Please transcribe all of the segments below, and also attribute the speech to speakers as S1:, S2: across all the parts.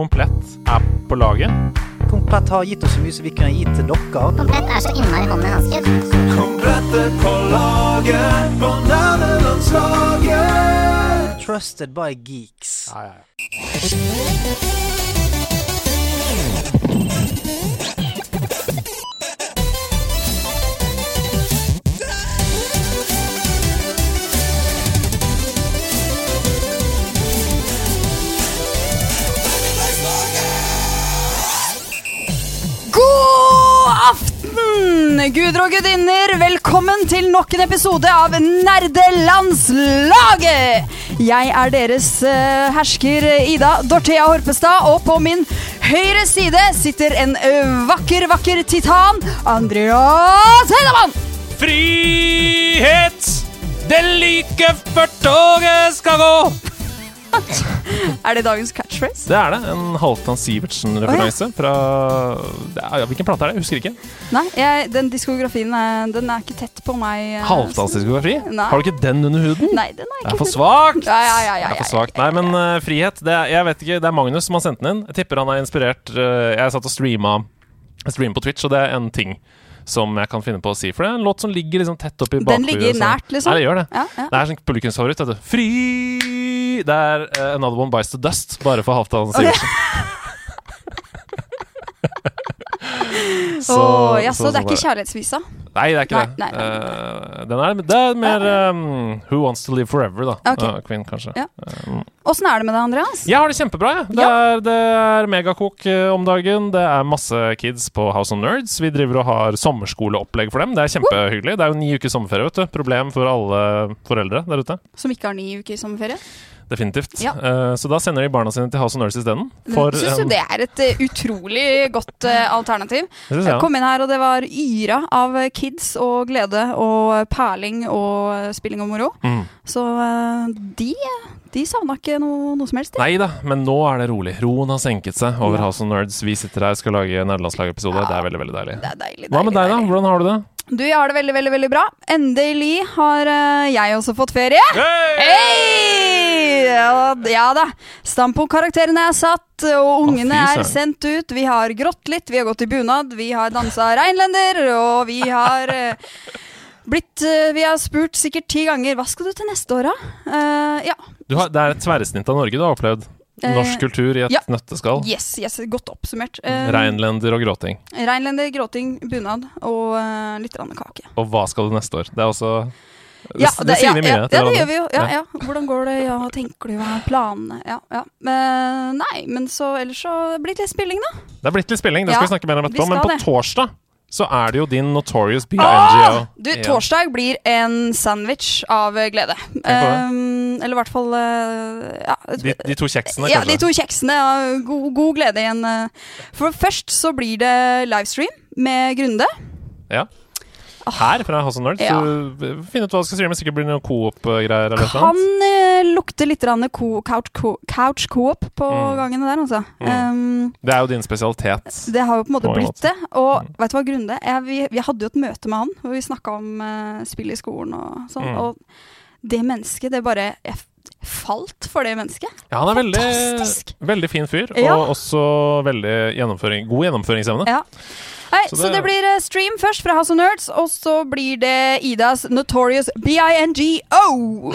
S1: Komplett er på laget.
S2: Komplett har gitt oss så mye som vi kunne gi til dere.
S3: Komplett er så innmari hånd i hanske.
S2: Trusted by geeks.
S1: Ja, ja, ja.
S4: God aften, guder og gudinner. Velkommen til nok en episode av Nerdelandslaget. Jeg er deres eh, hersker Ida Dorthea Horpestad, og på min høyre side sitter en eh, vakker, vakker titan, Andreas Heidemann.
S1: Frihet! Det like før toget skal gå!
S4: Er det dagens catchphrase?
S1: Det er det. En Halvdan Sivertsen-referanse fra det er, ja, Hvilken plate er det? Jeg husker ikke.
S4: Nei, jeg, den diskografien eh, den er ikke tett på meg. eh,
S1: Halvdan diskografi?
S4: Nei.
S1: Har du ikke den under huden?
S4: Nei, den er
S1: Det er
S4: ikke
S1: for svakt!
S4: Ja, ja, ja, ja,
S1: Det er
S4: ja,
S1: for svakt. Nei, men eh, frihet det er, Jeg vet ikke, det er Magnus som har sendt den inn. Jeg tipper han er inspirert. eh, jeg satt og streama jeg streamer på Twitch, og det er en ting som jeg kan finne på å si. For det er en låt som ligger liksom tett oppi bakhuet.
S4: Den ligger
S1: så-
S4: nært, liksom.
S1: Nei, det gjør det.
S4: Ja, ja.
S1: Det er sånn publikumsfavoritt. vet du. Fri Det er eh, Another One Bites The Dust, bare for Halvdan Sivertsen.
S4: Så, jaså, det er ikke kjærlighetsvisa?
S1: Nei, det er ikke
S4: Nei,
S1: det.
S4: nei, nei,
S1: Eh, den er, det er mer eh, Who Wants To Live Forever, da.
S4: Ok.
S1: Eh, Queen, kanskje.
S4: Ja. Åssen er det med deg, Andreas?
S1: Jeg har det kjempebra, jeg. Det, er, det er megakok eh, om dagen. Det er masse kids på House of Nerds. Vi driver og har sommerskoleopplegg for dem. Det er kjempehyggelig. Det er jo ni uker sommerferie, vet du. Problem for alle foreldre der ute.
S4: Som ikke har ni uker i sommerferie?
S1: Definitivt.
S4: Ja.
S1: Eh, så da sender de barna sine til House of Nerds isteden. For
S4: Syns du
S1: en-
S4: det er et eh, utrolig godt eh, alternativ?
S1: Det synes jeg,
S4: Jeg
S1: ja.
S4: kom inn her, og det var yra av eh, kids og glede og perling og eh, spilling og moro.
S1: Mm.
S4: Så eh, de, de savna ikke noe, noe som helst. de.
S1: Nei da, men nå er det rolig. Roen har senket seg over
S4: Ja.
S1: House of Nerds. Vi sitter her og skal lage nederlandslagepisode.
S4: Ja.
S1: Det er veldig, veldig deilig.
S4: Det er deilig.
S1: Hva med
S4: deilig,
S1: deg, da?
S4: deilig.
S1: Hvordan har du det?
S4: Du, jeg har det veldig, veldig veldig bra. Endelig har eh, jeg også fått ferie. Hei! Ja, ja da. Standpunktkarakterene er satt, og ungene
S1: fy søren.
S4: er sendt ut. Vi har grått litt, vi har gått i bunad, vi har dansa reinlender, og vi har eh, blitt eh, Vi har spurt sikkert ti ganger hva skal du til neste år, da? Eh, ja.
S1: Du har, det er et tverrsnitt av Norge du har opplevd.
S4: Eh,
S1: Norsk kultur i et
S4: ja.
S1: nøtteskall.
S4: Yes, yes, godt oppsummert. Eh,
S1: Reinlender og gråting.
S4: Reinlender, gråting, bunad og eh, litt grann kake.
S1: Og hva skal du neste år? Det er også Det,
S4: Ja,
S1: det, sier vi mye.
S4: ja,
S1: til
S4: ja, det
S1: hverandre.
S4: gjør vi jo. Ja,
S1: Ja.
S4: ja. Hvordan går det, ja, hva tenker du, hva er planene? Ja, ja. Men, eh, nei, men så ellers så blir det litt spilling, da.
S1: Det er blitt litt spilling, det skal
S4: Ja,
S1: vi snakke mer om
S4: vi
S1: etterpå. Men
S4: skal
S1: på
S4: det.
S1: torsdag så er det jo din Notorious
S4: Ah!
S1: BINGO.
S4: Du, torsdag blir en sandwich av eh, glede.
S1: det.
S4: Ehm, eller i hvert fall eh, ja,
S1: De, de to kjeksene,
S4: ja, de
S1: kanskje.
S4: to kjeksene. Ja, god, god glede igjen. eh. For først så blir det livestream med Grunde.
S1: Ja. Her fra House of Nerds.
S4: Ja.
S1: Du Finn ut hva du skal streame. Sikkert blir det noe coop-greier. eller et eller
S4: Kan
S1: annet.
S4: eh, lukte litt grann co couch, co couch coop på
S1: Mm.
S4: gangene der, altså. Ehm,
S1: Det er jo din spesialitet.
S4: det har jo på en måte
S1: På en Mm.
S4: blitt det. Og vet du hva, Grunde? Jeg, vi, vi hadde jo et møte med han hvor vi snakka om eh, spill i skolen og sånn.
S1: Mm.
S4: Og det mennesket, det bare Jeg f- falt for det mennesket.
S1: Ja, han er veldig,
S4: Fantastisk.
S1: veldig fin fyr,
S4: Ja.
S1: og også veldig gjennomføring, god gjennomføringsevne.
S4: Ja. Nei,
S1: Så
S4: så,
S1: det-
S4: det, blir eh, stream først fra House of Nerds, og så blir det Idas Notorious BINGO.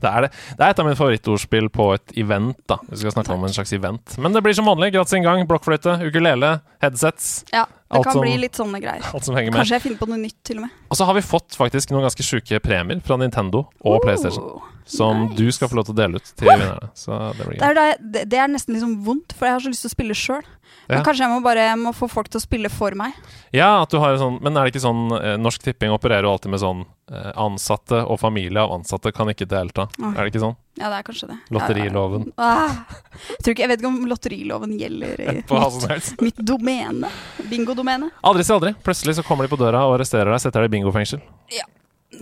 S1: Det er, det. det er et av mine favorittordspill på et event. da Vi skal snakke om en slags event Men det blir som vanlig. Gratis inngang, blokkfløyte, ukulele, headsets.
S4: Ja, det
S1: Alt
S4: kan
S1: som-
S4: bli litt sånne greier.
S1: Alt som henger med.
S4: Kanskje jeg finner på noe nytt, til og med.
S1: Og så har vi fått faktisk noen ganske sjuke premier fra Nintendo og PlayStation.
S4: Oh.
S1: Som du skal få lov til å dele ut til vinnerne. Så det blir
S4: Det
S1: gøy.
S4: er, da- det- det er nesten liksom vondt, for jeg har så lyst til å spille sjøl. Men
S1: Ja.
S4: kanskje jeg må bare jeg må få folk til å spille for meg.
S1: Ja, at du har en sånn Men er det ikke sånn eh, Norsk Tipping opererer jo alltid med sånn eh, Ansatte og familie av ansatte kan ikke delta.
S4: Åh.
S1: Er det ikke sånn?
S4: Ja, det er kanskje det.
S1: Lotteriloven.
S4: Ah, jeg, tror ikke, jeg vet ikke om lotteriloven gjelder i
S1: På hva
S4: mitt,
S1: som helst.
S4: mitt domene. Bingodomene.
S1: Aldri si aldri. Plutselig så kommer de på døra og arresterer deg, setter deg i bingofengsel.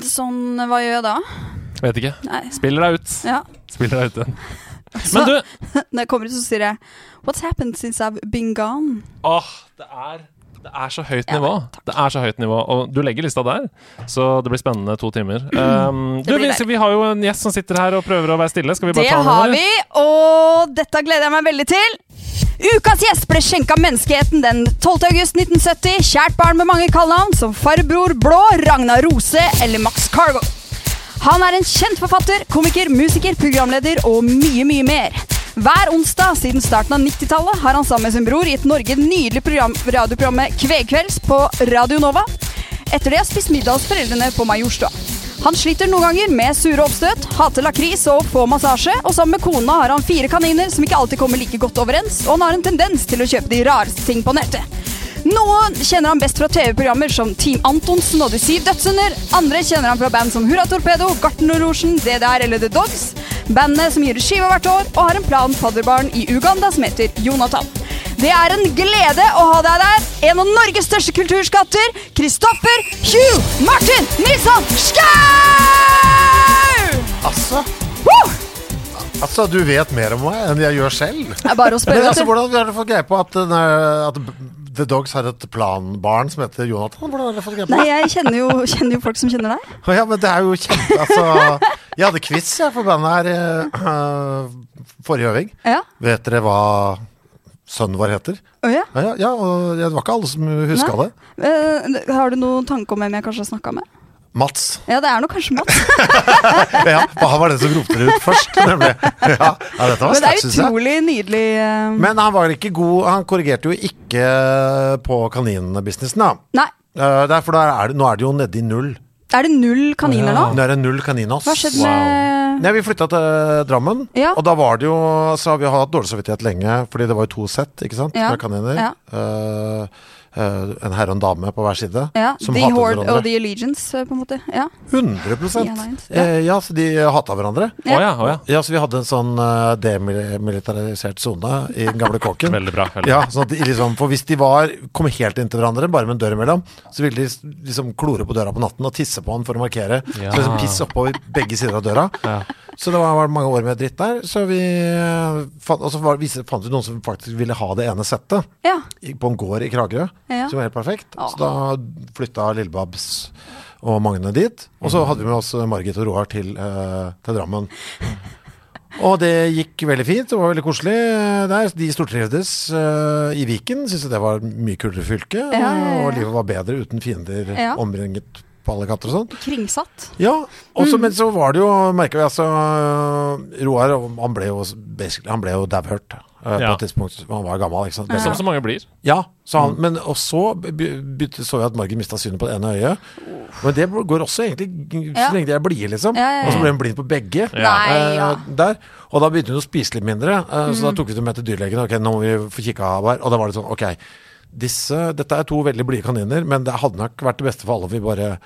S4: Sånn, hva gjør jeg da?
S1: Vet ikke.
S4: Nei.
S1: Spiller deg ut.
S4: Ja.
S1: Spiller deg ut igjen.
S4: Så
S1: Men du,
S4: når jeg kommer ut, så sier jeg What's happened since I've been gone?
S1: Åh, det er det er så høyt
S4: Ja,
S1: nivå. det er så høyt nivå Og du legger lista der, så det blir spennende to timer. Um, du,
S4: blir
S1: vi,
S4: deilig.
S1: vi har jo en gjest som sitter her og prøver å være stille. Skal vi
S4: Det
S1: bare ta han
S4: har vi, og dette gleder jeg meg veldig til. Ukas gjest ble skjenka menneskeheten den 12. august 1970. Kjært barn med mange kallenavn som farbror Blå, Ragna Rose eller Max Cargo. Han er en kjent forfatter, komiker, musiker, programleder og mye, mye mer. Hver onsdag siden starten av 90-tallet har han sammen med sin bror gitt Norge det nydelige program, radioprogrammet Kvegkvelds på Radio Nova. Etter det har spist middag hos foreldrene på Majorstua. Han sliter noen ganger med sure oppstøt, hater lakris og få massasje, og sammen med kona har han fire kaniner som ikke alltid kommer like godt overens, og han har en tendens til å kjøpe de rareste ting på nettet. Noen kjenner han best fra TV-programmer som Team Antonsen og De syv dødssynder. Andre kjenner han fra band som Hurra Torpedo, Gartnerlosjen, DDR eller The Dogs. Bandet som gir ut skive hvert år, og har en plan fadderbarn i Uganda som heter Jonathan. Det er en glede å ha deg der, en av Norges største kulturskatter, Kristoffer Hugh Martin Nilsson Schau!
S5: Altså,
S4: Woo!
S5: altså, du vet mer om meg enn jeg gjør selv.
S4: Det er bare å
S5: Men
S4: spørre. vet
S5: altså,
S4: du.
S5: Hvordan har dere fått greie på at, den er- at The Dogs har et planbarn som heter Jonathan? Hvordan har dere fått greie på
S4: Nei,
S5: det?
S4: jeg kjenner jo, kjenner jo folk som kjenner deg.
S5: Å Ja, men det er jo kjempe... Altså, jeg hadde quiz jeg, for bandet her eh, forrige øving.
S4: Ja.
S5: Vet dere hva sønnen vår heter?
S4: Å ja.
S5: Ja, ja, ja, og det var ikke alle som huska
S4: Nei.
S5: det.
S4: Eh, har du noen tanke om hvem jeg kanskje har snakka med?
S5: Mats.
S4: Ja, det er nok kanskje Mats.
S5: Ja, for han var den som ropte det ut først, nemlig. Ja, ja dette var
S4: Men det er
S5: sterkt, syns jeg.
S4: utrolig nydelig. eh,
S5: Men han var ikke god Han korrigerte jo ikke på kaninbusinessen, da.
S4: Nei,
S5: Eh, det er for da er det, nå er det jo nede i null.
S4: er det null kaniner nå?
S5: Nå er det null kaninas.
S4: Hva skjedde med
S5: Nei, Vi flytta til Drammen,
S4: Ja.
S5: og da var det jo Så har vi hatt dårlig samvittighet lenge, fordi det var jo to sett ikke sant,
S4: Ja.
S5: med kaniner.
S4: Ja.
S5: Eh, eh, en herre og en dame på hver side.
S4: ja,
S5: som
S4: The
S5: hatet
S4: Horde og
S5: hverandre.
S4: The Allegiance, eh, på en måte. Ja.
S5: 100
S4: The Alliance, ja.
S5: ja. Eh, ja, så de hata hverandre.
S1: Å ja, å ja.
S5: Ja, så vi hadde en sånn eh, demilitarisert sone i den gamle kåken.
S1: Veldig bra. Veldig. bra.
S5: Ja, sånn at de liksom, for hvis de var, kom helt inntil hverandre, bare med en dør imellom, så ville de s- liksom klore på døra på natten og tisse på han for å markere.
S1: Ja.
S5: Så liksom piss oppover begge sider av døra.
S1: Ja.
S5: Så det var, var mange år med dritt der. Så vi eh, fant, og så var, viste, fant vi noen som faktisk ville ha det ene settet
S4: ja.
S5: i- på en gård i Kragerø,
S4: Ja.
S5: som var helt perfekt.
S4: Åh.
S5: Så da flytta Lillebabs og Magne dit. Og
S4: Mm.
S5: så hadde vi med oss Margit og Roar til, eh, til Drammen. Og det gikk veldig fint, det var veldig koselig eh, der. De stortrivdes eh, i Viken, syntes det var mye kulere fylke.
S4: Ja, ja, ja.
S5: Og livet var bedre uten fiender
S4: Ja.
S5: omringet på alle kanter og sånn.
S4: Kringsatt.
S5: Ja,
S4: Mm.
S5: også, men så var det jo, merka vi altså Roar han ble jo, basically- han ble jo dauhørt eh, på
S1: Ja.
S5: et tidspunkt. Han var gammel, ikke sant.
S1: Som så mange blir.
S5: Ja, sa
S4: Mm.
S5: han. Men og så be- begynte, så vi at Margit mista synet på det ene øyet. Men det går også egentlig g-
S4: Ja.
S5: så lenge de er blide, liksom.
S4: Ja, ja, ja.
S5: Og så ble hun blind på begge.
S4: Nei, ja. Mm.
S5: eh, Der. Og da begynte hun å spise litt mindre, eh, så da tok vi det med til dyrlegen. Ok, nå må vi få kikka av her. Og da var det sånn, ok, disse, dette er to veldig blide kaniner, men det hadde nok vært det beste for alle om vi bare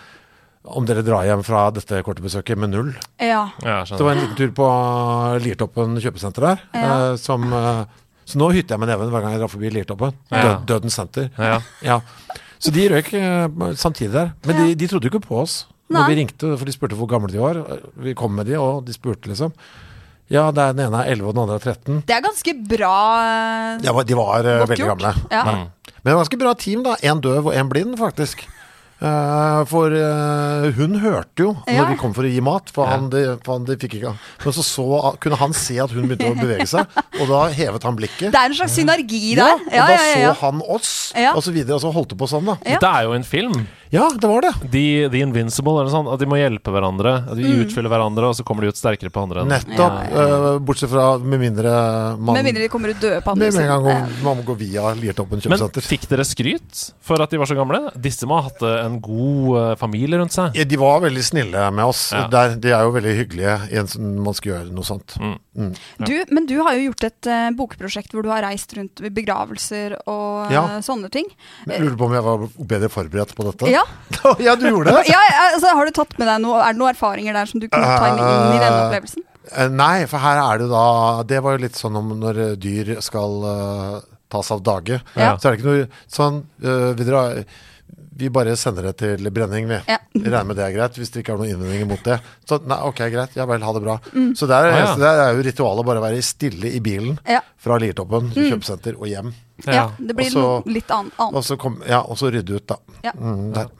S5: om dere drar hjem fra dette korte besøket med null.
S4: Ja.
S1: Ja,
S5: Det
S1: skjønner.
S5: var en liten tur på eh, Liertoppen kjøpesenter der.
S4: Ja.
S5: eh, som, eh, så nå hytter jeg med neven hver gang jeg drar forbi Liertoppen.
S1: Ja.
S5: Død, Dødens senter.
S1: Ja.
S5: Ja. Så de røyk eh, samtidig der. Men de, de trodde jo ikke på oss når
S4: Nei.
S5: vi ringte, for de spurte hvor gamle de var. Vi kom med de, og de spurte liksom. Ja, det er den ene er 11, og den andre er 13.
S4: Det er ganske bra eh,
S5: De var, de var eh,
S4: Godt
S5: veldig
S4: gjort.
S5: gamle.
S4: Ja.
S1: Mm.
S5: Men det var ganske bra team, da. Én døv og én blind, faktisk. Eh, for eh, hun hørte jo når
S4: Ja.
S5: vi kom for å gi mat, for, han, de, for han, de fikk ikke Men så, så kunne han se at hun begynte å bevege seg, og da hevet han blikket.
S4: Det er en slags synergi
S5: ja,
S4: der.
S5: og
S4: Ja,
S5: da
S4: ja, ja, ja.
S5: så han oss,
S4: Ja.
S5: og så videre, og så holdt det på sånn, da.
S4: Ja.
S1: Det er jo en film.
S5: Ja, det var det.
S1: The, the Invincible, eller sånn, at de må hjelpe hverandre. At de
S4: Mm.
S1: utfyller hverandre, og så kommer de ut sterkere på andre. enden.
S5: Nettopp. eh, bortsett fra med mindre man
S4: Med mindre de kommer ut døde på andre
S5: Med en gang
S4: siden.
S5: om- man må gå via
S1: Men
S5: Liertoppen kjøpesenter.
S1: fikk dere skryt for at de var så gamle? Disse må ha hatt eh, en god eh, familie rundt seg.
S5: Ja, De var veldig snille med oss.
S1: Ja.
S5: Der, de er jo veldig hyggelige i en sånn- man skal gjøre noe sånt.
S1: Mm.
S4: Ja. Du, men du har jo gjort et eh, bokprosjekt hvor du har reist rundt ved begravelser og eh,
S5: Ja.
S4: sånne ting.
S5: Jeg lurer på om jeg var bedre forberedt på dette.
S4: Ja.
S5: ja, du gjorde det?
S4: Ja, altså, har du tatt med deg noe, Er det noen erfaringer der som du kunne ta inn i denne opplevelsen?
S5: Eh, Nei, for her er det da Det var jo litt sånn om når eh, dyr skal eh, tas av dage.
S4: Ja.
S5: Så er det ikke noe sånn eh, vi, drar, vi bare sender det til brenning, vi.
S4: Ja.
S5: Vi regner med det er greit, hvis dere ikke har noen innvendinger mot det. Så nei, ok, greit, ja vel, ha det bra.
S4: Mm.
S5: Så der,
S1: Å, ja.
S5: så der er jo ritualet bare å være stille i bilen
S4: Ja.
S5: fra Liertoppen,
S4: Mm.
S5: kjøpesenter og hjem.
S4: Ja, det blir
S5: Og så-
S4: noe litt annet. annet.
S5: Og så, kom, ja, og så rydde ut, da.
S4: Ja.
S5: Mm, der.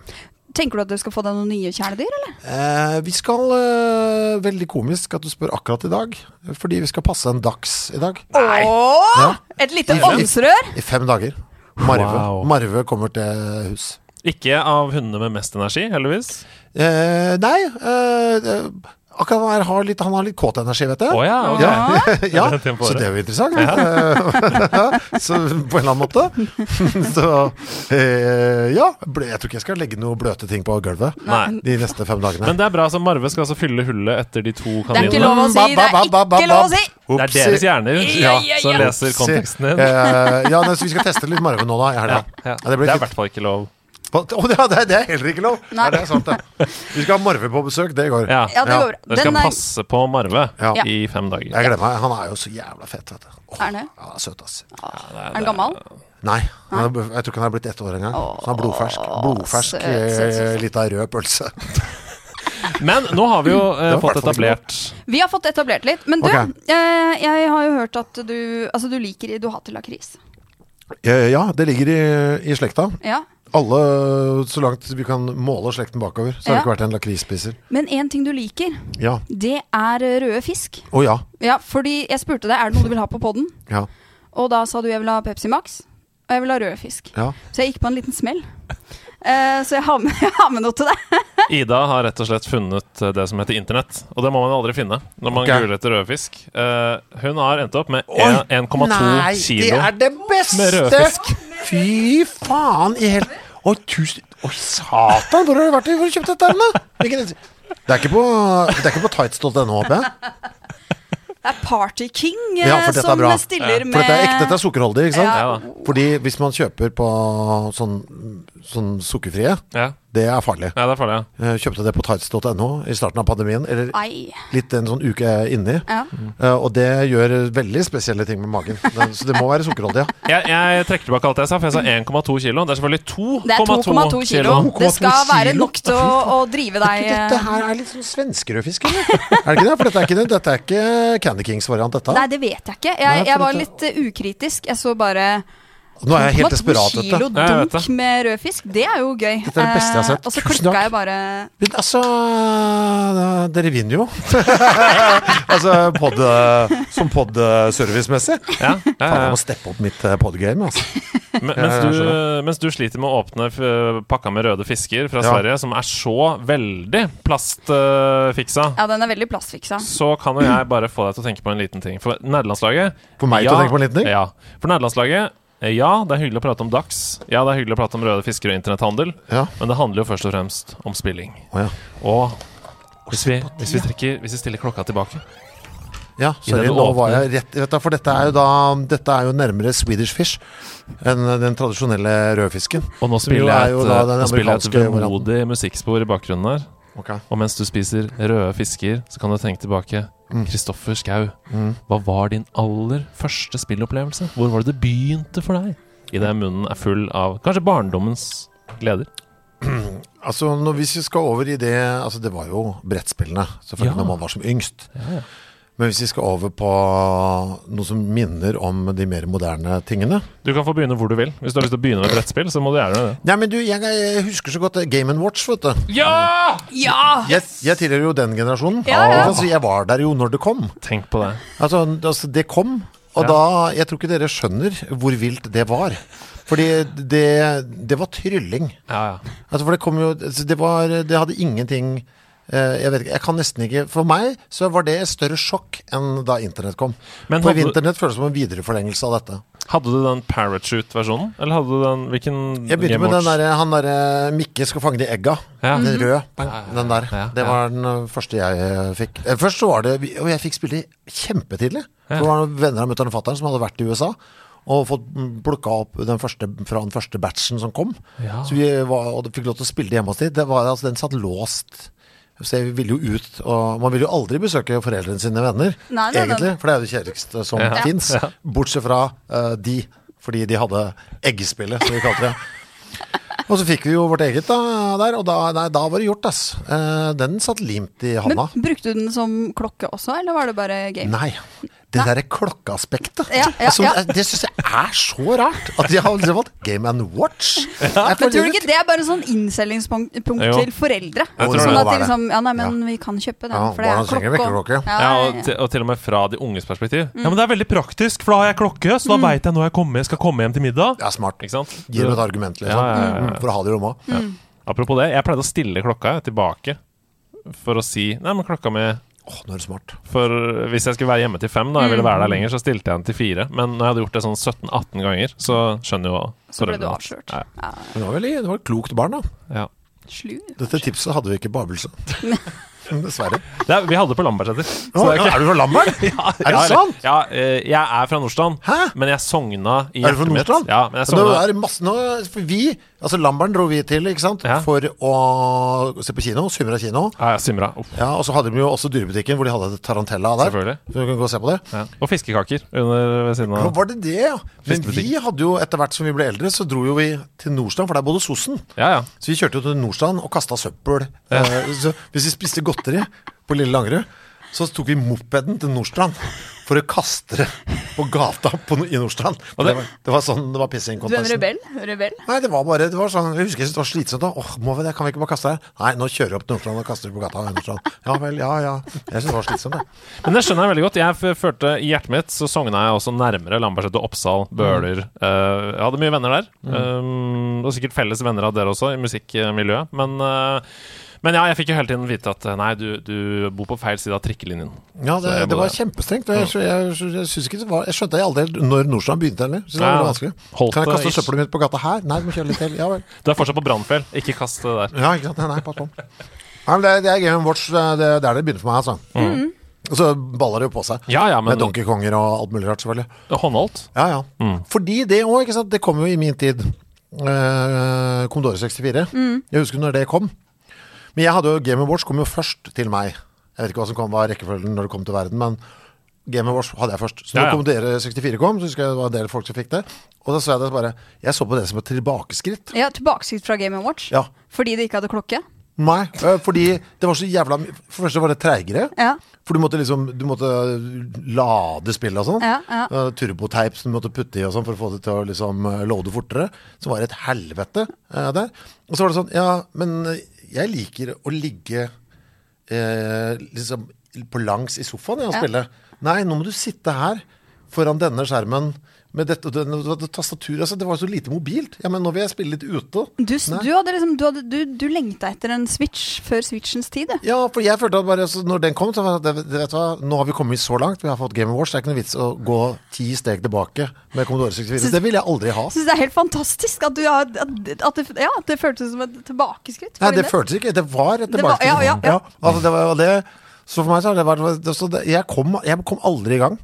S4: Tenker du at du skal få deg noen nye kjæledyr, eller?
S5: Eh, vi skal eh, Veldig komisk at du spør akkurat i dag, fordi vi skal passe en dags i dag.
S4: Åh,
S5: Ja.
S4: Et lite
S5: Ikke.
S4: åndsrør!
S5: I fem dager. Marve,
S1: Wow.
S5: Marve kommer til hus.
S1: Ikke av hundene med mest energi, heldigvis.
S5: Eh, nei eh, eh, Akkurat han her har litt, han har litt kåt energi, vet du.
S1: Å ja. ok.
S5: Ja, ja,
S1: Det er tempoet.
S5: så det er jo interessant. Eh, så på en eller annen måte. så eh, ja. ble- Jeg tror ikke jeg skal legge noe bløte ting på gulvet
S1: Nei.
S5: de neste fem dagene. Mm,
S1: Men det er bra, så Marve skal altså fylle hullet etter de to
S4: Det er ikke
S1: kaninene.
S4: lov å si! Det er ikke lov å si!
S1: Det er deres hjerner ja,
S4: Ja, ja, ja.
S1: som leser konteksten din.
S5: Eh, ja, nei, så vi skal teste litt Marve nå, da. I helga.
S1: Ja, ja.
S5: Ja, det
S1: Det
S5: blir
S1: er i
S5: fint.
S1: hvert fall ikke lov.
S5: På- Å, ja, det, er- det er heller ikke lov!
S4: Nei.
S5: Ja, det er sant, det. Vi skal ha Marve på besøk, det går.
S1: Ja.
S4: Ja, det går bra.
S1: Dere skal
S4: Den er-
S1: passe på Marve
S5: Ja.
S1: i fem dager.
S5: Jeg gleder meg. Han er jo så jævla fet, vet du. Åh,
S4: Er han det?
S5: ja, han er søt, ass.
S4: Er den gammel?
S5: Nei, han er, jeg tror ikke han er blitt ett år engang. Så Han er blodfersk. Blodfersk,
S4: søt, søt, søt, søt.
S5: eh, lita rød pølse.
S1: Men nå har vi jo eh,
S5: Det var i
S1: fått
S5: hvert fall ikke lov.
S1: etablert
S4: Vi har fått etablert litt. Men du,
S5: Ok.
S4: eh, jeg har jo hørt at du Altså, du liker Du hater lakris.
S5: Eh, Ja, det ligger i, i slekta.
S4: Ja.
S5: Alle, så langt vi kan måle slekten bakover, så har
S4: Ja.
S5: det ikke vært en lakrisspiser.
S4: Men én ting du liker,
S5: Ja.
S4: det er eh, røde fisk.
S5: Å ja.
S4: Ja, fordi jeg spurte deg er det noe du vil ha på poden,
S5: Ja.
S4: og da sa du jeg vil ha Pepsi Max, og jeg vil ha rød fisk.
S5: ja.
S4: Så jeg gikk på en liten smell. Eh, så jeg har, med, jeg har med noe til deg.
S1: Ida har rett og slett funnet eh, det som heter internett. Og det må man aldri finne når man
S5: Ok.
S1: googler etter rødfisk. Eh, hun har endt opp med
S5: Oi,
S1: en- 1,2
S5: Nei,
S1: kilo.
S5: det er det
S1: med
S5: beste!
S1: rødfisk.
S5: Fy faen i hel... Å, tusen Å, satan! Hvor har du vært? Hvor har du kjøpt dette? her, da? Hvilken- Det er ikke på, det er ikke på tights.no, håper jeg.
S4: Det er Party King eh,
S5: Ja, for dette er
S4: som
S5: bra.
S4: stiller med
S5: For dette er ekte, dette er sukkerholdig, ikke sant?
S1: Ja.
S5: Fordi hvis man kjøper på sånn, sånn sukkerfrie,
S1: Ja.
S5: det er farlig.
S1: ja, det er farlig. ja.
S5: Jeg kjøpte det på tights.no i starten av pandemien, eller
S4: Ai.
S5: litt en sånn uke inni.
S4: Ja.
S5: Eh, Og det gjør veldig spesielle ting med magen. Det- Så det må være sukkerholdig, ja.
S1: Jeg, jeg trekker tilbake alt jeg sa, for jeg sa 1,2 kilo. Det er selvfølgelig 2,2
S4: Det er 2,2 kilo. Det skal
S5: 2,2
S4: være
S5: kilo?
S4: nok til å, å drive
S5: Er
S4: deg
S5: ikke Dette
S4: eh,
S5: her er litt sånn svenskerødfisk, eller? Er det ikke det? For dette er ikke, det- dette er ikke Candy Kings-variant, dette.
S4: Nei, det vet jeg ikke.
S5: Nei,
S4: Jeg,
S5: for
S4: jeg var
S5: dette-
S4: litt eh, ukritisk. Jeg så bare
S5: Nå er jeg helt
S4: 2,2
S5: desperat, vet
S4: kilo
S5: du.
S1: Ja, jeg vet
S4: dunk med rød fisk. Det er jo gøy.
S5: Dette er det beste jeg har sett.
S4: Eh, Og så
S5: Tusen
S4: klikka
S5: takk.
S4: jeg bare
S5: Men altså Dere vinner jo. altså pod, som pod-servicemessig.
S1: Ja, ja,
S5: Faen, jeg
S1: ja.
S5: må steppe opp mitt eh, podgame. Altså.
S1: Men- Mens,
S5: Ja, jeg
S1: du, mens du sliter med å åpne f- pakka med røde fisker fra
S5: Ja.
S1: Sverige, som er så veldig plastfiksa,
S4: Ja, den er veldig plastfiksa.
S1: så kan jo jeg bare få deg til å tenke på en liten ting. For nederlandslaget
S5: For meg til å tenke på en liten ting?
S1: Ja. For nederlandslaget eh, ja, det er hyggelig å prate om Dax. Ja, det er hyggelig å prate om røde fisker og internetthandel.
S5: Ja.
S1: Men det handler jo først og fremst om spilling.
S5: Å, ja.
S1: Og hvis vi, hvis vi, trekker, hvis vi stiller klokka tilbake
S5: ja,
S1: I
S5: sorry,
S1: det du
S5: nå var jeg rett vet du, For dette er jo da Dette er jo nærmere Swedish fish enn den tradisjonelle rødfisken.
S1: Og nå spiller
S5: Spillet er
S1: jeg
S5: jo
S1: et,
S5: da den
S1: nå spiller jeg et
S5: amerikanske varianten.
S1: vemodig musikkspor i bakgrunnen der.
S5: Ok.
S1: Og mens du spiser røde fisker, så kan du tenke tilbake.
S5: Mm.
S1: Kristoffer Schau, hva var din aller første spillopplevelse? Hvor var det det begynte for deg? Idet munnen er full av kanskje barndommens gleder.
S5: Altså, når, Hvis vi skal over i det Altså, det var jo brettspillene, selvfølgelig,
S1: Ja.
S5: når man var som yngst.
S1: Ja, ja.
S5: Men hvis vi skal over på noe som minner om de mer moderne tingene
S1: Du kan få begynne hvor du vil. Hvis du har lyst til å begynne med brettspill, så må du gjerne det.
S5: Nei, men du, jeg, jeg husker så godt eh, Game Watch, vet du.
S1: Ja!
S4: Ja!
S5: Jeg, jeg tilhører jo den generasjonen.
S4: Ja, ja.
S5: Altså, jeg var der jo når det kom.
S1: Tenk på det.
S5: Altså, altså det kom. Og
S1: Ja.
S5: da Jeg tror ikke dere skjønner hvor vilt det var. Fordi det, det var trylling.
S1: Ja, ja.
S5: Altså, for det kom jo altså, Det, var, det hadde ingenting eh, jeg vet ikke, jeg kan nesten ikke For meg så var det et større sjokk enn da internett kom.
S1: Men
S5: for
S1: hadde-
S5: internett føles som en videreforlengelse av dette.
S1: Hadde du den parachute-versjonen? Eller hadde du den Hvilken
S5: Jeg begynte med den derre han derre eh, Mikke skal fange de egga.
S1: Ja.
S5: Den røde. Den,
S1: ja, ja,
S5: den der.
S1: ja, ja.
S5: Det var den eh, første jeg eh, fikk. Eh, Først så var det Og jeg fikk spille kjempetidlig.
S1: Ja.
S5: Det var noen venner av mutter'n og fatter'n som hadde vært i USA. Og fått mm, plukka opp den første, fra den første batchen som kom.
S1: Ja.
S5: Så vi var, og fikk lov til å spille det hjemme hos dem. Det var, altså, den satt låst. Så jeg ville jo ut, og Man vil jo aldri besøke foreldrene sine venner,
S4: Nei, nei, nei.
S5: egentlig. For det er jo det kjedeligste som
S1: Ja.
S5: fins. Bortsett fra eh, de, fordi de hadde eggespillet, som vi kalte det. Og så fikk vi jo vårt eget da, der, og da, nei, da var det gjort, ass. Eh, den satt limt i
S4: Men
S5: handa.
S4: brukte du den som klokke også, eller var det bare game?
S5: Nei. Det derre klokkeaspektet.
S4: Ja, ja,
S5: altså,
S4: ja.
S5: Det syns jeg er så rart! At de har liksom valgt Game and Watch.
S4: Men
S5: Jeg
S4: tror
S5: føler
S4: du ikke det er bare sånn innselgingspunkt punkt
S1: Jo.
S4: til foreldre?
S5: Jeg tror
S4: Sånn at
S5: det.
S4: de
S5: Må være.
S4: liksom Ja, nei, men vi kan kjøpe den,
S5: Ja,
S4: for det
S5: barna
S4: er
S5: trenger
S4: klokke.
S5: vekkerklokke.
S1: Ja,
S4: Ja, ja,
S1: og, til, og til og med fra de unges perspektiv.
S4: Mm.
S1: Ja, men det er veldig praktisk, for da har jeg klokke, så da vet veit jeg når jeg kommer, skal komme hjem til middag.
S5: Det er smart.
S1: Ikke sant?
S5: Gi dem et argument, liksom.
S1: Ja, ja, ja, ja.
S5: Mm, For å ha det i lomma.
S1: Apropos det, jeg pleide å stille klokka tilbake for å si Nei, men klokka mi
S5: Åh, nå er det smart.
S1: For hvis jeg skulle være hjemme til fem, da,
S4: Mm.
S1: jeg ville være der lenger, så stilte jeg den til fire. Men når jeg hadde gjort det sånn 17-18 ganger, så skjønner jo
S4: Så ble du
S1: foreldrene at-
S4: avslørt.
S1: Nei,
S5: Men det var, veldig, det var et klokt barn, da.
S1: Ja.
S4: Slu.
S5: Dette tipset hadde vi ikke på Abelsen. Dessverre.
S1: Det er, vi hadde på Lambertseter. så det
S5: Å,
S1: er ikke-
S5: er du fra Lambertseter?
S1: Ja,
S5: Er det
S1: ja,
S5: sant?
S1: Ja, eh, jeg er fra Nordstrand,
S5: Hæ?
S1: men jeg sogna i
S5: Er du fra
S1: hjertet mitt.
S5: Nordstrand?
S1: Ja, men jeg
S5: Nå
S1: sogna
S5: er det masse, nå, for vi, altså Lambertsen dro vi til, ikke sant?
S1: Ja.
S5: For å se på kino, Symra kino.
S1: ja, jeg simra. Uff,
S5: Ja, og så hadde de jo også dyrebutikken hvor de hadde Tarantella der.
S1: Selvfølgelig.
S5: Så du kan gå og se på det.
S1: ja. Og fiskekaker under ved siden
S5: Nå
S1: av.
S5: var det det, ja. Men
S1: Siste
S5: vi
S1: butikken.
S5: hadde jo, etter hvert som vi ble eldre, så dro jo vi til Nordstrand, for der bodde sossen.
S1: Ja, ja.
S5: Så vi kjørte jo til Nordstrand og kasta søppel. Eh, Så hvis vi spiste godteri på Lille Langerud, så tok vi mopeden til Nordstrand for å kaste det på gata på, i Nordstrand.
S1: Og
S5: det,
S1: det-
S5: var, det var sånn det var
S4: Du er en
S5: pissing-kontesten.
S4: rebell? Rebell?
S5: Nei, det var bare det var sånn, Jeg husker jeg syntes det var slitsomt. da Åh, må vi det? Kan vi ikke bare kaste det her? Nei, nå kjører vi opp til Nordstrand og kaster det på gata. i Nordstrand. Ja vel, ja ja. Jeg syns det var slitsomt, jeg.
S1: Men det skjønner jeg veldig godt. Jeg f- følte I hjertet mitt så sogna jeg også nærmere Lambertseter, Oppsal,
S5: Mm.
S1: Bøler. Eh, jeg hadde mye venner der. Um, og sikkert felles venner av dere også, i musikkmiljøet. Men, eh, men ja, jeg fikk jo hele tiden vite at eh, nei, du, du bor på feil side av trikkelinjen.
S5: Ja, det,
S1: Så jeg
S5: det
S1: må
S5: var
S1: det.
S5: kjempestrengt. og Jeg, jeg, jeg, jeg, synes ikke det var, jeg skjønte aldri helt når Nordstrand begynte heller. Synes det var
S1: Ja,
S5: veldig vanskelig.
S1: holdt
S5: Kan jeg
S1: det
S5: kaste
S1: ish.
S5: søppelet mitt på gata her? Nei, du må kjøre litt til. Ja vel.
S1: Du er fortsatt på Brannfjell, ikke kast det der.
S5: Ja, ikke sant? Nei, nei, pass på. Nei, men det, det er Game Watch. Det, det det er det det begynner for meg, altså. Og så baller det jo på seg.
S1: Mm. Ja, ja, men
S5: Med Donkey Konger og alt mulig rart, selvfølgelig.
S1: håndholdt?
S5: Ja, ja.
S1: Mm.
S5: Fordi det òg, ikke sant. Det kom jo i min tid. Eh, Commodore 64. Jeg husker når det kom. Men jeg hadde jo Game Watch kom jo først til meg. Jeg vet ikke hva som kom, var rekkefølgen når det kom til verden, men Game Watch hadde jeg først. Så
S1: Ja,
S5: når
S1: ja.
S5: Commodore 64 kom, så husker jeg det var en del folk som fikk det. Og da så jeg det bare Jeg så på det som et tilbakeskritt.
S4: Ja, tilbakeskritt fra Game Watch?
S5: Ja.
S4: Fordi de ikke hadde klokke?
S5: Nei, øh, fordi det var så jævla my- For det første var det treigere.
S4: Ja.
S5: For du måtte liksom Du måtte lade spillet og sånn.
S4: Ja, ja.
S5: Eh, Turboteip som du måtte putte i og sånn for å få det til å liksom eh, loade fortere. Som var det et helvete eh, der. Og så var det sånn Ja, men eh, jeg liker å ligge eh, liksom på langs i sofaen jeg, og
S4: Ja.
S5: spille. Nei, nå må du sitte her foran denne skjermen med dette og denne, tastaturet. Altså, det var jo så lite mobilt. Ja, men nå vil jeg spille litt ute.
S4: Du, s-
S5: Nei.
S4: du, hadde liksom, du, hadde, du, du lengta etter en Switch før Switchens tid, du.
S5: Ja, for jeg følte at bare altså, Når den kom, så var det, det- vet du hva, nå har vi kommet så langt, vi har fått Game Awards, det er ikke noe vits å gå ti steg tilbake med Commodore 64. Så det ville jeg aldri ha.
S4: Jeg syns det er helt fantastisk at, du har, at, at det, ja, at det føltes som et tilbakeskritt. for
S5: Nei,
S4: din del.
S5: det føltes ikke, det var et
S4: Det var-
S5: tilbake.
S4: ja, ja, ja.
S5: altså, det var, og det, så for meg så har det vært det, så det, jeg, kom, jeg kom aldri i gang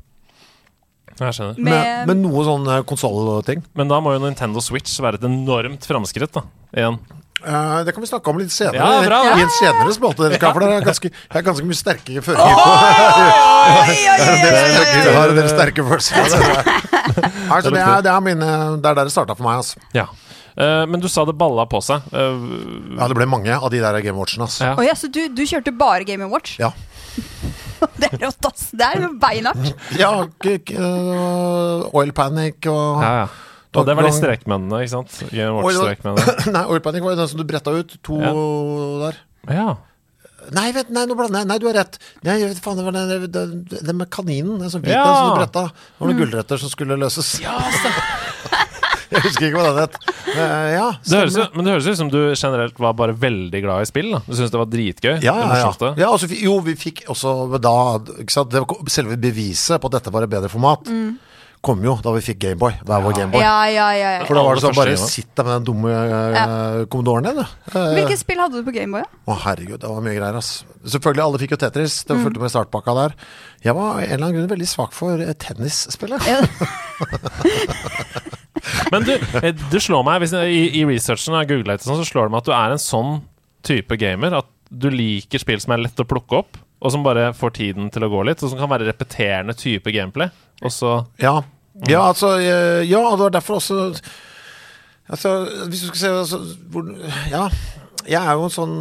S1: Jeg skjønner.
S5: med,
S4: Med-
S5: med noe sånn eh, konsollting.
S1: Men da må jo Nintendo Switch være et enormt framskritt, da. Igjen.
S5: Eh, det kan vi snakke om litt senere.
S1: Ja, bra, bra.
S5: I en senere spalte. dere skal, For det er ganske, jeg er ganske mye sterke føringer. på Jeg har en del sterke følelser. Nei, så det er, det er mine Det er der det starta for meg, altså.
S1: Ja. Eh, men du sa det balla på seg. Eh,
S5: Ja, det ble mange av de der Game Watchene, altså.
S1: Ja.
S4: Å ja, så du, du kjørte bare Game Watch?
S5: Ja.
S4: Det er rått, ass! Det er jo beinhardt.
S5: Ja, k- k- øh, Oil Panic og
S1: ja, ja. Og det var de strekmennene, ikke sant? Game Watch-strekmennene.
S5: Nei, Oil Panic var jo den som du bretta ut. To der.
S1: Ja.
S5: Nei, vet, nei, nå blander jeg. Nei, du har rett. Nei, jeg vet faen, det var den, den, den med kaninen. Den som fikk
S1: Ja. Mm.
S5: den som du bretta. Det var noen gullretter som skulle løses. jeg husker ikke hva den het. Eh, ja,
S1: Det høres,
S5: stemmer.
S1: jo- men det høres ut som du generelt var bare veldig glad i spill. Da. Du syntes det var dritgøy?
S5: Ja,
S1: det
S5: ja, ja.
S1: morsomste.
S5: ja altså, vi- jo, vi fikk også da ikke sant? Det var Selve beviset på at dette var et bedre format, kom jo da vi fikk Gameboy. Hver vår Gameboy.
S4: Ja, ja, ja, ja.
S5: For da var
S1: Aller
S5: det sånn, bare
S1: første
S5: sitt deg med den dumme uh, kommodoren din, du. Eh,
S4: Hvilket spill hadde du på Gameboy? Ja?
S5: Å herregud, det var mye greier, ass. Selvfølgelig, alle fikk jo Tetris, det
S4: Mm.
S5: fulgte med startpakka der. Jeg var av en eller annen grunn veldig svak for eh, tennisspillet.
S4: Ja.
S1: Men du, eh, det slår meg, hvis jeg, i, i researchen jeg googlet litt, og sånn, så slår det meg at du er en sånn type gamer. At du liker spill som er lett å plukke opp, og som bare får tiden til å gå litt. Og som kan være repeterende type gameplay. Og så
S5: Ja. ja, altså, eh, ja, og det var derfor også Altså, hvis du skal se altså, hvor, Ja, jeg er jo en sånn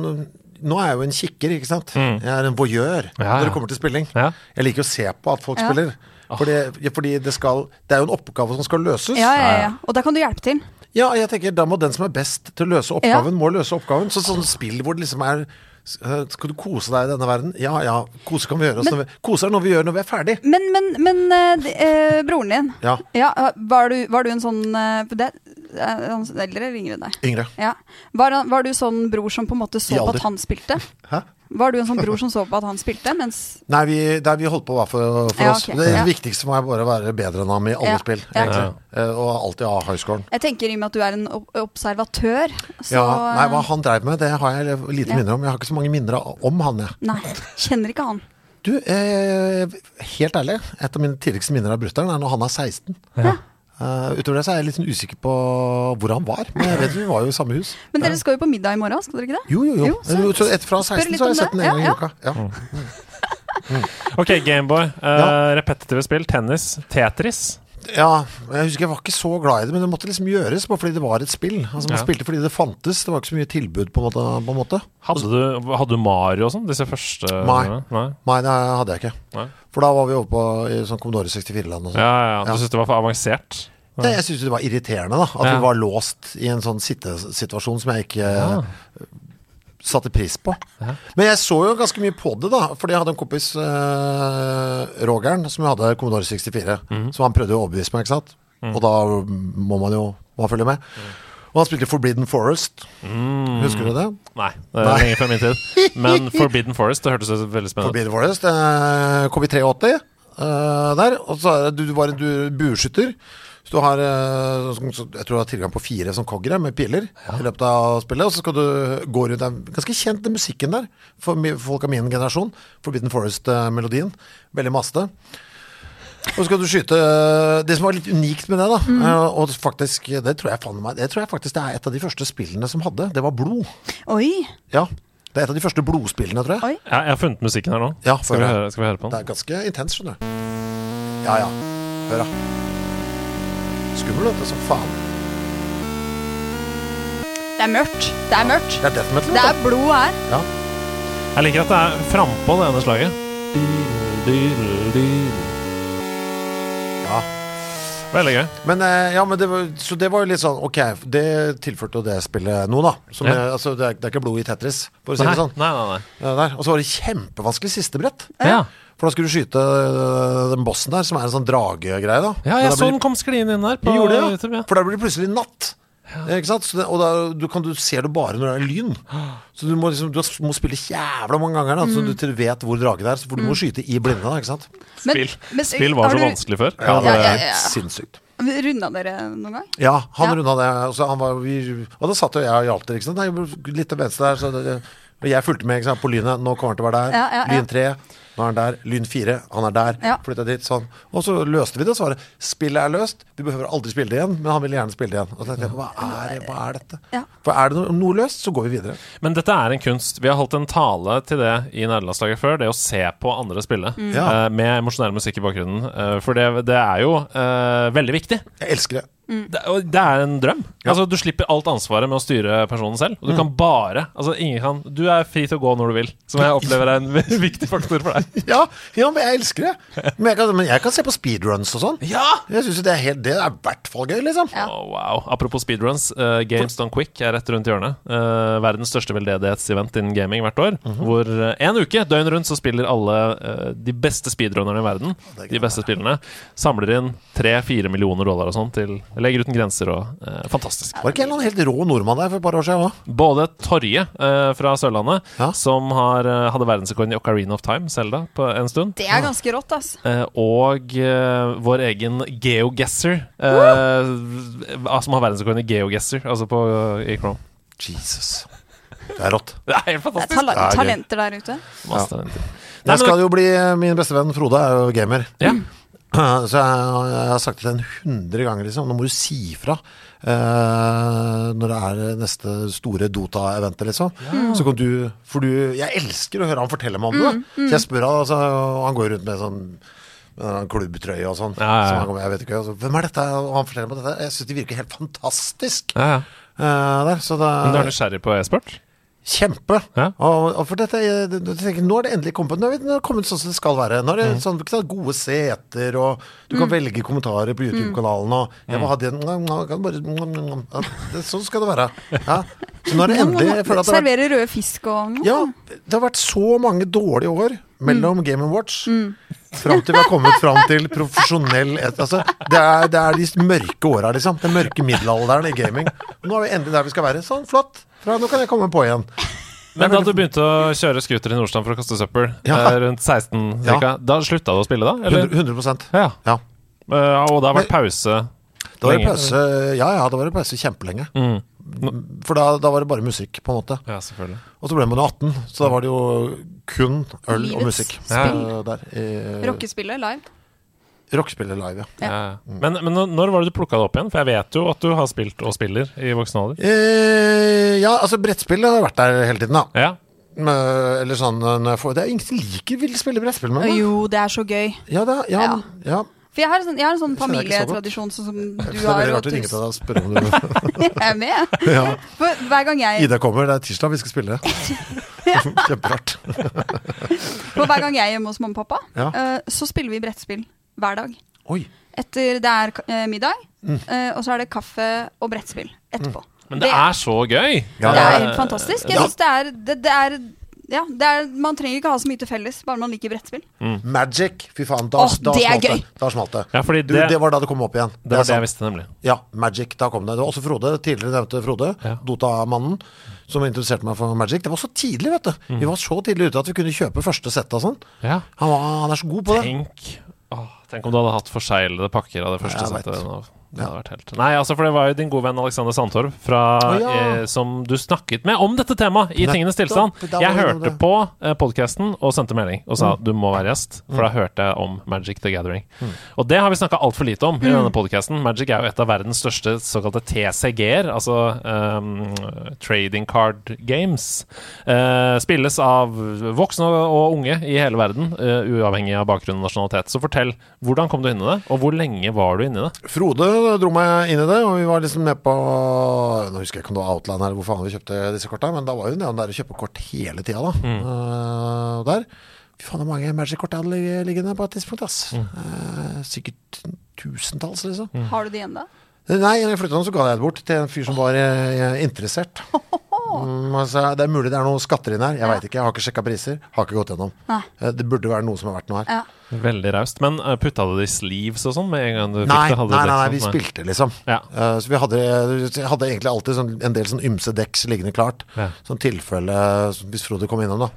S5: Nå er jeg jo en kikker, ikke sant? Jeg er en voyeur
S1: Mm. Ja, ja.
S5: når det kommer til spilling.
S1: Ja.
S5: Jeg liker å se på at folk
S4: Ja.
S5: spiller. For det- ja, fordi det, skal, det er jo en oppgave som skal løses.
S4: Ja, ja, ja. Og der kan du hjelpe til.
S5: Ja, jeg tenker da må den som er best til å løse oppgaven, må løse oppgaven. Så, sånn spill hvor det liksom er s- eh, Skal du kose deg i denne verden? Ja ja, kose kan vi gjøre. oss når vi, kose er noe vi gjør når vi er ferdig.
S4: Men, men, men eh, de- eh, broren din
S5: Ja.
S4: eh, var, du, var du en sånn eh, det, er han Eldre eller yngre enn deg?
S5: Yngre.
S4: Ja. Var, han- var du sånn bror som på en måte så
S5: I
S4: på
S5: alder.
S4: at han spilte?
S5: Hæ?
S4: Var du en sånn bror som så på at han spilte? Mens
S5: Nei, vi, der vi holdt på var for, for
S4: Ja,
S5: oss.
S4: ok.
S5: Det
S4: Ja.
S5: viktigste må bare være bedre enn ham i alle
S4: Ja.
S5: spill.
S4: Ja.
S5: egentlig. Eh, Og alltid ha highscoren.
S4: jeg tenker i og med at du er en ob- observatør, så eh,
S5: Ja, nei, hva han dreiv med, det har jeg lite
S4: Ja.
S5: minner om. Jeg har ikke så mange minner av- om han, jeg.
S4: eh, Nei, kjenner ikke han.
S5: Du, eh, helt ærlig, et av mine tidligste minner av brutter'n er når han er 16.
S1: Ja.
S5: Eh, utover det så er jeg litt sånn usikker på hvor han var, men jeg vet vi var jo i samme hus.
S4: Men dere skal jo på middag i morgen, skal dere ikke det?
S5: Jo, jo, jo.
S4: Jo, så-
S5: så etter fra
S4: spør
S5: 16
S4: litt
S5: så har jeg
S4: om
S5: sett den
S4: det.
S5: en gang i
S4: Ja,
S5: uka. Ja.
S1: OK, Gameboy. Eh,
S5: Ja.
S1: Repetitive spill. Tennis. Tetris.
S5: ja, jeg husker jeg var ikke så glad i det, men det måtte liksom gjøres bare fordi det var et spill. Altså Man
S1: Ja.
S5: spilte fordi det fantes, det var ikke så mye tilbud på en måte. På en måte.
S1: Hadde du, hadde du Mario og sånn? Disse første
S5: Nei.
S1: Nei.
S5: Nei, det hadde jeg ikke.
S1: Nei.
S5: For da var vi over på i sånn Commodore 64-land og
S1: Ja,
S5: sånn.
S1: ja, ja. Du
S5: Ja.
S1: syntes det var for avansert?
S5: Det- Jeg syntes det var irriterende da, at
S1: Ja.
S5: vi var låst i en sånn sittesituasjon som jeg ikke eh, satte pris på. Men jeg så jo ganske mye på det, da. Fordi jeg hadde en kompis, eh, Rogeren, som jeg hadde Commodore 64. Så han prøvde jo å overbevise meg, ikke sant. Og da må man jo må følge med. Og han spilte Forbidden Forest. Husker du det?
S1: Nei. Det er
S5: Nei.
S1: lenge før min tid. Men Forbidden Forest, det hørtes jo veldig spennende ut.
S5: Forbidden Forest. Eh, kom i 83 eh, der. Og så er det- du, du var en du- bueskytter. Så du har eh, sånn- så- jeg tror du har tilgang på fire sånn koggere med piler i løpet av spillet. Og så skal du gå rundt den ganske kjent den musikken der, for mi- folk av min generasjon. Forbidden Forest-melodien. Veldig maste. Og så skal du skyte eh, Det som var litt unikt med det, da, eh, og faktisk, det tror jeg faen meg Det tror jeg faktisk det er et av de første spillene som hadde, det var blod.
S4: Oi!
S5: Ja. Det er et av de første blodspillene, tror jeg.
S4: Oi.
S1: Ja, jeg har funnet musikken her nå.
S5: Ja,
S1: Skal vi
S5: før jeg-
S1: høre, skal vi høre på
S5: det
S1: den?
S5: er ganske intens, skjønner du. Ja, ja. Hør, da. Skummel, vet du, som faen.
S4: Det er mørkt. Det er mørkt.
S5: Det er death metal.
S4: Det
S5: vet
S4: er blod her.
S5: du. Ja.
S1: Jeg liker at det er frampå det ene slaget.
S5: ja.
S1: Veldig gøy.
S5: Men, eh, ja, men det var, så det var jo litt sånn Ok, det tilførte jo det spillet noe, da. Som,
S1: Ja.
S5: eh, altså, det, er, det er ikke blod i Tetris, for å si
S1: Nei,
S5: det sånn.
S1: nei, nei. nei.
S5: Eh, Der. Og så var det kjempevanskelig siste brett.
S4: Eh?
S1: Ja.
S5: For da skulle du skyte eh, den bossen der, som er en sånn dragegreie, da.
S1: ja,
S5: Men da
S1: jeg så
S5: blir-
S1: den kom skliende inn der på
S5: Vi gjorde det, ja.
S1: YouTube. Ja.
S5: For da blir det plutselig natt. Eh, Ikke sant? Så det, og da du kan, du ser det bare når det er lyn. Så du må, liksom, du må spille jævla mange ganger da,
S1: Mm.
S5: så du til du vet hvor dragen er. Så For du må skyte i blinde. Da, ikke sant?
S4: Men-
S1: Spill.
S4: men-
S1: Spill var
S4: har
S1: så
S4: du-
S1: vanskelig før.
S5: Ja, det
S4: ja,
S5: er
S4: ja,
S5: helt
S4: ja.
S5: sinnssykt.
S4: Runda dere noen gang?
S5: Ja, han
S4: Ja.
S5: runda det. Og, så han var, vi, og da satt jo jeg og hjalp til. Ikke sant? Nei, litt til venstre der. Så det, og jeg fulgte med ikke sant? på lynet. Nå kommer han til å være der.
S4: Ja, ja, ja.
S5: Lyn 3. Nå er han der. Lyn 4. Han er der.
S4: Ja.
S5: Flytta dit. Sånn. Og så løste vi det. Så var det spillet er løst. Vi behøver aldri spille det igjen. Men han ville gjerne spille det igjen. Og så tenkte jeg, hva er, det, hva er dette?
S4: Ja.
S5: For er det noe, noe løst, så går vi videre.
S1: Men dette er en kunst. Vi har holdt en tale til det i nederlandslaget før, det å se på andre spille
S5: Ja.
S1: eh, med emosjonell musikk i bakgrunnen. Eh, for det, det er jo eh, veldig viktig.
S5: Jeg elsker det.
S1: Det, og det er en drøm. Altså, du slipper alt ansvaret med å styre personen selv. Og du kan bare altså, ingen kan, Du er fri til å gå når du vil, som jeg opplever er en viktig faktor for deg.
S5: Ja, ja, men jeg elsker det. Men jeg kan, men jeg kan se på speedruns og sånn.
S1: Ja!
S5: Jeg synes jo det er helt Det er i hvert fall gøy, liksom.
S4: Ja.
S1: Å, wow. Apropos speedruns. eh, Games Done Quick er rett rundt hjørnet. Eh, verdens største veldedighetsevent innen gaming hvert år.
S5: Mhm.
S1: Hvor eh, en uke, døgn rundt, så spiller alle eh, de beste speedrunnerne i verden.
S5: det er
S1: De beste spillerne. Samler inn tre-fire millioner dollar og sånn til Legger Uten Grenser og eh, Fantastisk.
S5: Var det ikke en eller annen helt rå nordmann der for et par år siden òg?
S1: Både Torje eh, fra Sørlandet,
S5: Ja.
S1: som har, eh, hadde verdensrekorden i Ocarina of Time, Selda, på en stund.
S4: Det er ganske rått, ass.
S1: Eh, og eh, vår egen GeoGuessr, eh, v- som har verdensrekorden i GeoGuessr, altså på, eh, i Chrome.
S5: Jesus. Det er rått.
S1: Det er helt
S4: Det er
S1: fantastisk!
S4: tala
S5: Ja, gøy.
S4: talenter der ute.
S1: Masse talenter. Nei, men,
S5: Jeg skal jo bli eh, Min beste venn Frode er jo gamer.
S1: ja.
S5: Så jeg, jeg har sagt det til en hundre ganger, liksom. Nå må du si fra eh, når det er neste store Dota-eventet, liksom. Så kan du For du Jeg elsker å høre han fortelle meg om det.
S1: Mm,
S5: Så jeg spør han, altså, og han går rundt med sånn med en klubbtrøye og sånn.
S1: Ja, ja, ja.
S5: Så han kommer, jeg vet ikke, altså, Hvem er dette? Og han forteller meg dette. Jeg syns de virker helt fantastisk.
S1: Ja, ja.
S5: eh, der, så da,
S1: Men du er nysgjerrig på e-sport?
S5: Kjempe.
S1: Ja.
S5: Og, og for dette, er- du du tenker, nå er det endelig kommet Nå er vi- nå er det kommet sånn som det skal være. Nå er det sånn, ikke sant, gode seter, og du kan velge kommentarer på YouTube-kanalen. Og jeg må ha det, jeg kan bare, ja, det Sånn skal det være. Ja. Så nå er det endelig jeg føler at det har vært,
S4: Serverer røde fisk og
S5: ja, det har vært så mange dårlige år mellom Game Watch fram til vi har kommet fram til profesjonell et- altså, det, er, det er de mørke åra, liksom. Den mørke middelalderen i gaming. Og nå er vi endelig der vi skal være. Sånn, flott. Fra nå kan jeg komme på igjen.
S1: Men da du begynte å kjøre scooter i Nordstrand for å kaste søppel,
S5: Ja.
S1: eh, rundt 16 cirka, da slutta du å spille da? Eller?
S5: 100, 100
S1: Ja.
S5: Ja.
S1: Eh, og det har vært pause
S5: Da var det
S1: lenge.
S5: pause, ja, ja, da var det pause kjempelenge.
S1: Mm.
S5: For da, da var det bare musikk, på en måte.
S1: Ja, selvfølgelig.
S5: Og så ble man jo 18, så da var det jo kun øl og
S4: Livets
S5: musikk.
S1: spill.
S5: eh, Der, eh,
S4: rockespillet live.
S5: Rockespillet live, ja.
S4: Ja.
S1: Ja. Men, men når- når var det du plukka det opp igjen? For jeg vet jo at du har spilt og spiller i voksen alder.
S5: Eh, ja, altså brettspillet har vært der hele tiden, da.
S1: Ja.
S5: Men, Eller sånn eh, når jeg får, Det er ingen som liker vil spille brettspill med meg.
S4: Jo, det er så gøy.
S5: Ja, det, er- ja,
S4: Ja.
S5: ja.
S4: For jeg har, sånn, jeg har en sånn
S5: skjønner jeg ikke så godt.
S4: familietradisjon sånn som du
S5: Så det er
S4: har. og
S5: veldig rart å ringe
S4: tusen-
S5: til deg og spørre om du
S4: Jeg er med.
S5: ja.
S4: For hver gang jeg
S5: Ida kommer, det er tirsdag vi skal spille. Kjemperart.
S4: For hver gang jeg er hjemme hos mamma og pappa,
S5: Ja.
S4: eh, så spiller vi brettspill hver dag.
S5: Oi.
S4: Etter det er ka- eh, middag,
S5: Mm.
S4: eh, og så er det kaffe og brettspill etterpå.
S1: Mm. Men det er så gøy!
S5: Ja,
S4: det er
S5: det
S4: helt fantastisk. Jeg
S5: Ja.
S4: synes det er, det, det er ja, det er, Man trenger ikke ha så mye til felles, bare man liker brettspill.
S5: Magic, fy faen, da,
S4: Åh,
S5: da
S4: det er
S5: smalt det.
S4: gøy.
S5: Da smalt det.
S1: Ja, fordi
S5: du,
S1: det-
S5: det var da det kom opp igjen.
S1: Det var det
S5: er
S1: jeg visste,
S5: sant.
S1: nemlig.
S5: Ja, Magic, da kom det. Det var også Frode, tidligere nevnte Frode,
S1: Ja.
S5: Dota-mannen, som introduserte meg for Magic. Det var så tidlig, vet du. Vi var så tidlig ute at vi kunne kjøpe første sett og sånn.
S1: Ja.
S5: Han, var, han er så god på det.
S1: Tenk, åh, tenk om du hadde hatt forseglede pakker av det første
S5: Jeg vet.
S1: settet. nå. Det
S5: Ja.
S1: hadde vært helt Nei, altså, for det var jo din gode venn Alexander Sandtorv fra,
S5: Å, ja.
S1: eh, som du snakket med om dette temaet i
S5: Nettopp,
S1: Tingenes tilstand.
S5: da var
S1: Jeg
S5: det
S1: hørte
S5: det.
S1: på eh, podkasten og sendte melding og
S5: Mm.
S1: sa du må være gjest, for da hørte jeg om Magic the Gathering. Og det har vi snakka altfor lite om i denne podkasten. Magic er jo et av verdens største såkalte TCG-er, altså ehm, trading card games. Eh, spilles av voksne og unge i hele verden, eh, uavhengig av bakgrunn og nasjonalitet. Så fortell, hvordan kom du inn i det, og hvor lenge var du inni det?
S5: Frode dro meg inn i det, og vi var liksom med på Nå husker jeg ikke om det var Outland eller hvor faen vi kjøpte disse korta, men da var jo nedover der og kjøpe kort hele tida, da.
S1: Mm.
S5: Eh, og der. Fy faen, hvor mange Magic-kort jeg hadde ligge- liggende på et tidspunkt, ass.
S1: Mm.
S5: Eh, sikkert tusentalls, liksom.
S4: Har du det igjen da?
S5: Nei, når jeg flytta nå, så ga jeg det bort til en fyr som var eh, interessert. Mm, altså, det er mulig det er noen skatter inn her, jeg veit ikke. Jeg har ikke sjekka priser. Har ikke gått gjennom.
S4: Nei.
S5: Eh, Det burde være noe som har vært noe her.
S4: Ja.
S1: Veldig raust. Men eh, putta du det i sleeves og sånn med en gang du
S5: Nei,
S1: fikk det?
S5: nei,
S1: Hadde du
S5: nei,
S1: det
S5: nei, vi
S1: sånn?
S5: spilte, liksom.
S1: Ja.
S5: Eh, Så vi hadde, jeg hadde egentlig alltid sånn, en del sånn ymse dekks liggende klart.
S1: Ja.
S5: Sånn tilfelle så Hvis Frode kom innom, da,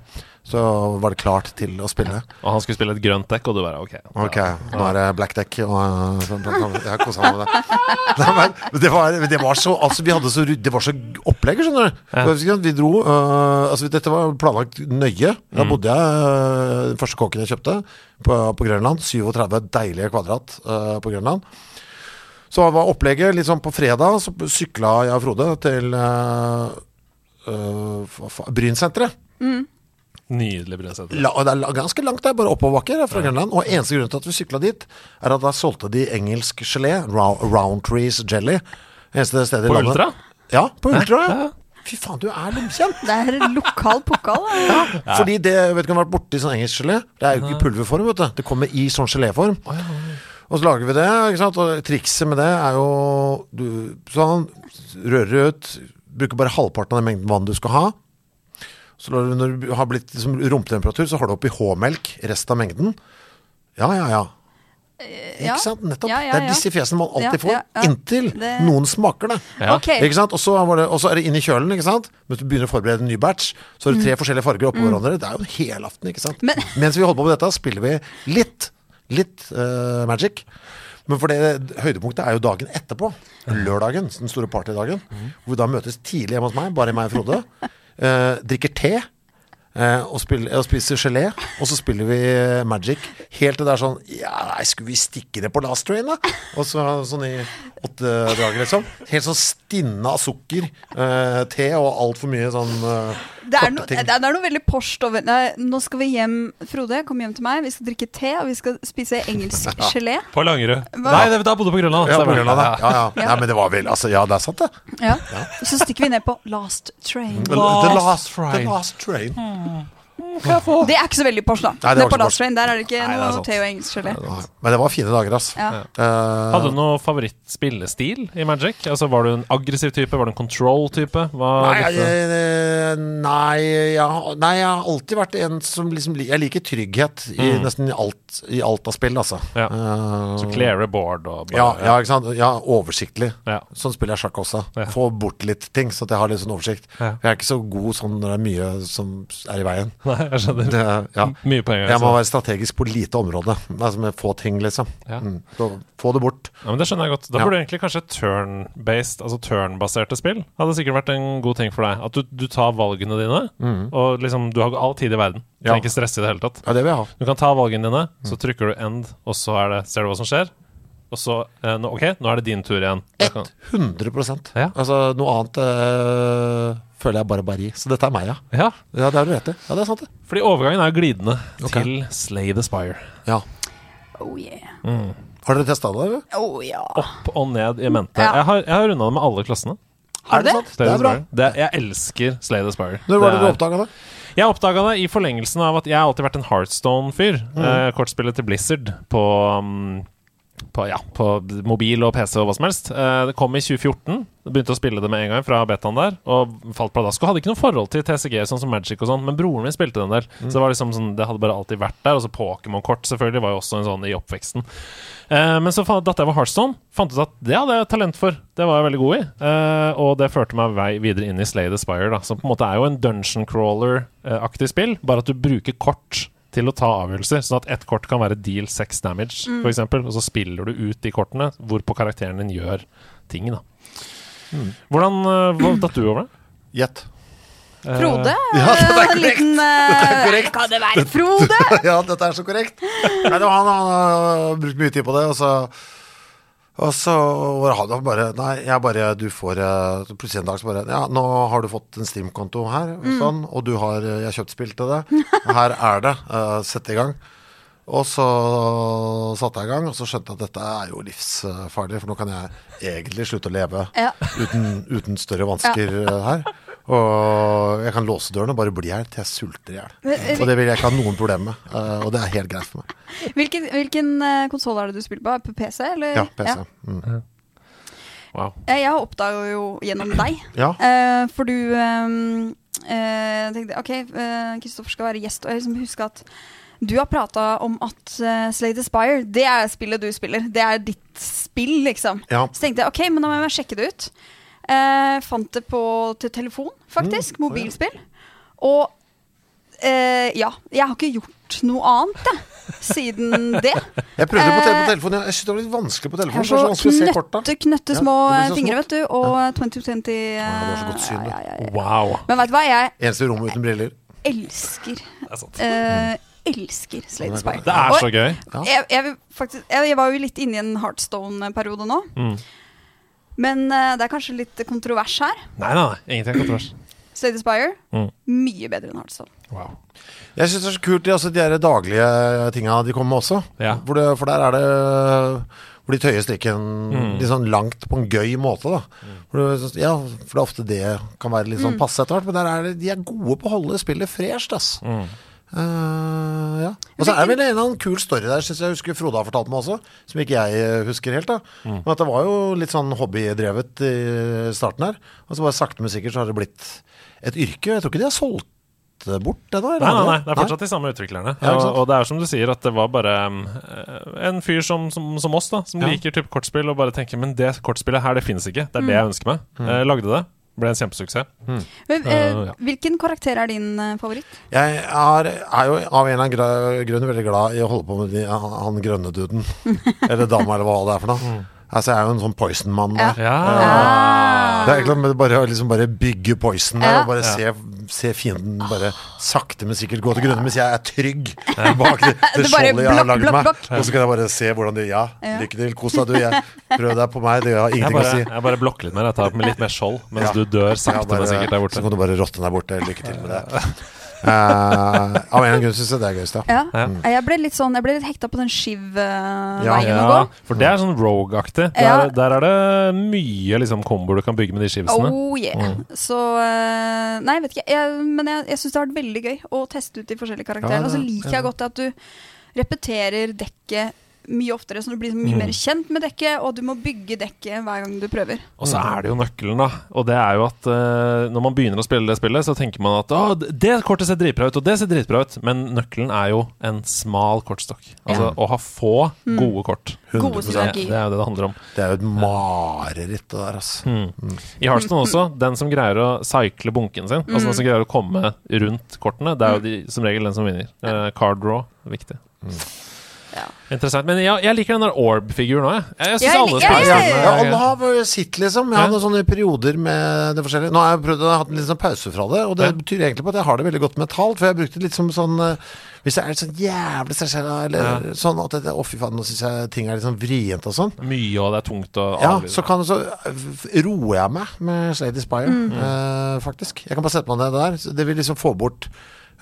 S5: så var det klart til å spille.
S1: Og han skulle spille et grønt dekk, og du bare OK.
S5: Ok, nå er det black deck og eh, sånn, sånn, sånn. Jeg har koset meg med det. Nei, men det var, det var så Altså, vi hadde så ryd- Det var så opplegg, skjønner du. Så sånn Vi dro eh, Altså, dette var planlagt nøye. Da bodde jeg eh, Den første kåken jeg kjøpte på, på Grønland. 37 deilige kvadrat eh, på Grønland. Så var opplegget litt sånn på fredag, så sykla jeg og Frode til eh, uh, Brynsenteret.
S1: Nydelig brødsete.
S5: La, og det er la, ganske langt der, bare oppoverbakker eh, fra Grønland. Og eneste grunnen til at vi sykla dit, er at da solgte de engelsk gelé. Round, Roundtrees jelly. Eneste stedet i
S1: På
S5: landet.
S1: Ultra?
S5: Ja, på Ultra. ja. Fy faen, du er lumskjent!
S4: Det er lokal pokal. eh, da.
S5: Fordi det vet du, kan vært borti sånn engelsk gelé. Det er jo ikke i pulverform, vet du. Det kommer i sånn geléform. Og så lager vi det, ikke sant? og trikset med det er jo du, Sånn, rører ut Bruker bare halvparten av den mengden vann du skal ha Så lar du- når du har blitt liksom, rumpetemperatur Så har du oppi H-melk resten av mengden Ja, ja, ja
S4: Ja.
S5: Ikke sant? Nettopp
S4: Ja, ja,
S5: Det er
S4: ja.
S5: disse fjesene man alltid
S4: Ja,
S5: får
S4: ja, ja.
S5: Inntil
S4: Det-
S5: noen smaker det
S1: Ja.
S4: Ok,
S5: Ikke sant? Og så var det- og så er det inn i kjølen, ikke sant? Mens du begynner å forberede en ny batch Så har du tre forskjellige farger oppå hverandre Det er jo en hel aften, ikke sant?
S4: Mm. Men-
S5: Mens vi holder på med dette, spiller vi litt, litt eh, Magic. Men for det høydepunktet er jo dagen etterpå. Lørdagen, den store partydagen. Hvor vi da møtes tidlig hjemme hos meg, bare meg og Frode. eh, drikker te. eh, og, spiller, og spiser gelé, og så spiller vi eh, Magic. Helt til det er sånn Ja, nei, skulle vi stikke det på last train, da? Og så sånn i åtte dager, liksom. Helt sånn stinne av sukker, eh, te og altfor mye sånn eh,
S4: Det er, no,
S5: Korte ting.
S4: det er noe veldig porst over Nei, Nå skal vi hjem, Frode. Kom hjem til meg. Vi skal drikke te, og vi skal spise engelsk gelé.
S1: På Langerud.
S4: Hva?
S1: Nei, det, da bodde du på Grønland.
S5: Ja, på
S1: stemmer.
S5: grunn av det. Ja, ja.
S4: Ja.
S5: Nei, men det var vel Altså, ja, det er sant, det.
S4: Ja. Så stikker vi ned på Last Train.
S5: The,
S1: Last
S5: the last
S1: train.
S5: The last train.
S4: Mm. Det er ikke så veldig porsj, da.
S5: Nei, det var
S4: Nede
S5: ikke
S4: på
S5: så
S4: Last Train, der er det ikke
S5: Nei, det er
S4: noe
S5: sant.
S4: te og engelsk gelé.
S5: Men det var fine dager, ass.
S4: Ja.
S5: Eh,
S1: Hadde du noen favorittspillestil i Magic? Altså, Var du en aggressiv type? Var du en control-type? Hva-
S5: Nei, jeg, eh, nei, jeg, har- nei, jeg har alltid vært en som liksom li- Jeg liker trygghet i nesten alt, i alt av spill, altså.
S1: Mm. Ja.
S5: Eh,
S1: Så cleare board og bare
S5: ja, ja, ikke sant. Ja, oversiktlig.
S1: Ja.
S5: Sånn spiller jeg sjakk også.
S1: Ja.
S5: Få bort litt ting, så at jeg har litt sånn oversikt.
S1: Ja.
S5: Jeg er ikke så god sånn når det er mye som er i veien.
S1: Nei, jeg skjønner.
S5: Det, ja.
S1: Mye poeng.
S5: Jeg må
S1: Altså.
S5: være strategisk på lite område, altså med få ting, liksom.
S1: Ja.
S5: Mm. Så få det bort.
S1: Ja, men det skjønner jeg godt. Da
S5: Ja.
S1: burde egentlig kanskje turn-based, altså turn-baserte spill, hadde sikkert vært en god ting for deg. At du, du tar valgene dine, og liksom du har all tid i verden. Du
S5: Mm. Ja.
S1: trenger ikke stresse i det hele tatt.
S5: Ja, det vil jeg ha.
S1: Du kan ta valgene
S5: Mm.
S1: dine, så trykker du end, og så er det, ser du hva som skjer. Og så eh, nå- OK, nå er det din tur igjen. Da kan-
S5: 100
S1: Ja.
S5: Altså, noe annet eh, føler jeg barbari. Så dette er meg, ja.
S1: Ja,
S5: Ja, det har du rett i. Ja, det er sant, det.
S1: fordi overgangen er glidende
S5: Ok.
S1: til Slay the Spire.
S5: Ja.
S4: Oh yeah.
S5: Har dere testa det? eller?
S4: Oh yeah.
S1: Opp og ned i mente.
S4: Ja.
S1: Jeg har, jeg har runda det med alle klassene.
S4: Har du det?
S5: sant? Det er bra.
S1: Det, jeg elsker Slay the Spire.
S5: Når var det du
S1: er-
S5: oppdaga det?
S1: Jeg oppdaga det i forlengelsen av at jeg har alltid vært en Heartstone-fyr. Eh, kortspillet til Blizzard på, mm, på, ja, på mobil og PC og hva som helst. Eh, det kom i 2014. Jeg Begynte å spille det med en gang fra betaen der. Og falt pladask. Og hadde ikke noe forhold til TCG, sånn som Magic og sånn, men broren min spilte det en del. Så det var liksom sånn, det hadde bare alltid vært der. Og så Pokémon-kort selvfølgelig var jo også en sånn i oppveksten. Eh, men så fa- datt jeg var Heartstone. Fant ut at det hadde jeg talent for. Det var jeg veldig god i. Eh, og det førte meg vei videre inn i Slay the Spire, da, som på en måte er jo en dungeon crawler-aktig spill, bare at du bruker kort til å ta avgjørelser. Sånn at ett kort kan være deal seks damage, for eksempel Og så spiller du ut de kortene hvorpå karakteren din gjør ting, da. Hvordan eh, hva datt du over det?
S5: Gjett.
S1: Eh,
S4: Frode?
S5: Ja, det er korrekt.
S4: Liten, eh,
S5: Det er korrekt.
S4: Kan det være Frode?
S5: ja, dette er så korrekt. Nei, det var han, han har brukt mye tid på det, og så og så var han da bare Nei, jeg bare Du får eh, så Plutselig en dag så bare Ja, nå har du fått en Steam-konto her, sånn, og du har eh, Jeg har kjøpt spill til det. Her er det. eh, Sett i gang. Og så satte jeg i gang, og så skjønte jeg at dette er jo livsfarlig, for nå kan jeg egentlig slutte å leve
S4: Ja.
S5: uten, uten større vansker eh, her. Og jeg kan låse døren og bare bli her til jeg sulter i hjel.
S4: Men- eh,
S5: Og det vil jeg ikke ha noen problemer med, eh, og det er helt greit for meg.
S4: Hvilken, hvilken konsoll er det du spiller på? Er det På PC, eller?
S5: Ja, PC.
S4: Eh, Ja.
S5: Mm.
S1: Wow.
S4: Eh, Jeg oppdaga jo gjennom deg,
S5: Ja.
S4: eh, for du eh, eh, tenkte OK, eh, Kristoffer skal være gjest, og jeg liksom huska at du har prata om at eh, Slay the Spire, det er spillet du spiller. Det er ditt spill, liksom.
S5: ja.
S4: Så tenkte jeg OK, men da må jeg bare sjekke det ut. Eh, fant det på, til telefon, faktisk.
S5: Mm,
S4: Mobilspill. Og eh, ja, jeg har ikke gjort noe annet, jeg, siden det.
S5: Jeg prøvde på, te-
S4: Eh,
S5: på telefonen, jeg synes det var litt vanskelig på
S4: Jeg har
S5: telefonen. for Det er så
S4: så
S5: vanskelig å se korta.
S4: knøtte, knøtte
S5: Ja,
S4: små
S5: det
S4: eh,
S5: blir så
S4: fingre,
S5: smått.
S4: vet du. Og 2020 eh,
S5: du har så godt syn, du.
S4: ja, ja, ja.
S1: wow.
S4: Men veit du hva, jeg
S5: Eneste i rommet uten briller.
S4: elsker
S1: Det er sant.
S4: eh, Elsker Slay the Spire.
S1: Mm. Det er så
S4: Og
S1: gøy.
S5: Ja.
S4: Jeg, jeg, vil faktisk, jeg, jeg var jo litt inne i en Heartstone-periode nå.
S1: Mm.
S4: Men eh, det er kanskje litt kontrovers her.
S1: Nei, nei, nei. Ingenting er kontrovers.
S4: Slay the Spire,
S1: Mm.
S4: mye bedre enn Heartstone.
S1: Wow.
S5: Jeg syns det er så kult de, altså, de der daglige tinga de kommer med også.
S1: Ja.
S5: Hvor det, for der er det hvor de tøyer strikken
S1: Mm.
S5: litt sånn langt på en gøy måte. da hvor det, synes- Ja, For det er ofte det kan være litt sånn passe etter hvert, men der er det, de er gode på å holde spillet fresht. ass.
S1: Mm.
S5: Eh, ja. Og så er det vel en eller annen kul story der, syns jeg husker Frode har fortalt meg også, som ikke jeg eh, husker helt. da
S1: Mm.
S5: Men at det var jo litt sånn hobbydrevet i starten her, og så bare sakte, men sikkert så har det blitt et yrke. Jeg tror ikke de har solgt det bort ennå? eller
S1: Nei,
S5: har
S1: nei,
S5: de
S1: nei, det er fortsatt de samme utviklerne.
S5: Ja, ikke
S1: og,
S5: sant?
S1: og det er som du sier, at det var bare um, eh, en fyr som, som, som oss, da, som
S5: Ja.
S1: liker type kortspill, og bare tenker men det kortspillet her, det finnes ikke. Det er
S5: Mm.
S1: det jeg ønsker meg. Eh, lagde det. Ble en kjempesuksess.
S4: Men, eh,
S1: Eh, ja.
S4: Hvilken karakter er din eh, favoritt?
S5: Jeg er, er jo av en eller annen gra- grunn veldig glad i å holde på med de, han, han grønne duden.
S1: Mm. Eh,
S5: Eller dama, eller hva det er for noe. Altså, jeg er jo en sånn poison-mann der.
S1: Ja.
S5: Eh, Det er egentlig bare å liksom bare bygge poison der
S4: Ah. Ja.
S5: og bare se, se fienden bare sakte, men sikkert gå til grunne mens jeg er trygg bak det,
S4: Du
S5: det
S4: bare
S5: skjoldet jeg har
S4: blokk,
S5: lagd
S4: blokk,
S5: meg.
S4: blokk.
S5: Og så kan jeg bare se hvordan det Ja, lykke til. Kos deg, du. Jeg prøv deg på meg. Det har
S1: Jeg
S5: ingenting
S1: bare,
S5: å si.
S1: jeg bare blokker litt mer. Jeg tar med litt mer skjold mens
S5: Ja.
S1: du dør sakte,
S5: Ja, bare-
S1: men sikkert der
S5: Så
S1: borte.
S5: kan du bare rotte der borte. Lykke til med det. Eh, av en eller annen grunn syns jeg det er gøyest, ja.
S4: Ja. Jeg ble litt sånn, jeg ble litt hekta på den skiv-veien
S5: Ja.
S4: å gå.
S1: Ja, for det er sånn rogue-aktig.
S4: Ja.
S1: Der, der er det mye liksom, komboer du kan bygge med de skivsene.
S4: Oh yeah. Så eh, Nei, jeg vet ikke. Jeg, men jeg, jeg syns det har vært veldig gøy å teste ut de forskjellige karakterene.
S5: Ja,
S4: og så
S5: ja,
S4: liker
S5: ja.
S4: jeg godt at du repeterer dekket mye oftere, så du blir
S5: Mm.
S4: mye mer kjent med dekket, og du må bygge dekket hver gang du prøver.
S1: Og så er det jo nøkkelen, da. Og det er jo at eh, når man begynner å spille det spillet, så tenker man at å, det kortet ser dritbra ut, og det ser dritbra ut. Men nøkkelen er jo en smal kortstokk. Altså å ha få
S5: Mm.
S1: gode kort.
S4: Gode
S5: 100
S1: Det,
S4: synergi.
S1: det er jo det det handler om. Mm.
S5: Det er jo et mareritt, det der, altså.
S1: I Hearthstone også, den som greier å cycle bunken sin,
S5: Mm.
S1: altså den som greier å komme rundt kortene, det er jo de, som regel den som vinner. Eh, card draw, viktig.
S5: Mm.
S4: Ja.
S1: Interessant. Men jeg, jeg liker den der orb-figuren òg, jeg. Jeg, jeg syns
S4: Jeg
S1: alle
S4: liker-
S1: spillerne
S4: Ja,
S5: Ja,
S4: ja, ja.
S5: alle har vel sitt, liksom. Jeg hadde sånne perioder med det forskjellige. Nå har jeg prøvd å ha hatt en liten sånn pause fra det, og det
S1: Ja.
S5: betyr egentlig på at jeg har det veldig godt mentalt. For jeg brukte litt som sånn eh, Hvis jeg er litt sånn jævlig stressa, eller sånn at jeg- Å, fy faen, nå syns jeg ting er litt sånn vrient og sånn.
S1: Mye, og det er tungt og
S5: Ja,
S1: avlyst.
S5: så, kan, så f- roer jeg meg med Slade Spire,
S4: Mm.
S5: eh, faktisk. Jeg kan bare sette meg ned der. Så det vil liksom få bort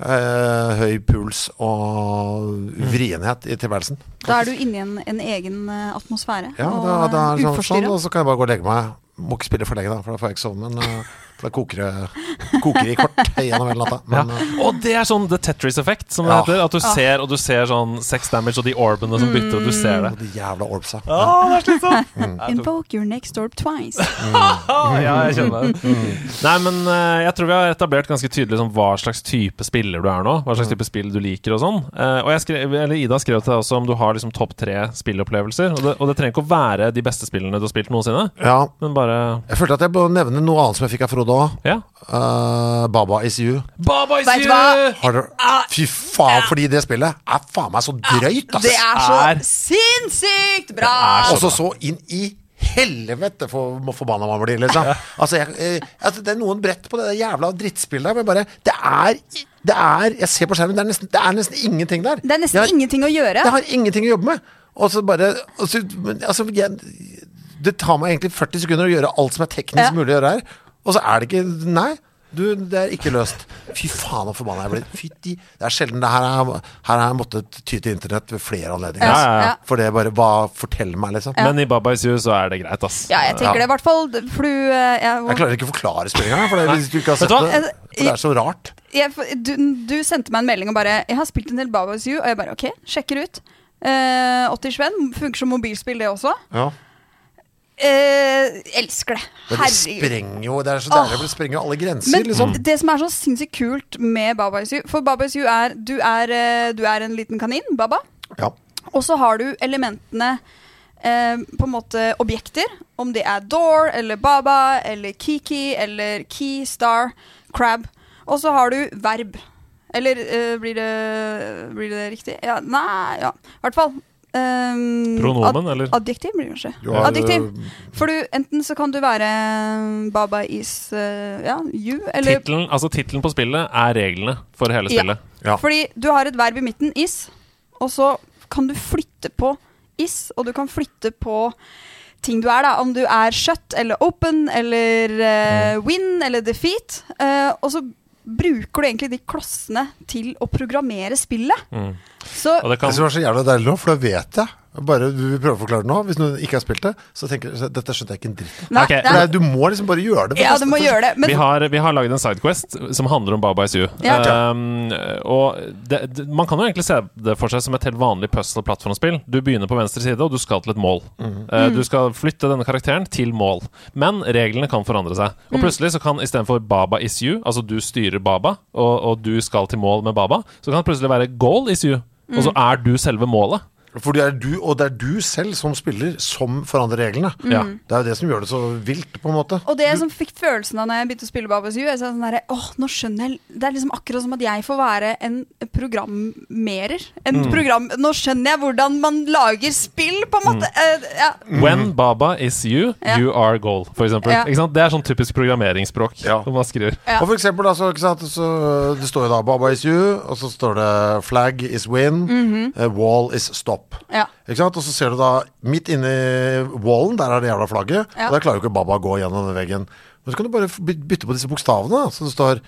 S5: eh, høy puls og vrienhet i tilværelsen.
S4: Da er du inne i en, en egen eh, atmosfære.
S5: Ja,
S4: og eh,
S5: da, da er det sånn, sånn,
S4: uforstyrra.
S5: og så kan jeg bare gå og legge meg. Må ikke spille for lenge, da, for da får jeg ikke sove. Men eh, for da koker det koker det i kort gjennom hele natta. Men
S1: ja.
S5: eh,
S1: Og det er sånn The Tetris-effekt, som det
S5: Ja.
S1: heter. At du
S4: Ah.
S1: ser og du ser sånn sex damage og de orbene som bytter, og du ser det.
S4: Mm.
S5: og de jævla orbsa.
S1: Å, det er slitsomt!
S4: Invoke your next orb twice.
S1: Ah, ja, jeg kjenner det.
S4: Mm.
S1: Nei, men eh, jeg tror vi har etablert ganske tydelig sånn, hva slags type spiller du er nå. Hva slags type spill du liker og sånn. Eh, og jeg skrev, eller Ida skrev til deg også om du har liksom topp tre spillopplevelser. Og det, og det trenger ikke å være de beste spillene du har spilt noensinne,
S5: Ja.
S1: men bare
S5: Jeg følte at jeg bør nevne noe annet som jeg fikk av Frode òg.
S1: Ja.
S5: Baba is you.
S1: Baba is
S4: Vet du
S1: you!
S4: hva?
S5: Har du, fy faen, fordi det spillet er faen meg så drøyt,
S4: Ah,
S5: altså.
S4: Det
S5: ass!
S4: er så
S1: er-
S4: sinnssykt bra!
S5: Og så Altså, så inn i helvete for hvor forbanna man blir, liksom. Altså, jeg, eh, altså, det er noen brett på det der jævla drittspillet der, men bare Det er Det er Jeg ser på skjermen, det er nesten, det er nesten ingenting der.
S4: Det er nesten
S5: Jeg-
S4: ingenting å gjøre.
S5: Jeg har ingenting å jobbe med. Og så bare og så, men, altså, jeg, Det tar meg egentlig 40 sekunder å gjøre alt som er teknisk
S4: Ja.
S5: mulig å gjøre her. Og så er det ikke Nei. Du, det er ikke løst. Fy faen, så forbanna jeg blir. Fytti Det er sjelden det her er, Her har jeg måttet ty til internett ved flere anledninger.
S1: Ja,
S5: altså.
S1: ja, ja.
S4: Ja.
S5: For det bare Hva forteller meg, liksom?
S1: Men i Baba is you så er det greit, ass.
S4: Ja, jeg tenker det i hvert fall. For du eh,
S5: Jeg klarer ikke å forklare spillet engang, for det, hvis du ikke har sett
S1: Vet du hva?
S5: det. For det er så rart.
S4: jeg, du, du sendte meg en melding og bare 'Jeg har spilt en del Babas You', og jeg bare OK, sjekker ut. Eh, 80 spenn. Funker som mobilspill, det også.
S5: Ja.
S4: Eh, elsker det.
S5: Men det
S4: Herregud.
S5: sprenger jo Det er så deilig, for det sprenger jo alle grenser,
S4: Men
S5: liksom.
S4: det som er så sinnssykt kult med Baba is you For Baba is you er du er, eh, du er en liten kanin, Baba.
S5: Ja.
S4: Og så har du elementene eh, på en måte objekter. Om det er Door eller Baba eller Kiki eller Key, Star, Crab. Og så har du verb. Eller eh, blir, det, blir det riktig? Ja, nei, ja. I hvert fall. ehm,
S1: Pronomen, eller?
S4: Adjektiv blir det kanskje.
S5: Du har,
S4: adjektiv.
S5: øh,
S4: For du, enten så kan du være eh, Baba is eh, ja, you, eller
S1: Tittelen altså, titlen på spillet er reglene for hele
S4: Ja.
S1: spillet.
S5: Ja.
S4: Fordi du har et verb i midten, is, og så kan du flytte på is, og du kan flytte på ting du er, da. Om du er shut eller open eller eh, win eller defeat. eh, og så bruker du egentlig de klossene til å programmere spillet. Så
S1: Og det
S5: Det
S1: kan
S5: som er så jævla deilig nå, for da vet jeg Bare du vil prøve å forklare det nå, hvis noen ikke har spilt det, så tenker du dette skjønte jeg ikke en dritt av.
S4: Nei,
S1: Ok,
S4: det
S5: For det
S4: er,
S5: er- Du må liksom bare gjøre det. for
S4: ja,
S5: det-
S4: du må
S5: for-
S4: gjøre det. Men
S1: vi har, vi har laget en sidequest som handler om Baba Is You.
S4: Ja, ok.
S1: Um, og det, det, man kan jo egentlig se det for seg som et helt vanlig puzzle-plattformspill. Du begynner på venstre side, og du skal til et mål. Uh, du skal flytte denne karakteren til mål. Men reglene kan forandre seg. Og
S4: Mm.
S1: plutselig så kan istedenfor Baba is you, altså du styrer Baba,
S4: Mm.
S1: og, og du skal til mål med Baba, så kan det plutselig være goal is you, og så er du selve målet.
S5: For det er du, og det er du selv som spiller, som forandrer reglene.
S1: Ja.
S5: Det er jo det som gjør det så vilt, på en måte.
S4: Og det som fikk følelsen av når jeg begynte å spille Babas You, er sånn der, åh, nå skjønner jeg Det er liksom akkurat som at jeg får være en programmerer. En
S1: Mm.
S4: program, nå skjønner jeg hvordan man lager spill, på en
S1: Mm.
S4: måte. Eh, ja.
S1: When Baba is you,
S4: Ja.
S1: you are goal, for eksempel.
S4: Ja.
S1: Ikke sant? Det er sånn typisk programmeringsspråk.
S5: Ja.
S1: Hvor man skriver
S4: Ja.
S5: Og for eksempel, altså, ikke sant? Så, det står jo da 'Baba is you', og så står det 'Flag is win', eh, 'Wall is stop'.
S4: Mhm. Ja.
S5: Ikke sant? Og så ser du da midt inni wallen, der er det jævla flagget,
S4: Ja.
S5: og der klarer jo ikke Baba å gå gjennom den veggen. Men så kan du bare f- by- bytte på disse bokstavene, da. så det står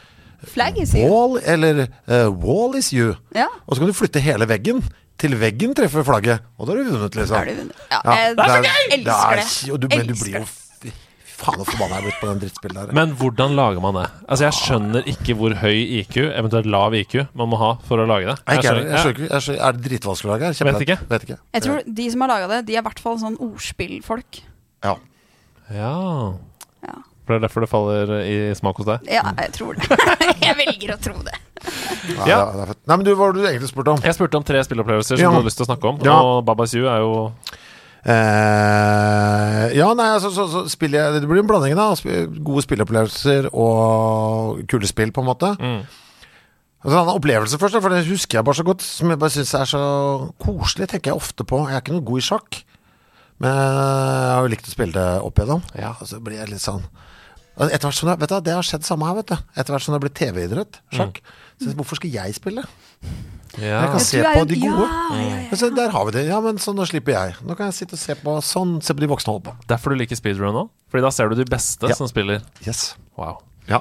S4: Flagg, sier jeg.
S5: Wall eller eh, Wall is you.
S4: Ja.
S5: Og så kan du flytte hele veggen til veggen treffer flagget. Og da har du vunnet, liksom.
S4: Da har du vunnet. Ja, jeg- Det er så gøy!
S5: det er-
S4: Elsker det.
S5: og du, men du
S4: Elsker
S5: blir jo f- faen så forbanna jeg er blitt på den drittspillet der.
S1: Men hvordan lager man det? Altså Jeg skjønner ikke hvor høy IQ, eventuelt lav IQ, man må ha for å lage det.
S5: Nei, ikke jeg,
S1: skjønner-
S5: jeg, skjønner ikke- jeg skjønner, er det dritvanskelig å lage her?
S1: Vet
S5: Kjempe-
S1: ikke.
S5: Vet ikke.
S4: Jeg tror de som har laga det, de er i hvert fall sånn ordspillfolk.
S5: Ja.
S1: Ja.
S4: Ja.
S1: For det er derfor det faller i smak hos deg?
S4: ja, jeg tror det. jeg velger å tro det.
S5: Ja,
S1: Ja.
S5: det er- det er fett. Nei, men du, hva var det du egentlig spurte om?
S1: Jeg spurte om tre spillopplevelser som
S5: Ja.
S1: du hadde lyst til å snakke om,
S5: Ja.
S1: og Babas You er jo
S5: Eh, ja, nei, altså, så, så spiller jeg Det blir en blanding, da. Sp- Gode spilleopplevelser og kule spill, på en måte.
S1: mm.
S5: Altså, en annen opplevelse først, da, for det husker jeg bare så godt. Som jeg bare syns er så koselig, tenker jeg ofte på. Jeg er ikke noe god i sjakk, men jeg har jo likt å spille det opp igjennom.
S1: Ja.
S5: Og så blir jeg litt sånn Og Etter hvert som jeg, vet du, Det har skjedd samme her, vet du. Etter hvert som det har blitt TV-idrett, sjakk.
S1: Mm.
S5: Så hvorfor skal jeg spille?
S1: ja.
S5: Jeg kan
S4: Du
S5: se
S4: er
S5: på
S4: jo-
S5: de gode.
S4: Ja, ja, ja.
S5: Altså, der har vi det. Ja, men så nå slipper jeg. Nå kan jeg sitte og se på sånn, se på de voksne holde på.
S1: Derfor du liker speedrun nå? Fordi da ser du de beste
S5: Ja.
S1: som spiller.
S5: Yes.
S1: Wow.
S5: Ja.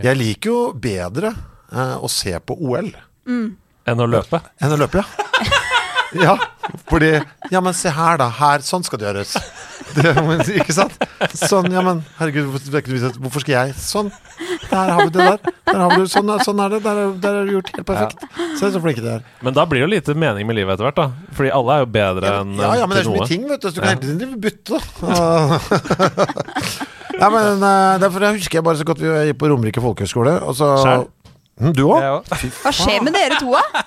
S5: Jeg liker jo bedre eh, å se på OL
S1: Enn å løpe.
S5: enn å løpe, ja. Ja, fordi Ja, men se her, da. Her. Sånn skal det gjøres. Det, men, ikke sant? Sånn, ja, men herregud, hvorfor- det er ikke noe vits at- hvorfor skal jeg Sånn. Der har vi det der. der har vi det. Sånn, er- sånn er det. Der er, der er det gjort helt perfekt. Se så flinke de er.
S1: Men da blir det jo lite mening med livet etter hvert, da. Fordi alle er jo bedre
S5: Ja,
S1: enn
S5: men- ja, ja, men det er så mye ting, vet du. Så du kan hele tiden drive og bytte. Nei, men eh, Derfor jeg husker jeg bare så godt vi gikk på Romerike folkehøgskole. Og så
S1: Skjær.
S5: Mm, Du òg?
S1: ting.
S4: Hva skjer med dere to, da?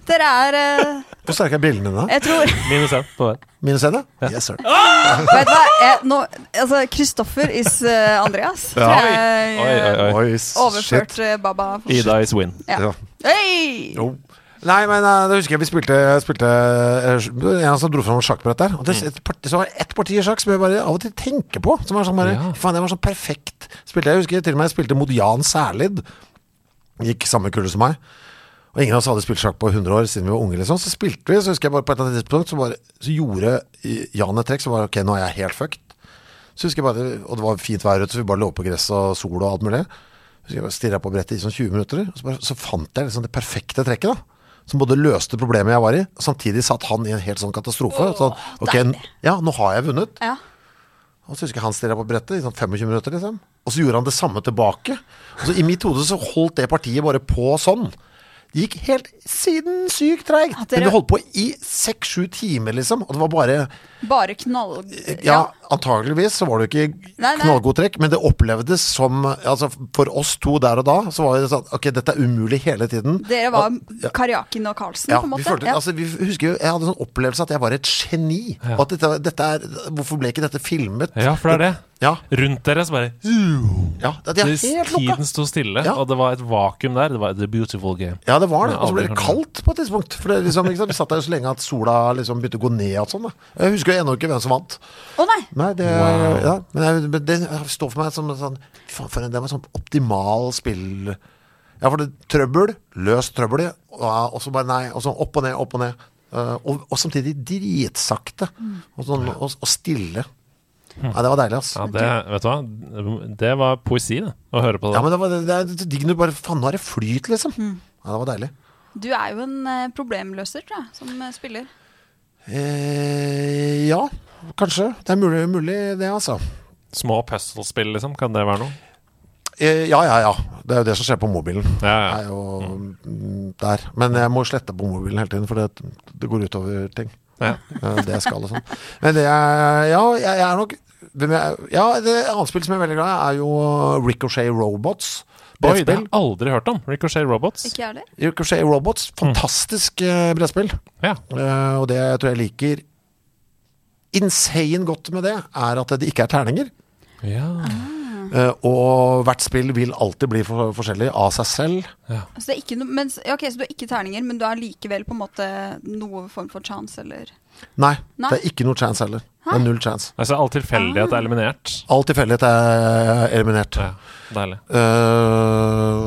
S4: Dere er eh,
S5: Hvor sterke er brillene dine?
S4: Jeg tror
S1: Minus én på hver.
S5: Minus én, ja? Yes, sir.
S4: Vet du hva? Jeg, nå, altså, Kristoffer is eh, Andreas.
S5: Ja.
S4: Tror jeg eh,
S1: Oi, oi, oi.
S5: Oi, s-
S4: overført
S5: shit.
S4: eh, Baba.
S1: Ida is win.
S5: Ja.
S4: Hey!
S5: Jo. Nei, men eh, da husker jeg vi spilte, spilte eh, En som dro fram sjakkbrett der. Og det, et parti, så var det ett parti i sjakk som jeg bare av og til tenker på. Som er sånn bare,
S1: Ja.
S5: Faen, det var sånn perfekt. Spilte, jeg husker til og med jeg spilte mot Jan Særlid. Gikk samme kulle som meg. Og ingen av oss hadde spilt sjakk på 100 år siden vi var unge. Liksom. Så spilte vi, så husker jeg bare på et eller annet tidspunkt, så, bare, så gjorde Jan et trekk som var ok, nå er jeg helt fucked. Så husker jeg bare, og det var fint vær ute, så vi bare lå på gress og sol og alt mulig. Så jeg bare stirret på brettet i sånn 20 minutter, og så, bare, så fant jeg liksom det perfekte trekket da. Som både løste problemet jeg var i, og samtidig satt han i en helt sånn katastrofe. Sånn, ok, n- ja, nå har jeg vunnet.
S4: Ja.
S5: Og så husker jeg han stirra på brettet i sånn 25 minutter, liksom. Og så gjorde han det samme tilbake. Og så I mitt hode så holdt det partiet bare på sånn. Det gikk helt sinnssykt treigt.
S4: At dere-
S5: Men det holdt på i seks-sju timer, liksom. Og det var bare
S4: Bare knall...
S5: Eh, Ja, antageligvis så var det jo ikke
S4: Nei, nei.
S5: knallgod trekk, men det opplevdes som Altså, for oss to der og da, så var det sånn Ok, dette er umulig hele tiden.
S4: Dere var
S5: Og- ja.
S4: Karjakin og Karlsen,
S5: Ja,
S4: på en
S5: vi
S4: måte.
S5: følte,
S4: ja.
S5: Altså, vi husker jo, Jeg hadde en sånn opplevelse at jeg var et geni. Og at dette, dette er, hvorfor ble ikke dette filmet?
S1: Ja, for det er det.
S5: Ja,
S1: Rundt dere så bare
S5: ja, at jeg
S1: Hvis
S5: er helt lukka.
S1: Tiden sto stille,
S5: Ja.
S1: og det var et vakuum der. Det var The Beautiful Game.
S5: Ja, det var det.
S1: Ja,
S5: Og så ble
S1: aldri
S5: det
S1: hørt om
S5: kaldt på et tidspunkt. For det liksom, ikke sant? Vi satt der så lenge at sola liksom begynte å gå ned og sånn. da. Jeg husker jo ennå ikke hvem som vant.
S4: Å nei!
S5: Nei, det,
S1: Wow.
S5: ja, men jeg, men det står for meg som en sånn Faen, for en, det var sånn optimal spill Ja, for det trøbbel, løst trøbbel, og, og så bare nei, og så opp og ned, opp og ned. Eh, og, og samtidig dritsakte og, sånn, og, og stille. Nei, det var deilig, ass.
S1: Hm. Ja, det, vet du hva? det var poesi det, å høre på det.
S5: Ja, men det, var, det, det er så digg når du bare Faen, nå er det flyt, liksom. Ja, det var deilig.
S4: Du er jo en eh, problemløser, tror jeg, som eh, spiller.
S5: Eh, ja, kanskje. Det er mulig, mulig det, altså.
S1: Små puzzlespill, liksom. Kan det være noe?
S5: Eh, ja, ja, ja. Det er jo det som skjer på mobilen.
S1: Ja,
S5: Jeg
S1: ja.
S5: er jo mm, der. Men jeg må slette på mobilen hele tiden, for det, det går utover ting.
S1: ja.
S5: Eh, Det jeg skal og sånn. Men det er, ja, jeg, jeg er nok hvem jeg, ja, det annet spill som jeg er veldig glad i, er jo Ricochet Robots.
S1: Oi, det har
S5: Brettspill.
S1: jeg aldri hørt om. Ricochet Robots.
S4: Ikke jeg heller.
S5: Ricochet Robots, fantastisk eh, brettspill.
S1: Ja.
S5: Eh, og det jeg tror jeg liker insane godt med det, er at det ikke er terninger.
S1: ja.
S5: Eh, og hvert spill vil alltid bli for forskjellig av seg selv.
S4: Så Altså, det er ikke noe, men, ja, ok, så du har ikke terninger, men du har likevel på en måte noe form for chance, eller
S5: Nei,
S4: Nei.
S5: det er ikke noe chance heller. Det er null chance.
S1: Altså, all tilfeldighet er eliminert.
S5: All tilfeldighet er eliminert.
S1: Ja, deilig.
S5: Eh,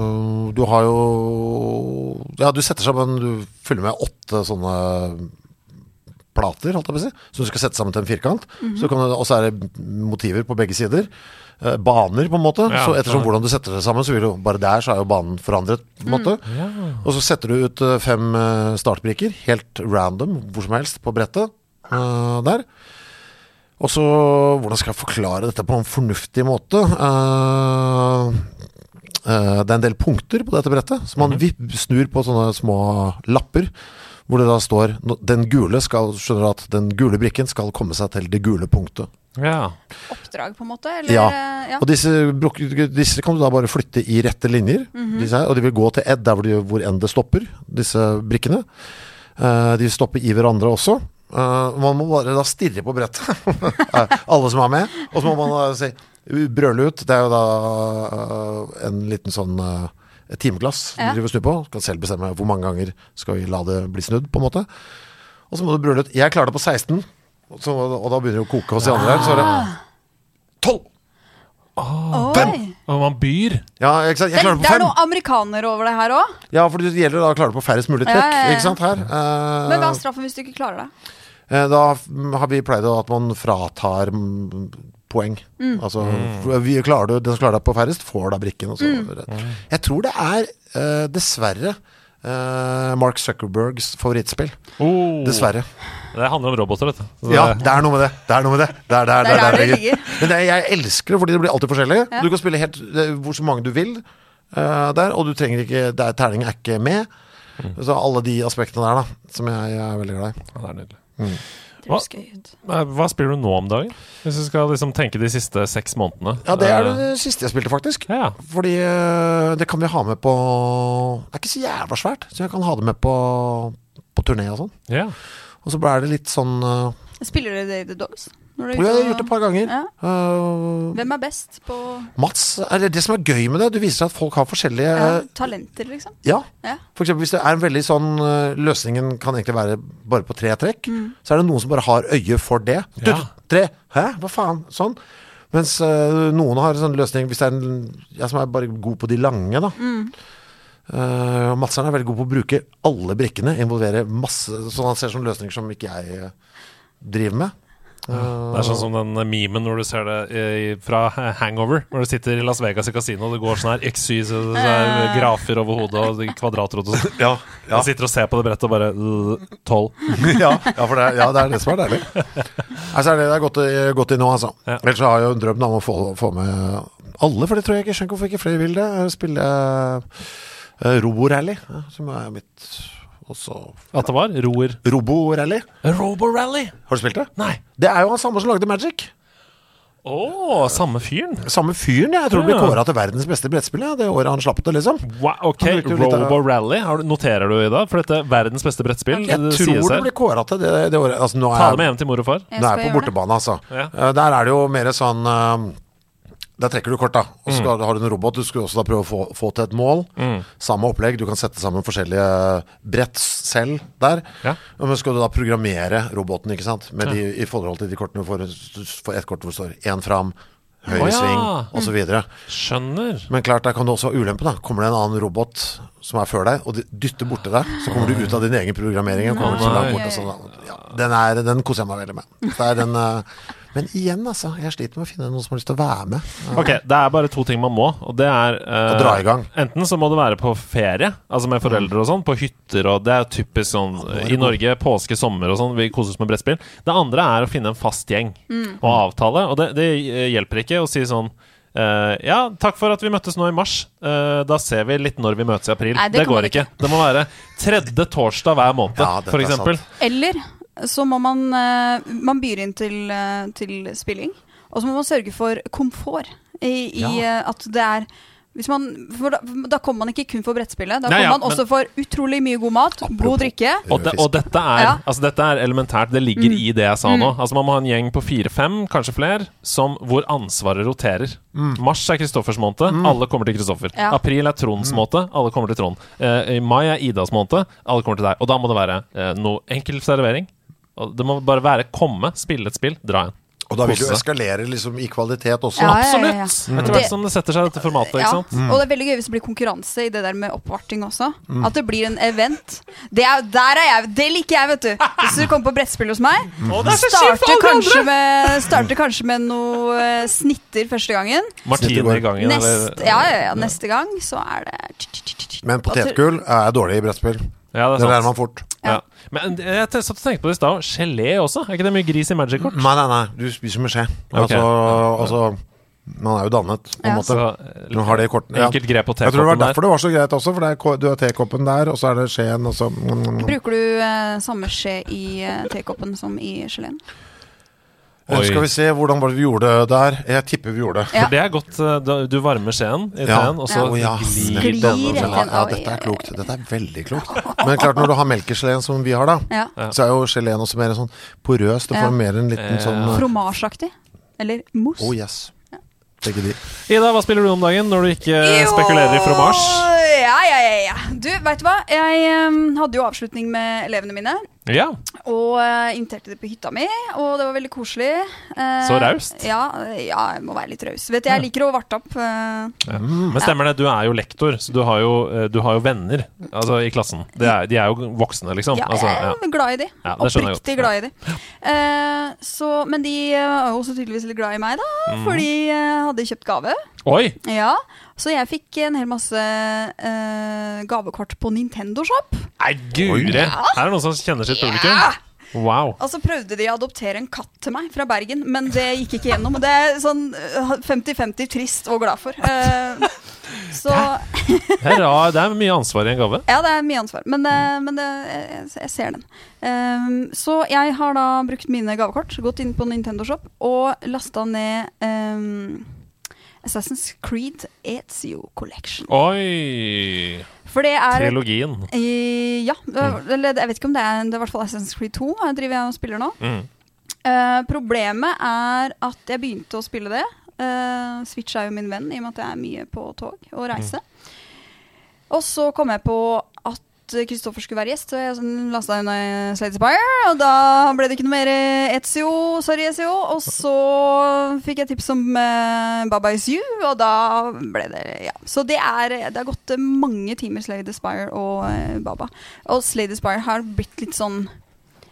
S5: du har jo Ja, du setter sammen Du fyller med åtte sånne plater, holdt jeg på å si, som du skal sette sammen til en firkant. Så kan du, og så er det motiver på begge sider. Eh, baner, på en måte.
S1: Ja,
S5: så ettersom
S1: ja.
S5: hvordan du setter det sammen, så vil jo bare der så er jo banen forandret, på en måte.
S1: Ja.
S5: Og så setter du ut eh, fem eh, startbrikker, helt random, hvor som helst, på brettet eh, der. Og så hvordan skal jeg forklare dette på en fornuftig måte? Eh, eh, det er en del punkter på dette brettet, så man vip- snur på sånne små lapper. Hvor det da står no- den gule skal, skjønner du at den gule brikken skal komme seg til det gule punktet.
S1: ja.
S4: oppdrag, på en måte? Eller,
S5: Ja.
S4: eh, ja.
S5: Og disse, bruk- disse kan du da bare flytte i rette linjer.
S4: Mhm.
S5: disse her, og de vil gå til Ed der hvor, de, hvor enn det stopper, disse brikkene. Eh, de stopper i hverandre også. Eh, man må bare da stirre på brettet, Eh, alle som er med. Og så må man da si brøle ut. Det er jo da eh, en liten sånn eh, et timeglass
S4: Ja.
S5: du driver og snur på. Kan selv bestemme hvor mange ganger skal vi la det bli snudd, på en måte. Og så må du brøle ut 'Jeg klarer det på 16', og så, og da begynner det å koke hos de andre her. Så er
S4: Ah.
S5: det 12!
S4: Oi.
S1: Og man byr.
S5: Ja, ikke sant?
S4: Det,
S5: Jeg klarer
S4: er-
S5: det
S4: det
S5: på
S4: er
S5: fem.
S4: noen amerikanere over det her òg.
S5: Ja, for det gjelder da å klare det på færrest mulig
S4: Ja,
S5: trekk.
S4: ja, ja.
S5: Ikke sant, her Eh,
S4: Men hva er straffen hvis du ikke klarer det?
S5: eh, Da f- har vi pleid å- at man fratar mm, poeng.
S4: Mm.
S5: Altså, f- vi klarer du, den som klarer deg på færrest, får da brikken. Og så.
S4: Mm.
S5: Jeg tror det er, eh, dessverre, eh, Mark Zuckerbergs favorittspill.
S1: Oh.
S5: Dessverre.
S1: Det handler om roboter, vet du. Så det-
S5: Ja, det er noe med det. Det er noe med det. Det er der,
S4: Det er der det ligger.
S5: Men det, jeg elsker det, fordi det blir alltid forskjellig.
S4: Ja.
S5: Du kan spille helt eh, hvor så mange du vil eh, der, og du trenger ikke det er, Terningen er ikke med. Så alle de aspektene der, da, som jeg, er veldig glad i.
S1: Ja, det er nydelig.
S4: Det
S1: Hva?
S4: høres gøy ut.
S1: Eh, Hva spiller du nå om dagen? Hvis du skal liksom tenke de siste seks månedene.
S5: Ja, det er
S1: Eh,
S5: det siste jeg spilte, faktisk.
S1: Ja, ja.
S5: Fordi eh, det kan vi ha med på Det er ikke så jævla svært, så jeg kan ha det med på, på turné og sånn.
S1: ja.
S5: Og så er det litt sånn eh,
S4: Spiller du Day of the Dogs? Når du er
S5: Jo, jeg
S4: ute
S5: har gjort det et par ganger.
S4: Ja.
S5: Eh,
S4: Hvem er best på
S5: Mats, eller det som er gøy med det, du viser at folk har forskjellige
S4: ja, talenter, liksom?
S5: Ja.
S4: Ja.
S5: For eksempel hvis det er en veldig sånn øh, Løsningen kan egentlig være bare på tre trekk, så er det noen som bare har øye for det. Du,
S1: Ja.
S5: Tre! Hæ? Hva faen? Sånn. Mens øh, noen har en sånn løsning Hvis det er en jeg som er bare god på de lange, da. Øh, og Madseren er veldig god på å bruke alle brikkene, involvere masse Sånn han ser sånne løsninger som ikke jeg øh, driver med.
S1: Det er sånn som den eh, memen hvor du ser det eh, fra eh, Hangover. Hvor du sitter i Las Vegas i kasino, og det går sånn her XY, så det er grafer over hodet og kvadrater og sånn.
S5: Eh. Ja,
S1: Du sitter og ser på det brettet og bare øh, Tolv.
S5: ja, ja, for det, er- ja, det er det som er deilig. Altså, det er det det er godt, i- godt i nå, altså.
S1: Ja.
S5: Ellers så har jeg jo en drøm da, om å få, få med alle, for det tror jeg ikke. Skjønner ikke hvorfor ikke flere vil det. Eh, Spille uh, Roborally, ja, som er mitt også
S1: At det var roer.
S5: Roborally.
S1: Roborally!
S5: Har du spilt det?
S1: Nei.
S5: Det er jo han samme som lagde Magic.
S1: Å, samme fyren.
S5: Samme fyren, jeg. jeg tror det ble
S1: Ja.
S5: kåra til verdens beste brettspill ja, det året han slapp det, liksom.
S1: Wow, ok,
S5: Han brukte jo litt av-
S1: Roborally. Har du- Noterer du i dag? For dette er verdens beste brettspill.
S5: Jeg
S1: det
S5: tror
S1: sies
S5: det
S1: her.
S5: ble kåra til det, det året. Altså, nå er
S1: Ta
S5: jeg-
S1: det med hjem til mor og far.
S4: Jeg
S5: Det
S4: skal
S5: er på
S4: gjøre det.
S5: bortebane, altså.
S1: Ja.
S5: Eh, Der er det jo mer sånn eh, Der trekker du kort, da. Og så
S1: Mm.
S5: skal- har du en robot. Du skulle også da prøve å få, få til et mål. Samme opplegg. Du kan sette sammen forskjellige brett selv der.
S1: Ja.
S5: Men skal du da programmere roboten, ikke sant. Med de, I forhold til de kortene du får, du får ett kort hvor det står én fram, høyre
S1: Å, ja. Mm.
S5: sving, og så videre
S1: Skjønner.
S5: Men klart, der kan du også ha ulempe, da. Kommer det en annen robot som er før deg, og de- dytter borti deg, så kommer du ut av din egen programmering. Og kommer så langt bort, og sånn, ja, den, er, den koser jeg meg veldig med. Det er den, eh, men igjen, altså. Jeg sliter med å finne noen som har lyst til å være med.
S1: Ok, Det er bare to ting man må, og det er eh,
S5: Å dra i gang. Mm.
S1: Enten så må det være på ferie, altså med foreldre og sånn, på hytter og Det er typisk sånn eh, i Norge, påske, sommer og sånn, vi koser oss med brettspill. Det andre er å finne en fast gjeng og avtale, og det, det eh, hjelper ikke å si sånn eh, ja, takk for at vi møttes nå i mars. Eh, da ser vi litt når vi møtes i april.
S4: Nei,
S1: det,
S4: det kan
S1: går
S4: man
S1: ikke.
S4: ikke.
S1: Det må være tredje torsdag hver måned,
S5: Ja, dette
S1: for
S5: er
S1: eksempel.
S5: sant.
S4: Eller så må man eh, Man byr inn til, eh, til spilling. Og så må man sørge for komfort i, i eh, at det er hvis man, for da, da kommer man ikke kun for brettspillet. Da
S1: Nei,
S4: kommer
S1: ja,
S4: man også for utrolig mye god mat, god drikke.
S1: Og, de, og dette, er,
S4: Ja. Mm.
S1: altså dette er elementært. Det ligger i det jeg sa nå. Altså Man må ha en gjeng på fire-fem, kanskje flere, som, hvor ansvaret roterer.
S5: Mm.
S1: Mars er Kristoffers måned. Alle kommer til Kristoffer.
S4: Ja.
S1: April er Tronds
S5: Mm.
S1: måned. Alle kommer til Trond. Eh, I mai er Idas måned. Alle kommer til deg. Og da må det være eh, noe enkel servering. Og det må bare være komme, spille et spill, dra igjen.
S5: Og da vil du
S1: Kose.
S5: eskalere liksom i kvalitet også.
S4: Ja, ja, ja, ja.
S1: Absolutt! Etter
S4: Det-
S1: hvert som det setter seg i dette formatet.
S4: Ja,
S1: Ikke sant? Mm.
S4: Og det er veldig gøy hvis det blir konkurranse i det der med oppvarting også. At det blir en event. Det er, der er jeg, det liker jeg, vet du. Hvis du kommer på brettspill hos meg, starter kanskje, med, starter kanskje med noe eh, snitter første gangen.
S1: Martine i gangen.
S4: Nest,
S1: eller-
S4: ja, ja, ja, neste gang så er det
S5: Men potetgull er dårlig i brettspill.
S1: Ja, det
S5: Det
S1: er
S5: lærer
S1: sant.
S5: man fort.
S1: Ja. Men eh, jeg t- satt og tenkte på det i stad. Gelé også? Er ikke det mye gris i magic kort?
S5: Nei, nei, nei. Du spiser med skje.
S1: Ok.
S5: Altså, altså Man er jo dannet, på en
S4: Ja.
S5: måte. Du har det i kortene.
S1: eh,
S5: Ja.
S1: Enkelt grep på
S5: Jeg tror det var
S1: tekoppen der.
S5: derfor det var så greit også, for det er, ko- du har tekoppen der, og så er det skjeen, og så
S4: Bruker du eh, samme skje i eh, tekoppen som i geleen?
S1: Oi.
S5: Skal vi se, hvordan var det vi gjorde det der? Jeg tipper vi gjorde det.
S4: Ja.
S1: For det er godt. eh, da- Du varmer skjeen i
S5: Ja.
S1: teen, og så
S5: Å, ja.
S1: glir den.
S4: Glir rett
S5: ja,
S4: igjen.
S5: ja,
S4: Oi,
S5: dette
S4: oi,
S5: er klokt. Dette er veldig klokt. Men klart, når du har melkegeleen som vi har, da,
S4: Ja.
S5: så er jo geleen også mer sånn porøs. Du
S4: Ja.
S5: får mer en liten
S1: Eh,
S5: sånn eh,
S4: Fromasjeaktig? Eller mousse?
S5: Oh yes. Begge de.
S1: Ida, hva spiller du om dagen når du ikke eh, spekulerer i fromage?
S4: Ja, ja, ja, ja. Du, veit du hva? Jeg eh, hadde jo avslutning med elevene mine.
S1: Ja.
S4: Og eh, inviterte de på hytta mi, og det var veldig koselig. Eh,
S1: Så raust.
S4: Ja, eh, ja, jeg må være litt raus. Vet du, jeg liker å varte opp. eh,
S5: Mm.
S1: Men stemmer det, du er jo lektor, så du har jo, eh, du har jo venner altså, i klassen. Det er, de er jo voksne, liksom.
S4: ja,
S1: Altså, ja.
S4: Jeg er glad i de.
S1: Ja, det skjønner jeg
S4: Oppriktig
S1: godt.
S4: glad i de. Eh, så, men de eh, var jo også tydeligvis litt glad i meg, da,
S1: Mhm.
S4: fordi jeg hadde kjøpt gave.
S1: Oi!
S4: Ja, Så jeg fikk en hel masse eh, gavekort på Nintendo Shop.
S1: Nei, guri! Her er det noen som kjenner sitt publikum. Wow.
S4: Og så Altså, prøvde de å adoptere en katt til meg fra Bergen, men det gikk ikke gjennom. Og Det er sånn eh, 50-50 trist og glad for. Eh, så
S1: Det er, rar, det er mye ansvar i en gave.
S4: Ja, det er mye ansvar, men, eh, men det, jeg, jeg ser den. Ehm, så jeg har da brukt mine gavekort, gått inn på Nintendo Shop og lasta ned ehm, Assassin's Creed Ezio Collection.
S1: Oi!
S4: For det er
S1: Trilogien.
S4: Eh, ja, eller jeg vet ikke om det er Det er i hvert fall Assassin's Creed 2 jeg driver jeg og spiller nå.
S1: Mm.
S4: Eh, problemet er at jeg begynte å spille det. Eh, Switch er jo min venn, i og med at jeg er mye på tog og reise. Og så kom jeg på at Kristoffer skulle være gjest, så jeg sånn lasta unna Slade Spire. Og da ble det ikke noe mer eh, Ezio, sorry Ezio. Og så fikk jeg tips om eh, Baba Is You, og da ble det Ja. Så det er Det har gått eh, mange timer Slade Spire og eh, Baba. Og Slade Spire har blitt litt sånn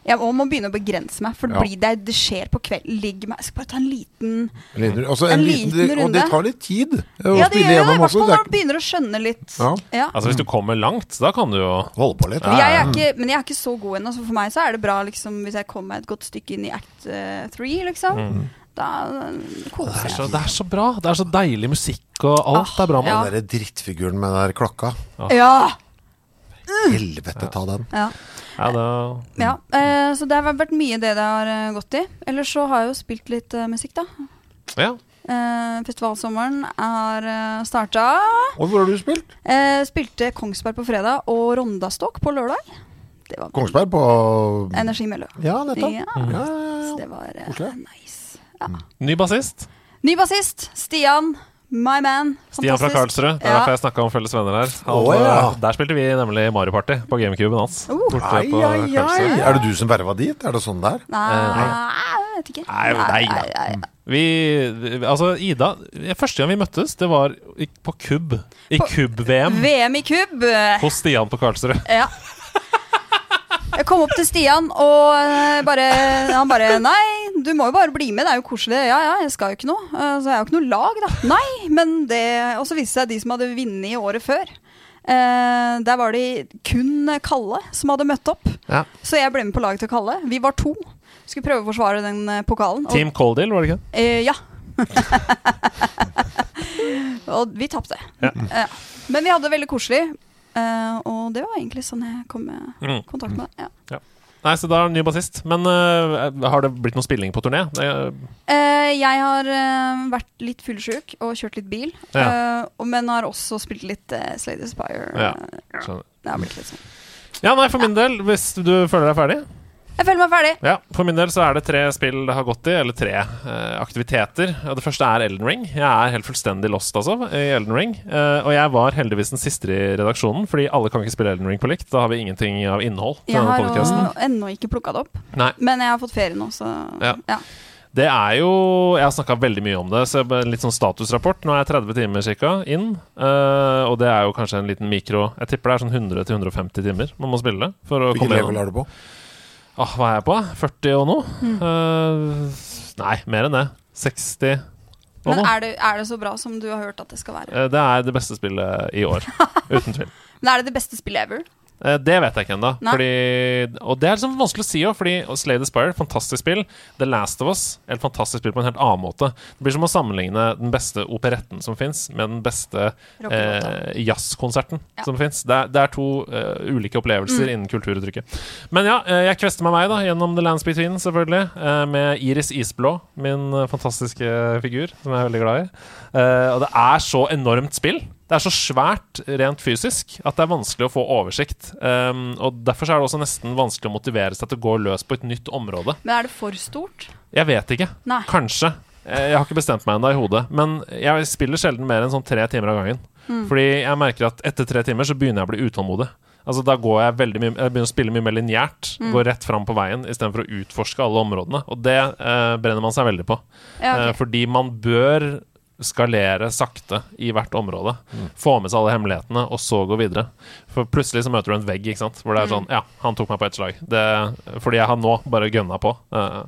S4: jeg må, må begynne å begrense meg, for det
S5: Ja.
S4: blir det, det skjer på kvelden. Ligg meg Jeg skal bare ta en liten
S5: Lyder. Også en
S4: En
S5: liten,
S4: liten
S5: Og det
S4: runde.
S5: tar litt tid eh, å
S4: Ja, det gjør
S5: spille
S4: jo det, i
S5: gjennom
S4: hvert
S5: også.
S4: fall
S5: Det
S4: når
S5: er,
S4: du begynner å skjønne litt.
S5: Ja.
S4: Ja.
S1: Altså, hvis du kommer langt, da kan du jo
S5: holde på litt.
S1: Ja,
S4: Jeg
S1: ja.
S4: er ikke, men jeg er ikke så god ennå, så for meg så er det bra liksom, hvis jeg kommer meg et godt stykke inn i act eh, three, liksom.
S5: Mm.
S4: Da eh, koser
S1: det er,
S4: jeg
S1: så, det er så bra. Det er så deilig musikk, og alt er bra med
S4: Ja.
S5: Den derre drittfiguren med den der klokka.
S4: meg. Ja! Mm.
S5: Helvete ta den.
S4: ja.
S1: Ja, da-
S4: ja. Eh, så det har vært mye det det har eh, gått i. Ellers så har jeg jo spilt litt eh, musikk, da.
S1: ja.
S4: Eh, festivalsommeren er uh, starta.
S5: Og hvor har du spilt?
S4: Eh, spilte Kongsberg på fredag og Rondastok på lørdag. Det var
S5: Kongsberg på
S4: Energi Mellø.
S5: Ja, nettopp.
S4: Ja.
S5: Ja, ja, ja.
S4: Så det var eh,
S5: Koselig.
S4: nice.
S1: Ny bassist.
S4: Ny bassist, Stian. My man.
S1: Stian fra
S4: Fantastisk.
S1: Karlsrud. Det er
S4: Ja.
S1: derfor jeg snakka om Felles venner her. Han,
S5: Å, ja.
S1: Der spilte vi nemlig Mario Party på gamecuben hans.
S4: Oh.
S1: Borte
S5: Ai,
S1: på
S5: ai, ai.
S1: Karlsrud.
S5: Er det du som verva dit? Er det sånn der?
S4: Nei, jeg vet ikke.
S1: Eh, Nei, nei, da. Vi, vi- altså, Ida Første gang vi møttes, det var i- på kubb. I
S4: På-
S1: kubb-VM.
S4: VM i kubb!
S1: Hos Stian på Karlsrud.
S4: Ja. Jeg kom opp til Stian, og eh, bare, han bare Nei, du må jo bare bli med, det er jo koselig. Ja, ja, jeg skal jo ikke noe. Eh, Så jeg er jo ikke noe lag, da. Nei, men det Og så viste det seg de som hadde vunnet året før. Eh, der var det kun Kalle som hadde møtt opp.
S1: Ja.
S4: Så jeg ble med på laget til Kalle. Vi var to. Skulle prøve å forsvare den eh, pokalen. Og,
S1: Team Coldil, var det ikke?
S4: Eh, ja. og vi tapte.
S1: Ja.
S4: Ja. Men Eh, vi hadde det veldig koselig. eh, og det var egentlig sånn jeg kom i
S1: Mm.
S4: kontakt med det. Ja.
S1: Ja. Nei, så da er det ny bassist. Men eh, har det blitt noe spilling på turné? Det,
S4: Eh, jeg har eh, vært litt fyllesyk og kjørt litt bil.
S1: Ja.
S4: eh, og- men har også spilt litt uh, Slade Aspire.
S1: Ja.
S4: Eh,
S1: skjønner.
S4: det har blitt litt sånn.
S1: ja, nei, for min del, hvis du føler deg ferdig
S4: Jeg føler meg ferdig.
S1: Ja, for min del så er det tre spill det har gått i, eller tre eh, aktiviteter. Og det første er Elden Ring. Jeg er helt fullstendig lost, altså, i Elden Ring. Eh, og jeg var heldigvis den siste i redaksjonen, fordi alle kan ikke spille Elden Ring på likt. Da har vi ingenting av innhold til
S4: Jeg
S1: denne
S4: har
S1: podcasten.
S4: også ennå ikke plukka det opp.
S1: Nei.
S4: Men jeg har fått ferie nå, så
S1: Ja. Det er jo Jeg har snakka veldig mye om det, så jeg bare- litt sånn statusrapport. Nå er jeg 30 timer cirka inn, eh, og det er jo kanskje en liten mikro Jeg tipper det er sånn 100-150 timer man må spille det for å
S5: Hvilket
S1: komme
S5: level
S1: gjennom.
S5: er du på?
S1: Ah, hva er jeg på? 40 og noe?
S4: Mm.
S1: Eh, nei, mer enn det. 60 og
S4: Men
S1: noe.
S4: er det, er det så bra som du har hørt at det skal være?
S1: Eh, Det er det beste spillet i år. Uten tvil.
S4: Men er det det beste spillet ever?
S1: Eh, Det vet jeg ikke ennå.
S4: Nei.
S1: fordi- Og det er liksom vanskelig å si òg, fordi og Slay the Spire, fantastisk spill. The Last of Us, et fantastisk spill på en helt annen måte. Det blir som å sammenligne den beste operetten som fins, med den beste
S4: Rockelåta.
S1: eh, jazzkonserten
S4: Ja.
S1: som fins. Det, er- det er to eh, ulike opplevelser innen kulturuttrykket. Men ja, eh, jeg kvester meg vei da gjennom The Lands Between, selvfølgelig, eh, med Iris Isblå, min eh, fantastiske figur, som jeg er veldig glad i. Eh, og det er så enormt spill. Det er så svært rent fysisk at det er vanskelig å få oversikt. Um, og Derfor så er det også nesten vanskelig å motivere seg til å gå løs på et nytt område.
S4: Men er det for stort?
S1: Jeg vet ikke.
S4: Nei.
S1: Kanskje. Eh, Jeg har ikke bestemt meg ennå i hodet. Men jeg spiller sjelden mer enn sånn tre timer av gangen. Fordi jeg merker at etter tre timer så begynner jeg å bli utålmodig. Altså Da går jeg veldig mye Jeg begynner å spille mye mer lineært. Går rett fram på veien istedenfor å utforske alle områdene. Og det eh, brenner man seg veldig på.
S4: Ja,
S1: Eh,
S4: ok.
S1: Fordi man bør skalere sakte i hvert område. Få med seg alle hemmelighetene, og så gå videre. For plutselig så møter du en vegg, ikke sant? hvor det
S4: Mm.
S1: er sånn Ja, han tok meg på ett slag. Det, fordi jeg har nå bare gønna på. Eh,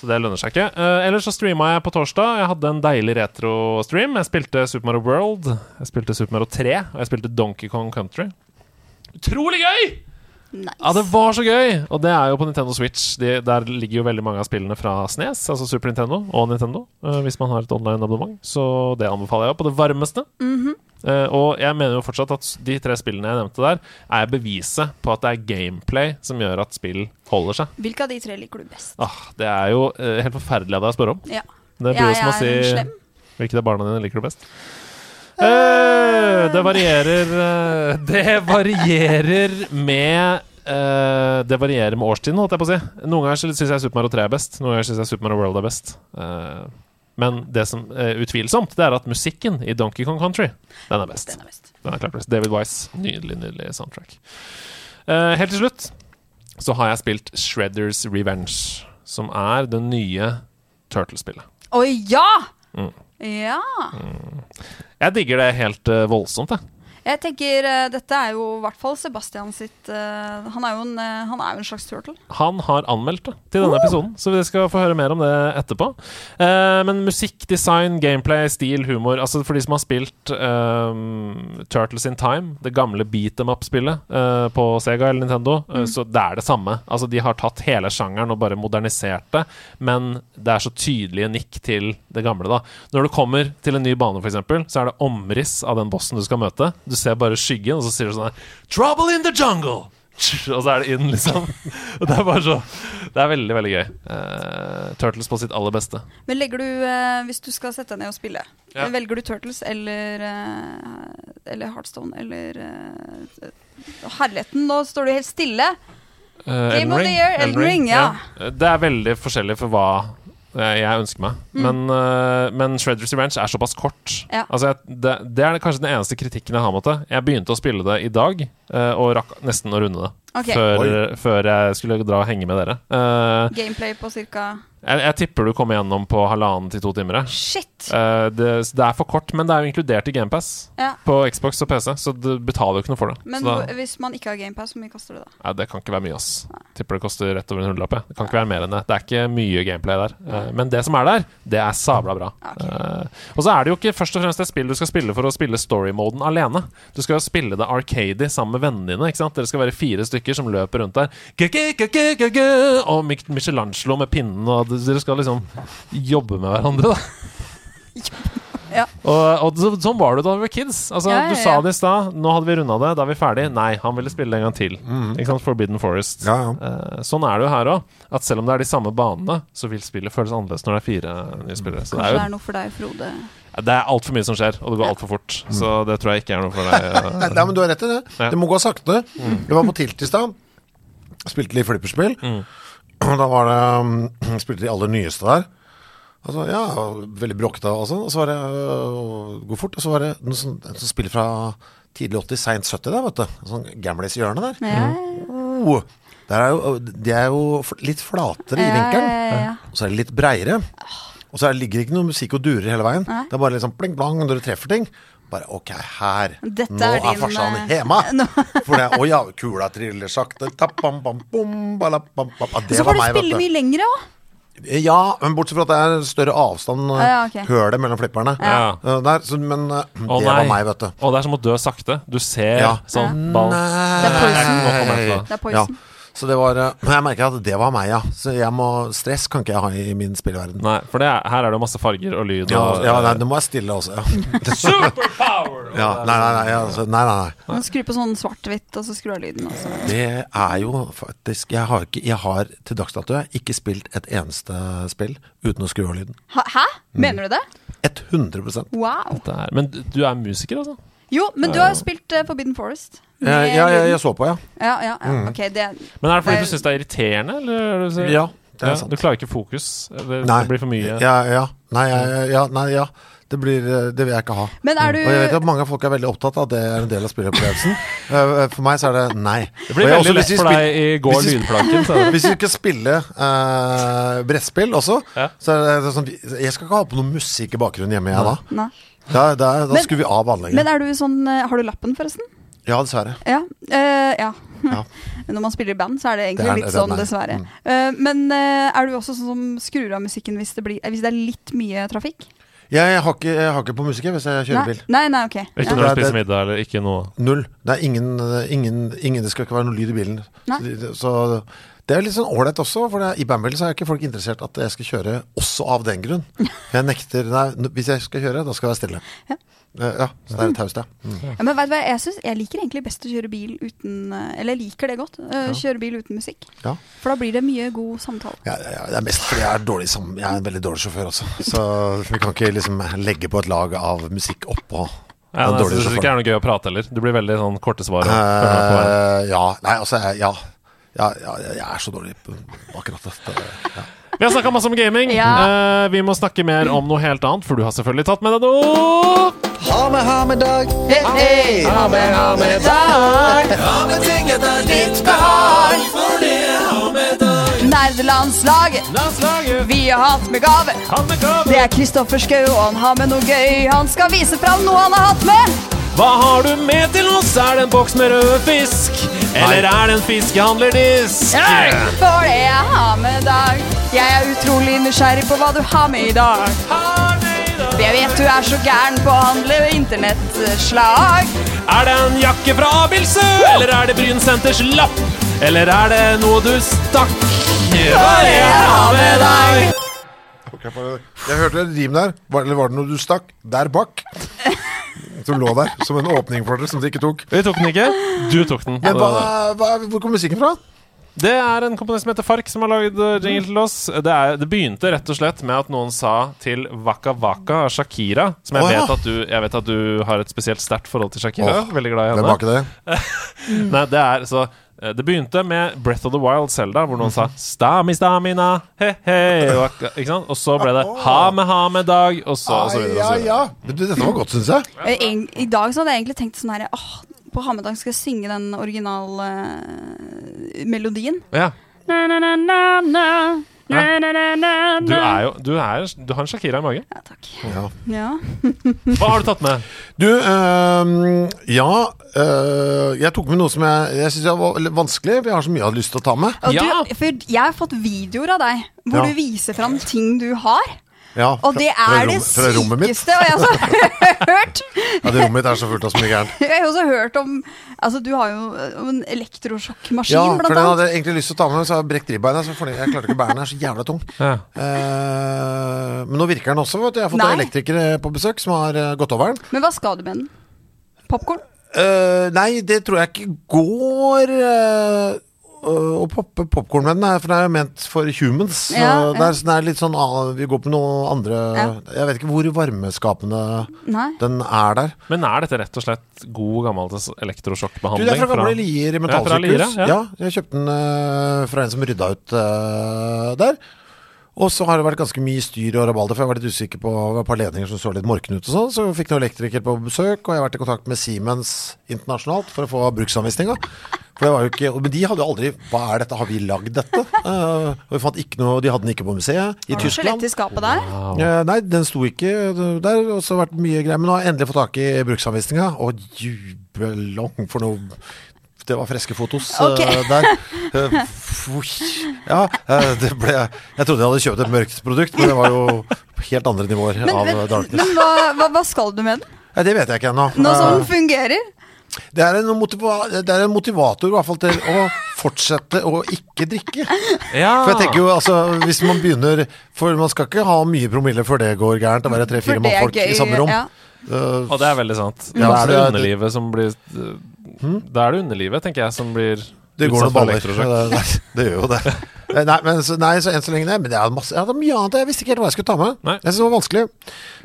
S1: så det lønner seg ikke. Eh, ellers så streama jeg på torsdag. Jeg hadde en deilig retro-stream. Jeg spilte Super Mario World, jeg spilte Super Mario 3, og jeg spilte Donkey Kong Country. Utrolig gøy!
S4: Nice.
S1: Ja, det var så gøy! Og det er jo på Nintendo Switch. De, der ligger jo veldig mange av spillene fra SNES, altså Super Nintendo og Nintendo, eh, hvis man har et online abonnement. Så det anbefaler jeg på det varmeste.
S4: Mhm.
S1: Eh, og jeg mener jo fortsatt at de tre spillene jeg nevnte der, er beviset på at det er gameplay som gjør at spill holder seg.
S4: Hvilke av de tre liker du best?
S1: Ah, det er jo eh, helt forferdelig av deg å spørre om.
S4: Ja.
S1: Det blir jo
S4: Jeg
S1: som å
S4: er
S1: si
S4: slem.
S1: Hvilket av barna dine liker du best? Eh, det varierer eh, Det varierer med eh, Det varierer med årstiden, holdt jeg på å si. Noen ganger syns jeg Super Mario 3 er best, noen ganger syns jeg Super Mario World er best. Eh, men det som er utvilsomt, det er at musikken i Donkey Kong Country, den er best.
S4: Den er best.
S1: Den er klart best. David Wise. Nydelig, nydelig soundtrack. Eh, helt til slutt så har jeg spilt Shredders Revenge, som er det nye Turtle-spillet.
S4: Å ja!
S1: Mm.
S4: Ja.
S1: Jeg digger det helt eh, voldsomt, jeg.
S4: Jeg tenker eh, Dette er jo i hvert fall Sebastian sitt eh, han, er jo en, eh, han er jo en slags turtle.
S1: Han har anmeldt det til denne episoden, så vi skal få høre mer om det etterpå. Eh, men musikk, design, gameplay, stil, humor Altså For de som har spilt eh, Turtles in Time, det gamle beat them up-spillet eh, på Sega eller Nintendo, eh, så det er det samme. Altså De har tatt hele sjangeren og bare modernisert det, men det er så tydelige nikk til det gamle. da Når du kommer til en ny bane, f.eks., så er det omriss av den bossen du skal møte. Du ser bare skyggen, og så sier du sånn her Trouble in the jungle! Og så er det inn, liksom. Og det er bare så Det er veldig, veldig gøy. Eh, Turtles på sitt aller beste.
S4: Men legger du, eh, hvis du skal sette deg ned og spille, eh,
S1: Ja.
S4: velger du Turtles eller eh, Eller Heartstone eller eh, å, Herligheten, nå står du helt stille.
S1: Eh,
S4: Game of the year, Elden Ring, ja.
S1: Eh, Det er veldig forskjellig for hva eh, jeg ønsker meg. Men, eh, men Shredders Revenge er såpass kort.
S4: Mm. Ja.
S1: Altså, jeg, det, det er kanskje den eneste kritikken jeg har mot det. Jeg begynte å spille det i dag, eh, og rakk nesten å runde det.
S4: Ok.
S1: Før, eh, før jeg skulle dra og henge med dere. Eh,
S4: Gameplay på ca.
S1: jeg, jeg tipper du kommer gjennom på halvannen til to timer. jeg.
S4: Shit!
S1: Eh, det, det er for kort, men det er jo inkludert i GamePass.
S4: Ja.
S1: På Xbox og PC, så du betaler jo ikke noe for det.
S4: Men
S1: så da,
S4: hvor- hvis man ikke har GamePass, hvor mye koster det da?
S1: nei, det kan ikke være mye, ass. Tipper det koster rett over en hundrelapp. jeg. Det kan ikke være mer enn det. Det er ikke mye gameplay der. Eh, Men det som er der, det er sabla bra.
S4: Ok.
S1: Eh, Og så er det jo ikke først og fremst et spill du skal spille for å spille story-moden alene. Du skal jo spille det arcady sammen med vennene dine. ikke sant? Dere skal være fire stykker som løper rundt der. Gu-gu-gu-gu-gu-gu! Og Mich- Michelangelo med pinnen, og dere skal liksom jobbe med hverandre, da.
S4: Ja.
S1: Og, og så, sånn var det da vi var kids. Altså,
S4: Ja, ja,
S1: Du sa
S4: ja.
S1: det i stad. Nå hadde vi runda det. Da er vi ferdig. Nei, han ville spille en gang til. Ikke sant? Forbidden Forest.
S5: Ja, ja.
S1: Eh, sånn er det jo her òg. At selv om det er de samme banene, så vil spillet føles annerledes når det er fire nye spillere. Så det
S4: Kanskje
S1: er jo
S4: det er noe for deg, Frode.
S1: det er altfor mye som skjer, og det går altfor fort. Så det tror jeg ikke er noe for deg. eh.
S5: Nei, men du har rett i Mm. det.
S1: Ja. Mm.
S5: Det må gå sakte. Jeg var på Tilt i stad. Spilte litt flipperspill.
S1: Mm.
S5: Og da var det um, Spilte de aller nyeste der. Altså, ja, veldig bråkete og sånn. Og så var det øh, Gå fort. Og så var det noe sånn, et sånt spill fra tidlig 80, seint 70 der, vet du. Sånn Gamlis-hjørnet der.
S4: Ja,
S1: Mhm.
S5: Oh, der er jo, de er jo fl- litt flatere i
S4: ja, ja,
S5: vinkelen.
S4: Eh, ja, ja.
S5: Og så er det litt breiere. Og så er- ligger det ikke noe musikk og durer hele veien. Det er bare liksom pling plang når du treffer ting. Bare OK, her.
S4: Dette
S5: Nå
S4: er
S5: er,
S4: din,
S5: farsan
S4: eh,
S5: hjemme. For det er Å ja, kula triller sakte. Tappam, bam, bom, balapam, bam. Ja, det
S4: Så
S5: var
S4: får du
S5: meg,
S4: spille
S5: vet
S4: mye lengre òg.
S5: du. Ja, men bortsett fra at det er større avstand, eh,
S4: Ja, ja, ok.
S5: hølet mellom flipperne.
S1: Ja.
S5: Eh, Der, så, men eh, det
S1: Å,
S5: var
S1: nei.
S5: meg, vet du.
S1: Og det er som å dø sakte. Du ser
S5: Ja.
S1: sånn ball.
S4: Det er poison.
S1: Nå kommer jeg fra.
S4: Det er poison.
S5: Så det var eh, Men jeg merker at det var meg, ja. Så jeg må, stress kan ikke jeg ha i min spillverden.
S1: Nei, for det er, her er det jo masse farger og lyd
S5: Ja,
S1: og
S5: ja nei, det må jeg stille også, ja.
S1: Superpower!
S5: ja nei, nei, nei, altså, nei, nei, nei.
S4: Man Skru på sånn svart-hvitt, og så skru av lyden. Også.
S5: Det er jo faktisk Jeg har, ikke, jeg har til dags dato jeg, ikke spilt et eneste spill uten å skru av lyden.
S4: Ha- Hæ?
S5: Mm.
S4: Mener du det?
S5: 100
S4: Wow.
S1: Det er- Men du er musiker, altså?
S4: Jo, men du har jo spilt eh, Forbidden Forest.
S5: Eh, Ja,
S4: Med
S5: ja, Mm.
S4: lyden.
S5: jeg så på, ja.
S4: ja, ja, ja. Ok, det
S1: Men er det fordi du syns det er irriterende? Eller? er det så-
S5: Ja, det er
S1: Ja,
S5: sant.
S1: Du klarer ikke fokus? Det,
S5: Nei.
S1: det blir for mye?
S5: Ja, ja. Nei, ja, ja, nei, ja. Det, blir, eh, det vil jeg ikke ha.
S4: Men er du
S5: Og jeg vet at mange folk er veldig opptatt av at det er en del av spilleopplevelsen. Eh, For meg så er det nei.
S1: Det blir veldig lett for deg i går
S5: hvis vi-
S1: lydplaken. Så.
S5: Hvis vi skal spille eh, brettspill også,
S1: Ja.
S5: så er det sånn Jeg skal ikke ha på noe musikk i bakgrunnen hjemme, jeg da.
S4: Nei.
S5: Da, da, da
S4: Men-
S5: skrur vi av anlegget.
S4: Men er du sånn eh, Har du lappen, forresten?
S5: Ja, dessverre.
S4: Ja. eh, ja.
S5: Ja.
S4: Når man spiller i band, så er det
S5: Det
S4: egentlig
S5: er-
S4: litt
S5: det er
S4: sånn,
S5: meg.
S4: dessverre.
S5: Mm.
S4: Eh, men eh, er du også sånn som skrur av musikken hvis det, blir, eh, hvis det er litt mye trafikk?
S5: Jeg har ikke, jeg har ikke på musikk jeg, hvis jeg kjører
S4: Nei,
S5: bil.
S4: nei, nei ok.
S1: Ikke
S4: Ja.
S1: når du
S5: Nei, det-
S1: spiser middag eller ikke noe.
S5: Null. Det er ingen, ingen, ingen Det skal ikke være noe lyd i bilen.
S4: Nei.
S5: Så, de- så det er litt sånn ålreit også, for det, er- i bandbildet så er ikke folk interessert at jeg skal kjøre også av den grunn. Jeg nekter Nei, n- hvis jeg skal kjøre, da skal jeg være stille.
S4: Ja.
S5: Eh, ja så det er taust, ja. Mm.
S4: Ja, men vet du hva, jeg, synes, jeg liker egentlig best å kjøre bil uten eh, Eller jeg liker det godt. eh, Kjøre bil uten musikk.
S5: Ja.
S4: For da blir det mye god samtale.
S5: Ja, ja, ja, det er mest fordi jeg er, dårlig sammen, jeg er en veldig dårlig sjåfør også. Så vi kan ikke liksom legge på et lag av musikk oppå
S1: Ja,
S5: den
S1: nei, så
S5: dårlige
S1: det ikke
S5: sjåføren.
S1: er noe gøy å prate heller. Du blir veldig sånn korte svar. og føler meg på veien.
S5: Eh, ja, nei, altså, jeg- ja. Ja, ja, jeg er så dårlig på akkurat dette. Ja.
S1: Vi har snakka masse om gaming.
S4: Ja.
S1: Eh, vi må snakke mer om noe helt annet, for du har selvfølgelig tatt med deg noe.
S2: Ha med, ha med dag.
S4: Nerdelandslaget,
S1: Landslaget
S4: vi har hatt med gave.
S1: kan med gave.
S4: Det er Kristoffer Schou, og han har med noe gøy. Han skal vise fram noe han har hatt med.
S1: Hva har du med til oss? Er det en boks med røde fisk? Eller er det en fiskehandlerdisk?
S4: For det jeg har med i dag. Jeg er utrolig nysgjerrig på hva du har med i dag. Jeg vet du er så gæren på å handle internettslag.
S1: Er det en jakke fra Abildsø? Eller er det Brynsenters lapp? Eller er det noe du stakk? Hva er det jeg har med deg?
S5: Jeg bare- jeg hørte et rim der. Var, eller var det noe du stakk der bak? Som lå der, som en åpning for dere, som dere ikke tok.
S1: Vi tok den ikke. Du tok den.
S5: Men hva, hva, hvor kom musikken fra?
S1: Det er en komponist som heter Fark, som har lagd eh,
S5: Mm.
S1: jingle til oss. Det, er, det begynte rett og slett med at noen sa til Waka Waka av Shakira, som jeg,
S5: Å, ja.
S1: vet at du, jeg vet at du har et spesielt sterkt forhold til Shakira.
S5: Åh,
S1: Veldig glad i
S5: Hvem
S1: henne.
S5: var ikke det?
S1: Nei, det er så eh, det begynte med Breath of the Wild Zelda, hvor noen sa
S5: Mhm.
S1: 'Stami, stamina, he, he og, ak- Ikke sant? Og så ble det 'Ha med, ha med dag', og så, og så videre. Og så
S5: Ja,
S1: videre.
S5: ja. Men du, dette var godt, syns jeg.
S4: Eh, eng- I dag så hadde jeg egentlig tenkt sånn her åh, På Hammerdag skal jeg synge den originale eh, melodien.
S1: Ja.
S4: Na, na, na, na, na. Na, na, na, na,
S1: Du
S4: na.
S1: er jo du, er, du har en Shakira i magen.
S4: Ja, takk.
S5: Ja.
S4: Ja.
S1: Hva har du tatt med?
S5: Du, øhm, ja øh, Jeg tok med noe som jeg, jeg syns var litt vanskelig, for jeg har så mye jeg hadde lyst til å ta med.
S4: Og
S1: Ja.
S4: du, for jeg har fått videoer av deg hvor
S5: Ja.
S4: du viser fram ting du har.
S5: Ja,
S4: Og det
S5: fra,
S4: er det
S5: fra rom- Fra rommet mitt.
S4: sykeste og jeg har så hørt.
S5: Ja, Ja, det rommet mitt er så fullt av så mye gærent.
S4: Jeg har jo også hørt om Altså, du har jo eh, om en elektrosjokkmaskin,
S5: Ja, for
S4: blant
S5: den
S4: annet.
S5: hadde jeg egentlig lyst til å ta med, men så har jeg brekt ribbeina. Så fornøyd- jeg klarte ikke å bære den, den er så jævla tung.
S1: Ja.
S5: Eh, men nå virker den også, vet du. Jeg har fått
S4: Nei.
S5: elektrikere på besøk som har eh, gått over den.
S4: Men hva skal du med den? Popkorn?
S5: Eh, nei, det tror jeg ikke går eh, å å poppe popkorn med den, her, for den er jo ment for humans. Så
S4: Ja, ja.
S5: Det, er, så det er litt sånn ah, Vi går på noe andre Jeg vet ikke hvor varmeskapende
S4: Nei.
S5: den er der.
S1: Men er dette rett og slett god gammel
S5: Du,
S1: elektrosjokkbehandling?
S5: det er fra gamle Lier
S1: Ja, fra Lier,
S5: metallsykehus.
S1: ja.
S5: Ja. jeg kjøpte den eh, fra en som rydda ut eh, der. Og så har det vært ganske mye styr og rabalder, for jeg var litt usikker på det var et par ledninger som så litt morkne ut og sånn. Så fikk noen elektriker på besøk, og jeg har vært i kontakt med Siemens internasjonalt for å få bruksanvisninga. For det var jo ikke, Men de hadde jo aldri Hva er dette, har vi lagd dette? Eh, og vi fant ikke noe, De hadde den ikke på museet i
S4: Var det så lett
S5: Tyskland.
S4: i skapet der?
S5: Eh, nei, den sto ikke der. Og så har det vært mye greier. Men nå har jeg endelig fått tak i bruksanvisninga. Og jubelong for noe Det var friske fotos eh,
S4: Ok.
S5: der. Eh, fui. ja, eh, det ble Jeg trodde jeg hadde kjøpt et mørkt produkt, men det var jo helt andre nivåer
S4: Men,
S5: av eh,
S4: men,
S5: darkness.
S4: men hva, hva, hva skal du med den?
S5: Nei, det vet jeg ikke ennå.
S4: Nå som den
S5: Eh,
S4: fungerer?
S5: det, er en motiva det er en motivator i hvert fall til å fortsette å ikke drikke.
S1: Ja.
S5: For jeg tenker jo, altså, hvis man begynner For man skal ikke ha mye promille før det går gærent, å være
S4: For det
S5: tre-fire
S4: er
S5: mannfolk
S4: gøy,
S5: i samme rom.
S4: ja.
S5: Eh,
S1: Og det er veldig sant.
S5: Ja,
S1: Da
S5: så
S1: er det
S5: det- Hmm?
S1: underlivet som blir Da er det underlivet, tenker jeg, som blir
S5: Det går
S1: utsatt
S5: noen
S1: for
S5: baller.
S1: elektrosjokk.
S5: Det, det, det gjør jo det. Eh, Nei, men, så, nei, så enn så lenge nei, Men det er masse, jeg hadde mye annet. Jeg visste ikke helt hva jeg skulle ta med.
S1: Nei.
S5: Jeg synes det var vanskelig.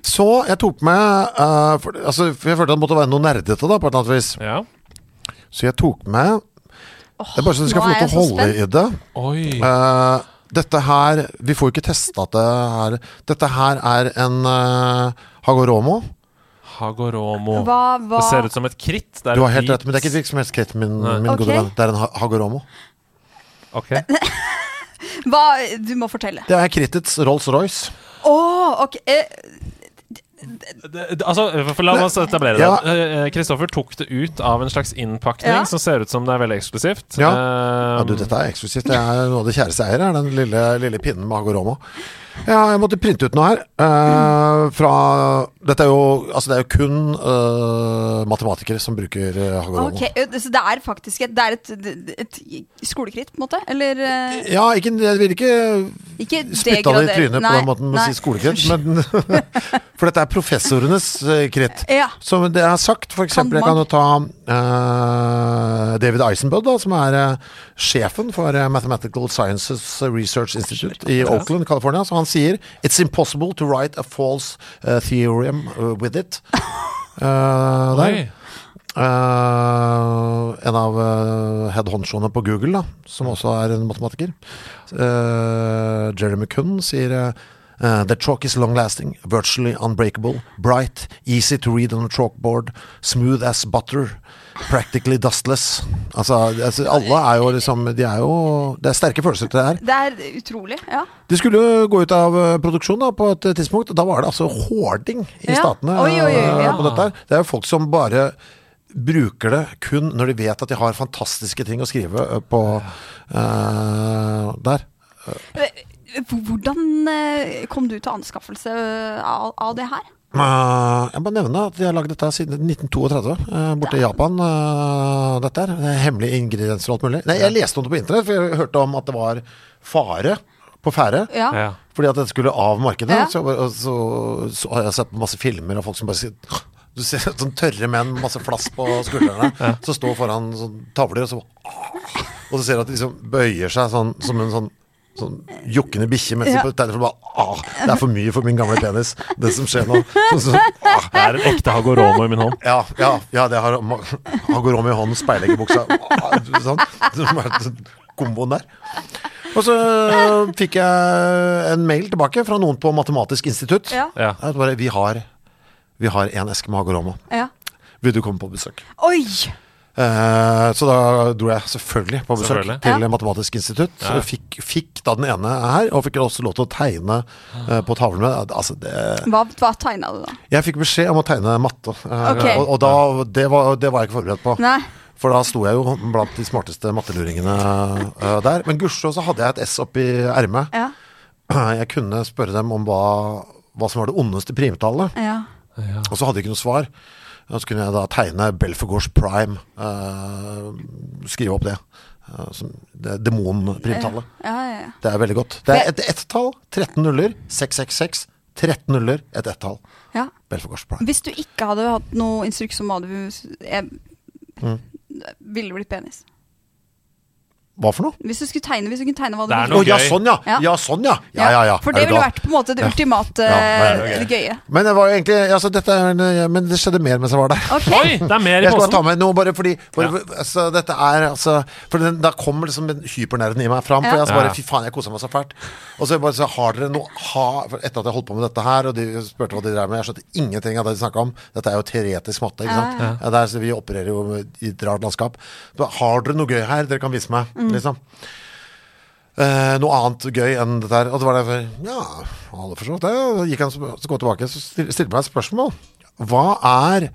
S5: Så jeg tok med eh, for, altså, for Jeg følte at det måtte være noe nerdete, da, på et eller annet vis.
S1: Ja.
S5: Så jeg tok med Det er bare så du skal
S4: nå
S5: få
S4: er
S5: lov til å
S4: jeg så
S5: holde i det.
S1: Oi.
S5: Eh, dette her Vi får jo ikke testa at det er Dette her er en uh, Hagoromo.
S1: Hagoromo.
S4: Hva, hva?
S1: Det ser ut som et kritt. Det er
S5: Du har
S1: et
S5: helt
S1: hvit-
S5: rett, men det er ikke et virksomhetskritt, min,
S1: Nei.
S5: min
S4: Ok.
S5: gode venn. Det er en ha- Hagoromo.
S1: Ok.
S4: hva Du må fortelle.
S5: Det er krittets Rolls-Royce.
S4: Å, ok. eh,
S1: Det- det- Altså, for la oss etablere
S5: Ja.
S1: det. Eh, Kristoffer tok det ut av en slags innpakning
S4: Ja.
S1: som ser ut som det er veldig eksklusivt.
S5: Ja.
S1: Eh,
S5: Ja, du, dette er eksklusivt. Det er noe av det kjæreste jeg eier, er den lille, lille pinnen med Hagoroma. Ja, jeg måtte printe ut noe her. eh, fra Dette er jo Altså, det er jo kun eh, matematikere som bruker uh, Hagoroma.
S4: ok, eh, Så det er faktisk et, det er et, et, et skolekritt, på en måte? Eller eh,
S5: Ja, ikke, jeg vil ikke
S4: ikke
S5: spytte av det i trynet på
S4: Nei,
S5: den måten med å
S4: nei.
S5: si skolekritt, men For dette er professorenes eh, kritt.
S4: Ja.
S5: Som det er sagt, for eksempel, jeg kan jo ta eh, David Eisenbud, da, som er eh, sjefen for eh, Mathematical Sciences Research Institute i Oakland, California. Så han sier It's impossible to write a false eh, theorem eh, with it. Eh, der.
S1: Oi.
S5: Eh, en av uh, head honchoene på Google, da, som også er en matematiker. Eh, Jeremy Kuhn sier eh, eh, The chalk is long-lasting, virtually unbreakable, bright, easy to read on a chalkboard, smooth as butter, practically dustless. Altså, altså alle er jo liksom De er jo Det er sterke følelser til det her.
S4: Det er utrolig. Ja.
S5: De skulle jo gå ut av eh, produksjon da, på et tidspunkt, og da var det altså hoarding i
S4: Ja.
S5: statene.
S4: Oi, oi, oi,
S5: eh,
S4: ja.
S5: på dette. her. Det er jo folk som bare bruker det kun når de vet at de har fantastiske ting å skrive eh, på eh, der.
S4: Eh, Hvordan eh, kom du til anskaffelse eh, av, av det her?
S5: Eh, Jeg må nevne at de har lagd dette her siden 1932, eh, borte i Japan. eh, Dette her. Det er Hemmelige ingredienser og alt mulig. Nei, jeg leste om det på internett, for jeg hørte om at det var fare på ferde.
S4: Ja.
S1: Ja.
S5: Fordi at dette skulle av markedet.
S4: Ja.
S5: Så, jeg bare- og så, så har jeg sett på masse filmer av folk som bare sier Du ser sånn tørre menn, masse flass på skuldrene, som står foran sånn tavler, og så Og så ser du at de liksom bøyer seg sånn som en sånn Sånn jokkende bikkje mens de
S4: Ja.
S5: på tegner for bare ah, Det er for mye for min gamle penis, det som skjer nå. Så, så, ah,
S1: Det er en ekte hagoromo i min hånd.
S5: ja, ja, ja, det har ma- Han går om i hånden, speiler ikke buksa ah, Sånn, Som er den komboen der Og så fikk jeg en mail tilbake Fra noen på Matematisk Institutt
S4: Ja.
S1: Ja.
S5: Jeg bare, vi har Vi har en eske med Hagorama
S4: ja.
S5: Vil du komme på besøk?
S4: Oi!
S5: Eh, så da dro jeg selvfølgelig på besøk
S1: Selvfølgelig.
S5: til
S4: Ja.
S5: Matematisk institutt.
S1: Ja.
S5: Fikk, fikk da den ene her, og fikk også lov til å tegne eh, på tavlen med. Altså, det,
S4: Hva, hva tegna du, da?
S5: jeg fikk beskjed om å tegne matte, eh,
S4: Ok.
S5: og, og da, det, var, det var jeg ikke forberedt på.
S4: Nei.
S5: For da sto jeg jo blant de smarteste matteluringene eh, der. Men gudskjelov så hadde jeg et S oppi ermet.
S4: Ja.
S5: Jeg kunne spørre dem om hva, hva som var det ondeste primtallet.
S4: ja.
S5: Og så hadde jeg ikke noe svar. Og så kunne jeg da tegne Belfegors Prime. eh, skrive opp det. eh, som det Demonprimtallet.
S4: Ja, ja, ja.
S5: Det er veldig godt. Det er et ett-tall. 13 nuller. 666. 13 nuller, et ett-tall.
S4: ja.
S5: Belfegors Prime.
S4: Hvis du ikke hadde hatt noe instruks om hva du jeg,
S5: Mm.
S4: Ville det blitt penis.
S5: Hva for noe?
S4: Hvis du skulle tegne, hvis du kunne tegne hva du
S1: Det er
S5: Å
S1: noe
S5: ja,
S1: gøy.
S5: sånn ja!
S4: Ja.
S5: Ja, sånn ja! Ja, ja, ja.
S4: For
S5: Er
S4: det
S5: du
S4: ville
S5: glad?
S4: vært på en måte det ultimate eh,
S5: Ja,
S1: det er
S4: det gøye.
S5: Men det var jo egentlig altså, dette er, en- Men det skjedde mer mens jeg var der.
S4: Ok.
S1: Oi, det er mer i
S5: Jeg skal bare ta
S1: posen!
S5: med noe, bare fordi bare, altså, Dette er altså For den, da kommer liksom den hypernerven i meg fram. For
S4: Ja.
S5: jeg så bare
S1: Ja.
S5: Fy faen, jeg kosa meg så fælt. Og så bare så har dere noe ha, for Etter at jeg holdt på med dette her, og de spurte hva de drev med, jeg skjønte ingenting av det de snakka om. Dette er jo teoretisk matte, ikke sant. Ja, det er, så vi opererer jo med- i et rart landskap. Så, har dere noe gøy her dere kan vise meg,
S1: Mm.
S5: liksom? Eh, noe annet gøy enn dette her. Og det var derfor Ja, alle forstått det. Så gikk han så, så gå tilbake Så stil- stilte meg et spørsmål. Hva er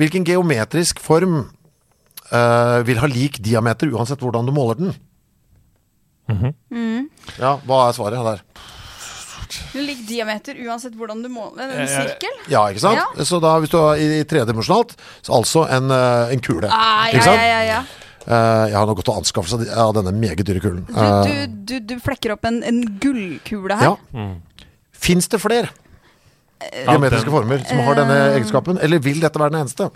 S5: Hvilken geometrisk form eh, vil ha lik diameter uansett hvordan du måler den?
S4: Mm.
S5: Ja, hva er svaret der?
S4: Det ligger diameter uansett hvordan du måler. En
S1: jeg-
S4: sirkel?
S5: Ja, ikke sant?
S4: Ja.
S5: Så da, hvis du er i, i tredimensjonalt, så altså en, eh, en kule.
S4: Ah, ja, ja,
S5: ikke sant?
S4: ja, ja.
S5: Eh, jeg har nå gått til anskaffelse av denne meget dyre kulen.
S4: Du,
S5: Uh,
S4: du, du, du flekker opp en, en gullkule her.
S5: ja. Fins det flere
S1: Ja,
S5: geometriske
S1: den-
S5: former som har denne
S4: Eh.
S5: egenskapen, eller vil dette være den eneste?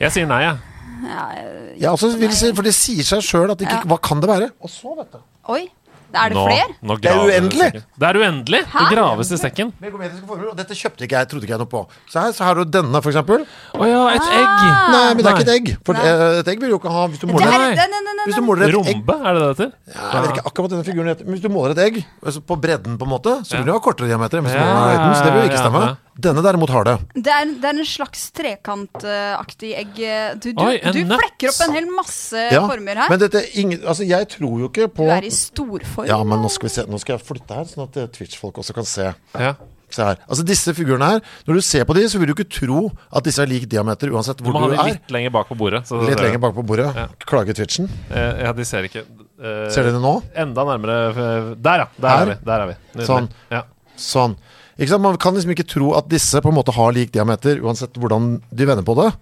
S1: Jeg sier nei, jeg.
S4: Ja, eh,
S5: Ja, altså, vil si, for det sier seg sjøl at ikke, Hva kan det være? Og så, vet du.
S4: Oi. Er det
S1: Nå-
S4: flere?
S1: nå
S5: Det er
S1: graver du i
S5: uendelig.
S1: sekken. Det er uendelig! Det
S4: Hæ?
S1: graves i sekken.
S5: Med geometriske former, og dette kjøpte ikke jeg, trodde ikke jeg noe på. Så her, så her har du denne, for eksempel.
S1: Å ja, et egg!
S5: Nei, men det er ikke et
S1: Nei.
S5: egg. For
S4: Ah. Nei.
S5: eh, et egg vil du ikke ha hvis du
S4: Det her,
S5: måler
S1: Nei.
S4: nei, nei, nei, nei,
S5: Hvis du
S4: nei.
S5: måler et egg
S1: Rombe, er det det det heter?
S5: Ja, Jeg vet ikke akkurat hva denne figuren heter, men hvis du måler et egg altså på bredden, på en måte, så vil du ha kortere diameter. enn Hvis du
S1: Ja,
S5: måler høyden, så det vil jo ikke
S1: ja,
S5: stemme.
S1: ja.
S5: Denne derimot har det.
S4: Det er, det er en slags trekantaktig egg. eh, Du, du,
S1: Oi, en
S4: du
S1: nøtt.
S4: flekker opp en hel masse
S5: Ja.
S4: Eh, former her.
S5: Men dette er ingen, altså, jeg tror jo ikke på
S4: Du er i storform.
S5: Ja, men nå skal, vi se, nå skal jeg flytte her, sånn at eh, Twitch-folk også kan se.
S1: Ja.
S5: Se her. Altså disse figurene her, når du ser på de, så vil du ikke tro at disse er lik diameter uansett
S1: Du
S5: hvor
S1: må ha
S5: du
S1: de
S5: er.
S1: litt lenger bak på bordet. så det-
S5: Litt lenger bak på bordet. Klager Twitchen.
S1: Eh, Ja, de ser ikke eh,
S5: Ser dere det nå?
S1: Enda nærmere f- Der, ja! Der er
S5: Her?
S1: vi. Der er vi. Nydelig.
S5: Sånn.
S1: Ja.
S5: Sånn. Ikke sant? Man kan liksom ikke tro at disse på en måte har lik diameter uansett hvordan de vender på det.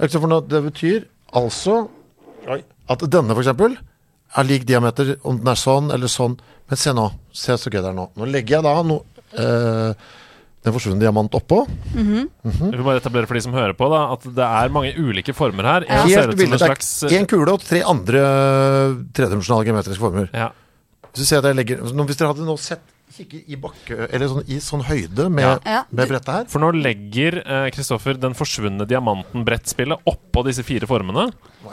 S5: Ikke sant? For nå- det betyr altså at denne for eksempel er lik diameter om den er sånn eller sånn. Men se nå. Se så gøy det er nå. Nå legger jeg da noe eh, den forsvunne diamant oppå.
S1: Vi må etablere for de som hører på, da, at det er mange ulike former her. En ser
S5: Helt
S1: ut som
S5: ville.
S1: en
S5: Det
S1: slags eh,
S5: er én kule og tre andre tredimensjonale geometriske former.
S1: ja.
S5: Så ser jeg at jeg legger, altså, nå, hvis dere hadde nå sett kikke i bakke, eller sånn, i sånn høyde med,
S4: Ja.
S5: med brettet her
S1: For nå legger eh, Kristoffer den forsvunne diamanten-brettspillet oppå disse fire formene,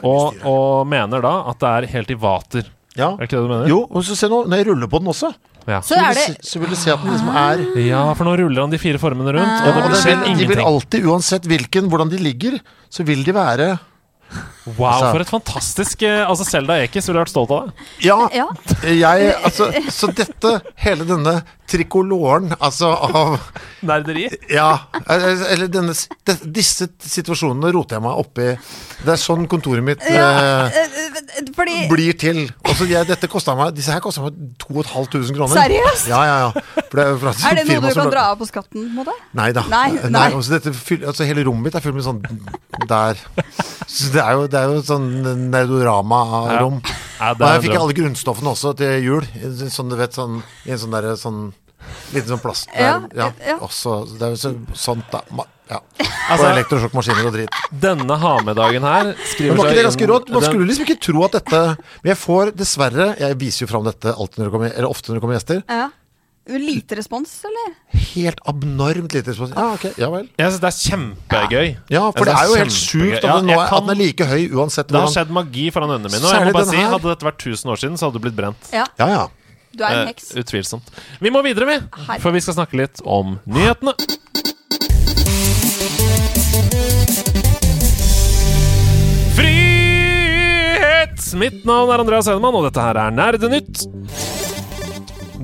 S1: og, og mener da at det er helt i vater.
S5: ja.
S1: Er det ikke det du mener?
S5: Jo, og så se nå, når jeg ruller på den også,
S1: Ja.
S4: Så er
S5: vil
S4: det
S5: du se- så vil du se at den liksom er
S1: ja, for nå ruller han de fire formene rundt,
S5: Ah. ja,
S1: og Ah. det blir
S5: og den
S1: skjedd
S5: vil, De vil
S1: ingenting.
S5: alltid, uansett hvilken, hvordan de ligger, så vil de være Altså-
S1: Wow, for et fantastisk eh, Altså, Selda Ekiz ville vært stolt av deg.
S5: Ja,
S4: Ja.
S5: jeg Altså, så dette, hele denne trikoloren, altså av
S1: Nerderi.
S5: Ja. Eller eller denne, de, disse situasjonene roter jeg meg oppi. Det er sånn kontoret mitt
S4: Ja,
S5: eh,
S4: eh, eh, Fordi
S5: blir til. Og så jeg, dette kostet meg, disse her kosta meg 2500 kroner.
S4: Seriøst?
S5: Ja, ja, ja. For det er, jo fra et
S4: Er det
S5: firma
S4: noe du
S5: som
S4: kan
S5: lag-
S4: dra av på skatten? på en måte?
S5: Nei da.
S4: Nei, nei.
S5: altså, dette fyll, altså, hele rommet mitt er fylt med sånn der. Så det er jo, det er jo sånn Nerdorama-rom.
S1: Ja,
S5: Og
S1: det er
S5: jeg fikk
S1: bra.
S5: alle grunnstoffene også til jul. i en Sånn, du vet, sånn, I en sånn derre sånn Liten sånn plast
S4: Ja,
S5: der. Ja,
S4: ja.
S5: Også, det er jo så, sånt, da. Ma- Ja. og
S1: Altså-
S5: elektrosjokkmaskiner og dritt.
S1: Denne ha-med-dagen her skriver
S5: Men var
S1: seg
S5: ikke det
S1: inn-
S5: ganske rått? Man
S1: den-
S5: skulle liksom ikke tro at dette Men jeg får dessverre Jeg viser jo fram dette alltid når det kommer, eller ofte når det kommer gjester.
S4: Ja. Lite respons, eller?
S5: Helt abnormt lite respons. Ja, Ah, ok, ja vel.
S1: Jeg synes det er kjempegøy.
S5: Ja,
S1: Jeg
S5: for det
S1: synes
S5: er jo helt
S1: kjempegøy.
S5: sjukt at,
S1: Ja,
S5: den nå
S1: jeg
S5: er,
S1: kan-
S5: at den er like høy uansett
S1: Det har
S5: hvordan
S1: skjedd magi foran øynene mine. Og jeg
S5: Særlig
S1: må bare
S5: den
S1: si,
S5: her.
S1: Hadde dette vært 1000 år siden, så hadde du blitt brent.
S4: Ja,
S5: Ja, ja.
S4: du er en
S1: Eh,
S4: heks.
S1: utvilsomt. Vi må videre, vi.
S4: Her.
S1: For vi skal snakke litt om nyhetene. Frihet! Mitt navn er Andreas Hedemann, og dette her er Nerdenytt.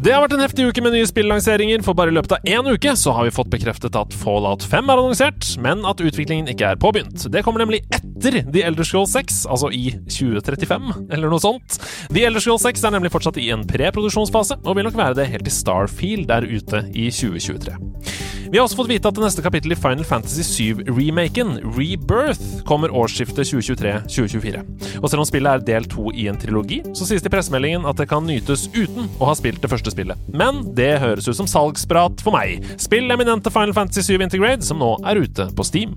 S1: Det har vært en heftig uke med nye spillanseringer, for bare i løpet av én uke så har vi fått bekreftet at Fallout 5 er annonsert, men at utviklingen ikke er påbegynt. Det kommer nemlig etter The Elder Scroll 6, altså i 2035, eller noe sånt. The Elder Scroll 6 er nemlig fortsatt i en preproduksjonsfase, og vil nok være det helt til Starfield er ute i 2023. Vi har også fått vite at det neste kapittel i Final Fantasy 7-remaken, Rebirth, kommer årsskiftet 2023-2024. Og selv om spillet er del to i en trilogi, så sies det i pressemeldingen at det kan nytes uten å ha spilt det første spillet. Men det høres ut som salgsprat for meg. Spill eminente Final Fantasy 7 Integrate, som nå er ute på Steam.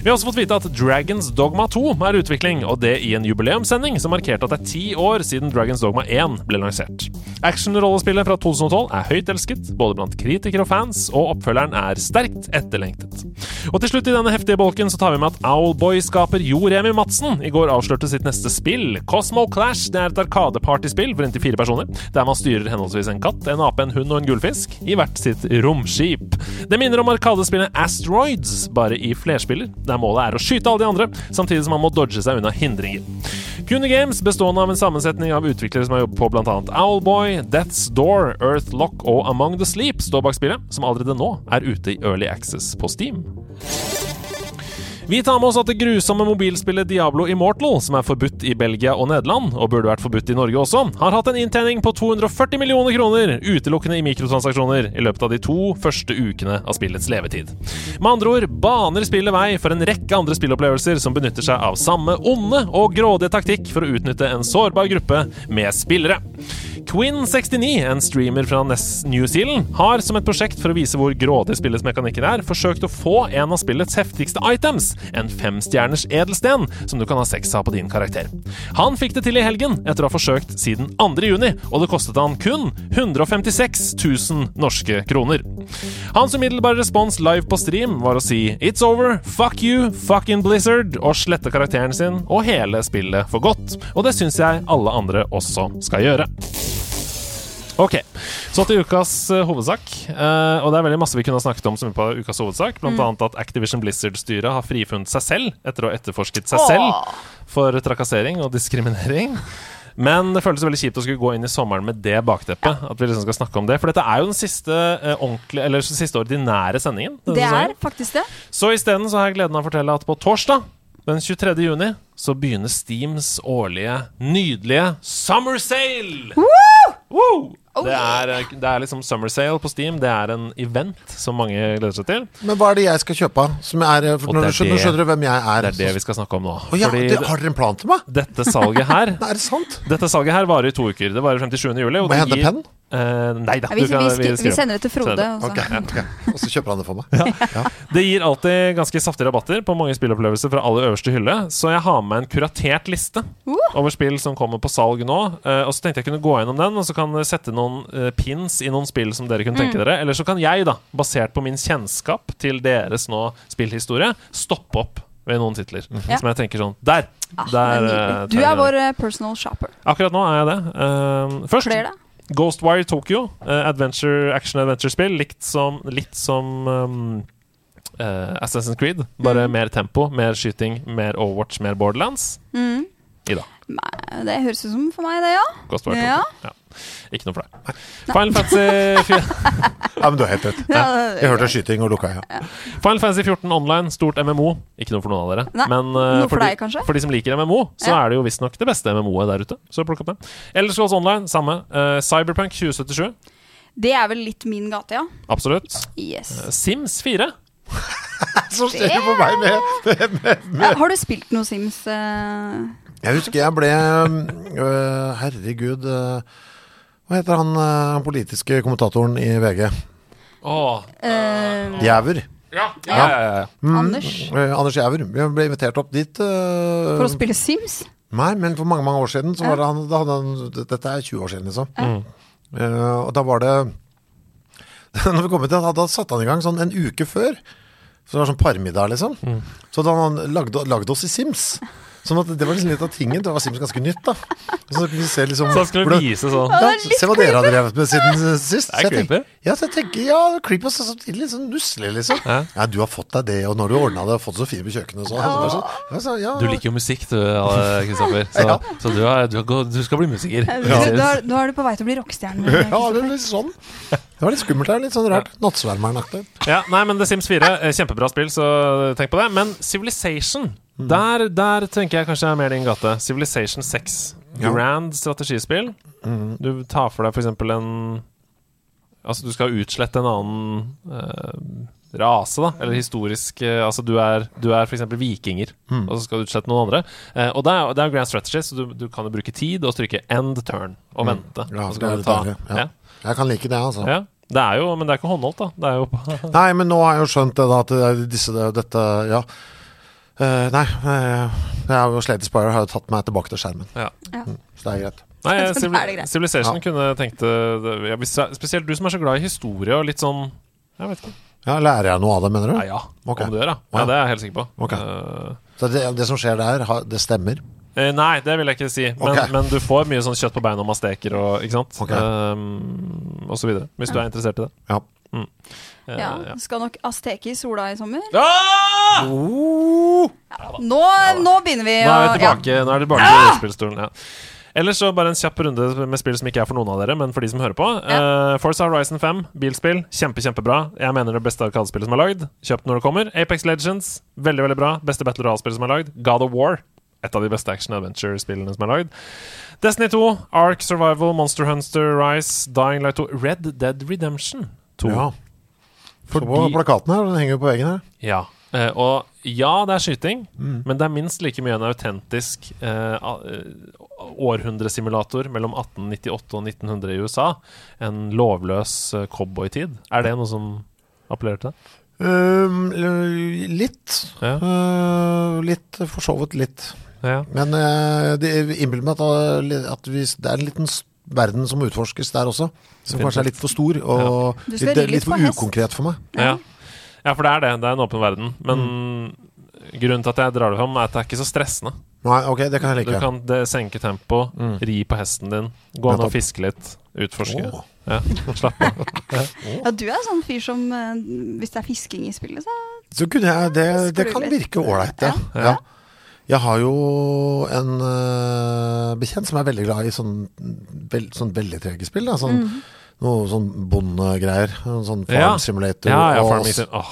S1: Vi har også fått vite at Dragons Dogma 2 er i utvikling, og det i en jubileumssending som markerte at det er ti år siden Dragons Dogma 1 ble lansert. Actionrollespillet fra 2012 er høyt elsket, både blant kritikere og fans, og oppfølgeren er sterkt etterlengtet. Og til slutt i denne heftige bolken så tar vi med at Owlboy-skaper Jo Remi Madsen i går avslørte sitt neste spill, Cosmo Clash. Det er et arkadepartyspill for inntil fire personer, der man styrer henholdsvis en katt, en ape, en hund og en gullfisk i hvert sitt romskip. Det minner om arkadespillet Asteroids, bare i flerspiller, der målet er å skyte alle de andre, samtidig som man må dodge seg unna hindringer. Puny Games, bestående av en sammensetning av utviklere som har jobbet på bl.a. Owlboy, Death's Door, Earthlock og Among the Sleep, står bak spillet, som allerede nå er ute i Early Access på Steam. Vi tar med oss at det grusomme mobilspillet Diablo Immortal, som er forbudt i Belgia og Nederland, og burde vært forbudt i Norge også, har hatt en inntjening på 240 millioner kroner, utelukkende i mikrotransaksjoner, i løpet av de to første ukene av spillets levetid. Med andre ord baner spillet vei for en rekke andre spillopplevelser som benytter seg av samme onde og grådige taktikk for å utnytte en sårbar gruppe med spillere. Quinn69, en streamer fra Nes- New Zealand, har som et prosjekt for å vise hvor grådig spillets mekanikker er, forsøkt å få en av spillets heftigste items, en femstjerners edelsten, som du kan ha sex av på din karakter. Han fikk det til i helgen, etter å ha forsøkt siden 2. juni, og det kostet han kun 156 000 norske kroner. Hans umiddelbare respons live på stream var å si It's over, fuck you, fucking Blizzard, og slette karakteren sin og hele spillet for godt. Og det syns jeg alle andre også skal gjøre. Ok, så til ukas eh, hovedsak. Eh, og det er veldig masse vi kunne ha snakket om som er på ukas hovedsak. Blant
S4: Mm.
S1: annet at Activision Blizzard-styret har frifunnet seg selv etter å ha etterforsket seg selv for trakassering og diskriminering. Men det føles veldig kjipt å skulle gå inn i sommeren med det bakteppet. At vi liksom skal snakke om det For dette er jo den siste eh, ordentlige Eller siste ordinære sendingen. denne
S4: Det
S1: sesongen.
S4: er faktisk det.
S1: Så isteden så har jeg gleden av å fortelle at på torsdag den 23. juni så begynner Steams årlige nydelige summer sale! Woo! Det, er, eh, det er liksom summer sale på Steam. Det er en event som mange gleder seg til.
S5: Men hva er det jeg skal kjøpe? av, Som er, eh, for
S1: Og
S5: når
S1: det
S5: du
S1: er
S5: skjønner,
S1: det-
S5: skjønner du hvem jeg er.
S1: Det er det vi skal snakke om nå.
S5: Å ja,
S1: Fordi
S5: det, har dere en plan til meg?
S1: d- dette salget her
S5: Nei, er det sant?
S1: Dette salget her varer i to uker. Det varer frem til 7. juli. og
S5: Må jeg
S1: det
S5: hente
S1: gir-
S5: penn?
S1: Eh, nei da.
S4: Vi,
S1: du kan-
S4: vi, skri, vi
S1: skriver.
S4: sender det til Frode.
S1: Sender.
S4: og så-
S5: Ok, ok. Og så kjøper han det for meg. Ja.
S1: Det gir alltid ganske saftige rabatter på mange spillopplevelser fra aller øverste hylle, så jeg har med en kuratert liste
S4: Uh,
S1: over spill som kommer på salg nå. Eh, og så tenkte jeg kunne gå gjennom den, og så kan dere sette noen eh, pins i noen spill som dere kunne tenke
S4: Mm.
S1: dere. Eller så kan jeg, da, basert på min kjennskap til deres nå spillhistorie, stoppe opp ved noen titler.
S4: Ja.
S1: Som jeg tenker sånn Der!
S4: Ah,
S1: der
S4: men
S1: eh,
S4: nydelig. du
S1: tar
S4: er
S1: jeg
S4: vår
S1: den.
S4: eh, personal shopper.
S1: Akkurat nå er jeg det. Eh, først
S4: Kler det?
S1: Ghostwire Tokyo. eh, adventure, action adventure-spill. Likt som, litt som um, eh, Assassin's Creed. Bare mer tempo, mer skyting, mer Overwatch, mer Borderlands.
S4: Mm.
S1: Ida.
S4: Nei, Det høres ut som for meg, det, ja.
S1: Ghostwire
S4: Ja.
S1: Tokyo. Ja. Ikke noe for deg. Final Fantasy, fire-
S5: ja, men du har helt rett. Jeg hørte skyting og lukka øya. Ja.
S1: Final Fantasy 14 online, stort MMO. Ikke noe for noen av dere.
S4: Nei,
S1: Men eh,
S4: noe for deg,
S1: de,
S4: kanskje?
S1: for de som liker MMO, så
S4: Ja.
S1: er det jo visstnok det beste MMO-et der ute. Så plukk opp det. Ellers Scrolls Online, samme. Eh, Cyberpunk 2077,
S4: Det er vel litt min gate, ja.
S1: absolutt.
S4: Yes.
S1: Eh, Sims 4.
S5: Så ser du på meg med
S4: Ja, har du spilt noe Sims? eh?
S5: Jeg husker jeg ble um, øh, Herregud øh, Hva heter han, øh, han politiske kommentatoren i VG?
S1: Åh.
S4: Eh,
S5: Jæver.
S1: Ja, ja, ja, ja.
S4: Anders?
S5: Øh, Anders Jæver. Jeg ble invitert opp dit. øh,
S4: For å spille Sims?
S5: Nei, men for mange, mange år siden så var det han, da hadde han Dette er 20 år siden, liksom.
S1: Mm.
S5: Eh, og da var det Når vi kom til Da da satte han i gang sånn en uke før. Så det var sånn parmiddag, liksom.
S1: Mm.
S5: Så da han lagde, lagde oss i Sims. Sånn at det var liksom litt av tingen. Da var Sims ganske nytt, da. Så kunne vi se liksom
S1: Så han skulle
S5: hvordan-
S1: vise sånn.
S5: ja, se hva dere har drevet med siden eh, sist.
S1: Det er
S5: Så jeg tenker-
S1: creepy.
S5: Ja, så jeg tenker, ja, creepy og så- samtidig litt sånn nusselig, liksom.
S1: Ja.
S5: Ja. du har fått deg det, og når du ordna det, og fått så fint på kjøkkenet og sånn. Og så bare sånn, ja, så- ja.
S1: Du liker jo musikk, du, Ale Kristoffer. Så,
S5: Ja.
S1: så du, er, du, er god, du skal bli musiker.
S4: Eh,
S1: Ja.
S4: du- Da, da er du på vei til å bli rockestjerne.
S5: Ja, det er litt sånn. Det var litt skummelt her, litt sånn rart. Nattsvermeren-aktig.
S1: Nei, men The Sims 4, eh, kjempebra spill, så tenk på det. Men Civilization,
S5: Mm.
S1: der, der tenker jeg kanskje er mer din gate. Civilization 6.
S5: Ja. Mm.
S1: Grand strategispill. Du tar for deg f.eks. en Altså, du skal utslette en annen eh, rase, da, eller historisk eh, Altså, du er, du er f.eks. vikinger,
S5: Mm.
S1: og så skal du utslette noen andre. Eh, og det er, det er grand strategy, så du, du kan jo bruke tid og stryke end turn og vente.
S5: Mm. Ja,
S1: og så
S5: det
S1: kan du
S5: er det
S1: ta-
S5: deilige, ja.
S1: ja.
S5: Jeg kan like det, altså.
S1: Ja. Det er jo, men det er ikke håndholdt, da. Det er jo
S5: Nei, men nå har jeg jo skjønt det, da, at det er disse, det- dette Ja. Eh, nei, eh, jeg er jo Slade Spire har jo tatt meg tilbake til skjermen, Mm.
S1: ja.
S5: så det er greit.
S1: Nei,
S4: Da er det
S1: Civil-
S4: greit.
S1: Civilization
S5: Ja.
S1: kunne tenkt eh, det- ja, hvis, Spesielt du som er så glad i historie og litt sånn Jeg vet ikke.
S5: Ja, Lærer jeg noe av det, mener du?
S1: Ja, ja.
S5: Ok.
S1: Om du gjør, ja.
S5: Ja.
S1: ja. Det er jeg helt sikker på.
S5: Ok.
S1: Eh,
S5: Så det, det som skjer der, har- det stemmer?
S1: Eh, nei, det vil jeg ikke si. Men,
S5: Ok.
S1: men du får mye sånn kjøtt på beina og masteker og ikke sant?
S5: Ok.
S1: Ehm, og så videre. Hvis du er interessert i det.
S5: Ja.
S1: Eh,
S4: Ja, Skal nok Asteke i sola i sommer.
S1: Ah!
S4: Nå, nå begynner vi
S1: Nå er vi
S4: å- ja.
S1: tilbake, nå er det tilbake til rollespillstolen. Ja. Ellers så bare en kjapp runde med spill som ikke er for noen av dere, men for de som hører på. Eh, Forza Horizon 5, bilspill. Kjempe, kjempebra. Jeg mener det beste arkadespillet som er lagd. Kjøp det når det kommer. Apex Legends, veldig, veldig bra. Beste battle royale-spillet som er lagd. God of War, et av de beste action adventure-spillene som er lagd. Destiny 2, Ark Survival, Monster Hunter Rise, Dying Light 2, Red Dead Redemption 2.
S5: ja.
S1: Fordi-
S5: Så på plakaten her, den henger jo på veggen her.
S1: Ja. Eh, og ja, det er skyting,
S5: Mm.
S1: men det er minst like mye en autentisk eh, a- eh, århundresimulator mellom 1898 og 1900 i USA. En lovløs eh, cowboytid. Er det noe som appellerer til deg?
S5: Øhm, l- litt.
S1: Ja.
S5: Øh, litt for så vidt litt.
S1: Ja.
S5: Men øh, det innbiller meg at, det er- at vi, det er en liten s- verden som utforskes der også. Som kanskje er litt for stor, og
S4: Du skal
S5: litt,
S4: ri litt
S5: litt for
S4: på hest.
S5: ukonkret for meg.
S1: Ja. ja, for det er det. Det er en åpen verden. Men
S5: Mm.
S1: grunnen til at jeg drar det fram, er at det er ikke så stressende.
S5: Nei, ok, det kan jeg
S1: Du
S5: like.
S1: kan det, senke tempo, ri på hesten din, gå an og
S5: Nettopp.
S1: fiske litt, utforske.
S5: Åh.
S1: Ja, slapp av.
S4: ja, du er sånn fyr som eh, Hvis det er fisking i spillet, så
S5: Så kunne jeg, det, det
S4: Skru
S5: kan
S4: litt.
S5: virke ålreit, ja.
S1: Ja.
S5: ja. Jeg har jo en øh, bekjent som er veldig glad i sånn, vel, sånn veldig trege spill. Da. Sånn,
S4: Mhm.
S5: Noe sånn bondegreier. Sånn farm
S1: Ja.
S5: simulator.
S1: Ja, ja,
S5: og-
S1: farming sim. Åh.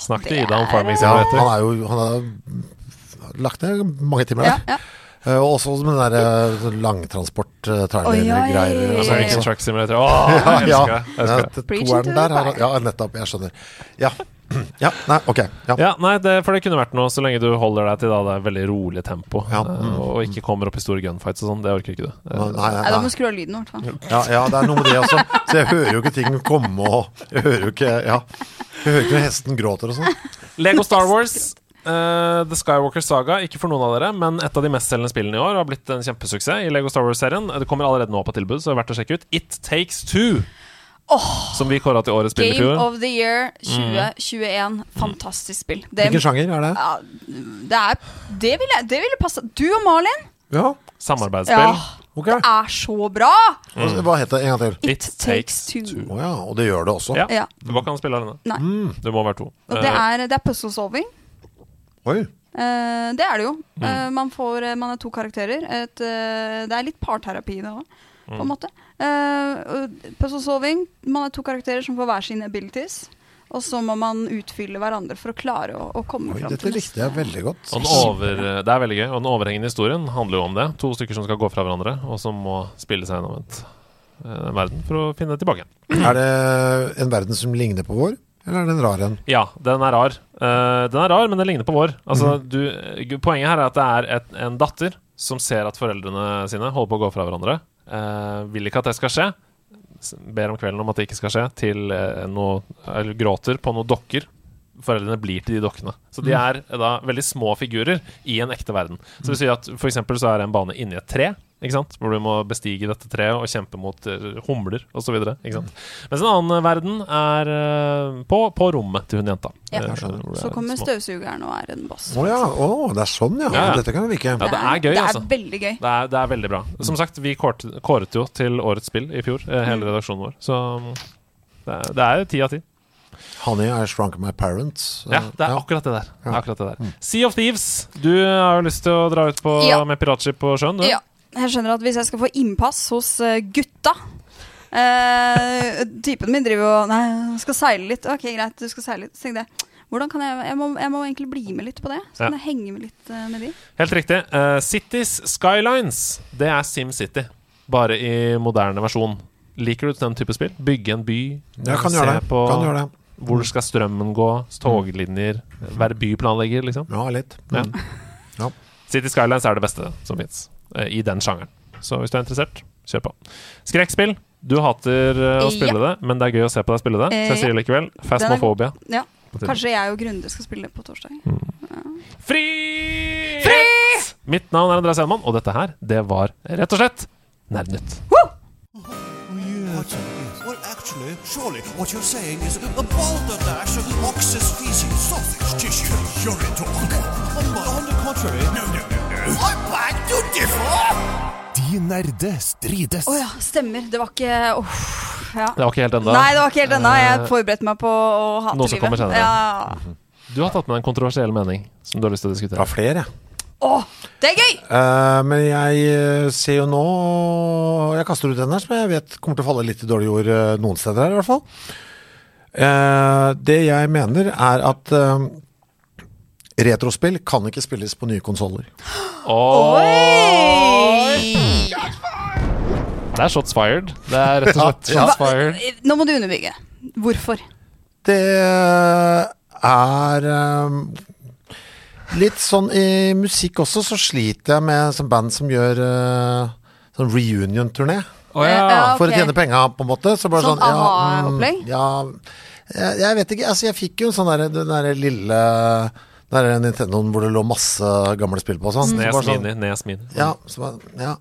S1: Snakk til
S4: det
S1: Ida om farming
S5: Ja,
S1: simulator.
S5: han er jo Han har lagt ned mange timer
S4: Ja,
S5: der.
S4: ja.
S5: Eh, Og også med den der eh, sånn
S4: Oi, oi, oi.
S5: langtransport-trailer-greier.
S1: Altså,
S4: Ja.
S1: Rick and Truck Simulator. Åh, jeg
S5: Eh. sånn. ja.
S1: elsker det. Jeg elsker det.
S5: Ja,
S4: Preach
S5: toeren
S4: to the
S5: der har han-
S4: choir.
S5: Ja, nettopp. Jeg skjønner. Ja. ja nei, ok. Ja.
S1: Ja, nei, det, for det kunne vært noe så lenge du holder deg til da, det veldig rolig tempo.
S5: Ja. Mm.
S1: eh, Og ikke kommer opp i store gunfights og sånn. Det orker ikke du. Eh,
S5: Nei, nei,
S4: Nei, da
S5: nei.
S4: må du skru av lyden, i hvert fall.
S5: Ja, ja, det er noe med det også. Så jeg hører jo ikke ting komme og Jeg hører jo ikke Ja. Jeg hører ikke når hesten gråter og sånn.
S1: Lego Star Wars. eh, The Skywalker Saga, ikke for noen av dere, men et av de mestselgende spillene i år har blitt en kjempesuksess i Lego Star Wars-serien. Eh, Det kommer allerede nå på tilbud, så det er verdt å sjekke ut. It Takes Two, som vi kåra til årets spill i
S4: Game
S1: fjor.
S4: of the Year
S1: Mm.
S4: 2021. Fantastisk spill. Det,
S5: Hvilken sjanger er det?
S4: ja, det er Det ville det ville passa. Du og Malin
S5: Ja,
S1: Samarbeidsspill.
S5: ok.
S4: er så bra!
S5: Og så- Hva heter det en gang til?
S4: It, takes two.
S5: Å ja, og det gjør det også. Mm.
S1: Ja.
S4: Ja.
S1: Du går ikke an å spille alene.
S4: Nei.
S1: Du må være to.
S4: Og det
S1: Eh,
S4: er, det er puzzle solving.
S5: Oi.
S4: Eh, det er det jo.
S1: Mm.
S4: Eh, man, får, eh, man er to karakterer. Et, eh, det er litt parterapi i det òg, på
S1: Mm.
S4: en måte. Eh, og puzzle solving. Man er to karakterer som får hver sine abilities. Og så må man utfylle hverandre for å klare å, å komme
S5: Oi,
S4: fram
S5: dette
S4: til neste.
S5: likte jeg veldig godt.
S1: Og den over, det er veldig gøy, og den overhengende historien handler jo om det. To stykker som skal gå fra hverandre, og som må spille seg gjennom et eh, verden for å finne tilbake.
S5: Er det en verden som ligner på vår, eller er det en rar en?
S1: Ja, den er rar. Eh, den er rar, men den ligner på vår. Altså, du, poenget her er at det er et, en datter som ser at foreldrene sine holder på å gå fra hverandre. Eh, vil ikke at det skal skje. S- Ber om kvelden om at det ikke skal skje, til eh, noe eller gråter på noen dokker. Foreldrene blir til de dokkene. Så
S4: Mm.
S1: de er eh, da veldig små figurer i en ekte verden. Så det vil si at for eksempel så er det en bane inni et tre, ikke sant? hvor du må bestige dette treet og kjempe mot eh, humler osv.
S4: Mm.
S1: Mens en annen verden er eh, på, på rommet til hun jenta. Eh,
S4: Ja.
S5: Jeg skjønner.
S1: hvor det
S4: Så
S1: er
S4: kommer
S1: små-
S4: støvsugeren og er en boss.
S5: Å ja, å, det er sånn, ja.
S1: Ja, ja.
S5: Dette kan jo virke.
S1: Ja, det er gøy,
S4: det er
S1: altså.
S4: veldig gøy.
S1: Det er, det er veldig bra.
S5: Mm.
S1: Som sagt, vi kåret, kåret jo til årets spill i fjor, eh, hele redaksjonen vår. Så mm, det er- det er ti av ti.
S5: Honey, I shrunk my parents.
S1: Ja, det er akkurat det der. Det er akkurat det
S5: Mm.
S1: der. Sea of Thieves, du har jo lyst til å dra ut på,
S4: Ja.
S1: med piratskip på sjøen, du?
S4: Ja, jeg skjønner at hvis jeg skal få innpass hos eh, gutta eh, Typen min driver jo Nei, jeg skal seile litt. Ok, greit, du skal seile litt. Så tenkte jeg hvordan kan jeg, jeg, må, jeg må egentlig bli med litt på det. Så kan
S1: Ja.
S4: jeg henge med litt eh, med de.
S1: Helt riktig. Eh, Cities Skylines, det er SimCity. Bare i moderne versjon. Liker du den type spill? Bygge en by,
S5: Ja, kan gjøre det.
S1: på
S5: Kan gjøre det. Mm.
S1: hvor skal strømmen gå, toglinjer, være byplanlegger, liksom.
S5: Ja, litt.
S1: Ja.
S5: Mm. Ja.
S1: City Skylines er det beste som fins i den sjangeren. Så hvis du er interessert, kjør på. Skrekkspill. Du hater eh, å spille det, men det er gøy å se på deg spille det. Så jeg
S4: Eh,
S1: sier likevel Phasmophobia.
S4: Ja.
S1: På tide.
S4: Kanskje jeg og Grunde skal spille på torsdag.
S1: Mm. Fri! Mitt navn er Andreas Hedman, og dette her, det var rett og slett Nerdnytt.
S6: What? Well, actually, surely what you're saying is a balderdash of ox's feces, sausage tissue, urine talk. On, on the contrary. No, no, no, no. I beg to differ!
S7: De nerde strides.
S4: Å ja, stemmer. Det var ikke Uff. Ja.
S1: Det var ikke helt ennå.
S4: Nei, det var ikke helt ennå. Jeg forberedte meg på å hate
S1: Noe som kommer senere.
S4: Ja.
S1: Du har tatt med en kontroversiell mening som du har lyst til å
S5: Jeg
S1: diskutere.
S5: har flere, jeg.
S4: Å, det er gøy!
S5: Eh, men jeg eh, ser jo nå Jeg kaster ut den her som jeg vet kommer til å falle litt i dårlig jord eh, noen steder her, i hvert fall. Eh, det jeg mener, er at eh, retrospill kan ikke spilles på nye konsoller.
S4: Oi!
S1: Det er shots fired. Det er rett og slett
S5: Ja, ja.
S1: shots fired.
S4: eh, Nå må du underbygge. Hvorfor?
S5: Det er ehm, Litt sånn i musikk også, så sliter jeg med sånn band som gjør eh, sånn reunion-turné.
S1: Å ja.
S4: Ja,
S5: For å
S4: ok.
S5: tjene penga, på en måte. Så bare
S4: Sånn
S5: sånn, ja, mm,
S4: aha-opplegg?
S5: Ja, jeg, jeg vet ikke. Altså, jeg fikk jo en sånn derre den derre lille Den derre Nintendoen hvor det lå masse gamle spill på og sånn. Så
S1: Nes
S5: bare sånn
S1: mini, nes mini.
S5: ja, så bare, ja.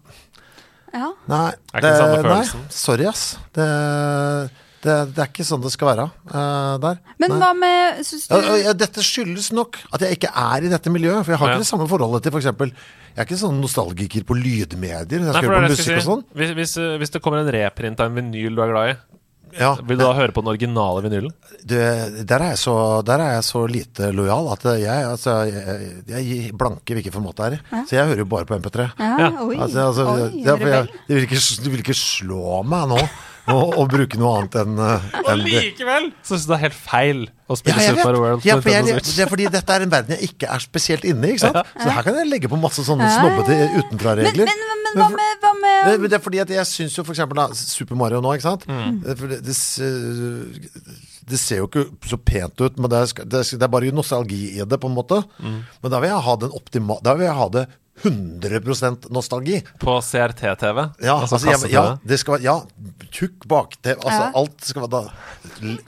S4: Ja.
S5: Nei.
S1: Er ikke den samme
S5: nei,
S1: følelsen.
S5: sorry, ass. Det, det, det er ikke sånn det skal være eh, der.
S4: Men
S5: Nei.
S4: hva med synes du,
S5: Ja, og jeg- dette skyldes nok at jeg ikke er i dette miljøet. For jeg har
S1: Ja.
S5: ikke det samme forholdet til f.eks. Jeg er ikke sånn nostalgiker på lydmedier. Jeg
S1: Nei,
S5: skal
S1: for
S5: høre
S1: det er det jeg
S5: på musikk og
S1: skulle
S5: sånn.
S1: si. Hvis, hvis, eh, hvis det kommer en reprint av en vinyl du er glad i,
S5: Ja.
S1: vil du da høre på den originale vinylen?
S5: Du, der, er jeg så, der er jeg så lite lojal at jeg, altså, jeg, jeg gir blanke hvilken format det er i. Så jeg hører jo bare på MP3.
S4: Ja, oi,
S5: Altså, altså,
S4: oi,
S5: ja, for jeg,
S4: rebell.
S5: det, vil ikke, det vil ikke slå meg nå å å bruke noe annet enn eh, enn det.
S1: likevel så syns du det er helt feil å
S5: Ja,
S1: spille
S5: jeg
S1: Super
S5: vet.
S1: Mario World på
S5: Ja, for jeg,
S1: Nintendo Switch.
S5: det er fordi dette er en verden jeg ikke er spesielt inne i. Ikke sant? Så her kan jeg legge på masse sånne snobbete
S4: men,
S5: utenfra-regler.
S4: men, men, men hva med, hva
S5: Nei,
S4: med
S5: men det er fordi at jeg syns jo for eksempel da, Super Mario nå, ikke sant. Det, for det, det, se- det ser jo ikke så pent ut, men det er, sk- det er, sk- det er bare nostalgi i det, på en måte. Men da vil jeg ha den optima... Da vil jeg ha det 100 nostalgi.
S1: På CRT-TV?
S5: Ja,
S1: altså,
S5: altså, jeg,
S1: kasse-TV.
S5: ja, det skal være Ja, tjukk baktev. Altså,
S4: Ja.
S5: alt skal være da,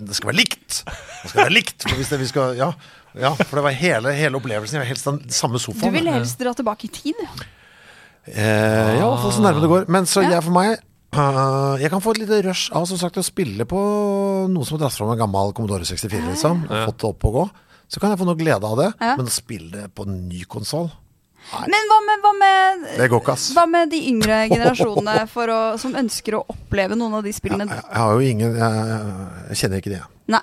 S5: Det skal være likt! Det skal være likt. For hvis det, vi skal, ja, ja, for det var hele, hele opplevelsen. Jeg var helst den samme
S4: Du
S5: sofaen.
S4: vil helst dra tilbake i tid.
S5: Eh, ja, iallfall så nærme det går. Men så jeg for meg eh, Jeg kan få et lite rush av som sagt å spille på noe som har dratt fram en gammel Commodore 64, liksom. og Fått det opp og gå. Så kan jeg få noe glede av det.
S4: Ja.
S5: Men å spille det på en ny konsoll
S4: Men hva med, hva med
S5: Det går ikke, ass.
S4: hva med de yngre generasjonene for å, som ønsker å oppleve noen av de spillene?
S5: Jeg har jo ingen Jeg, jeg kjenner ikke det.
S4: Nei.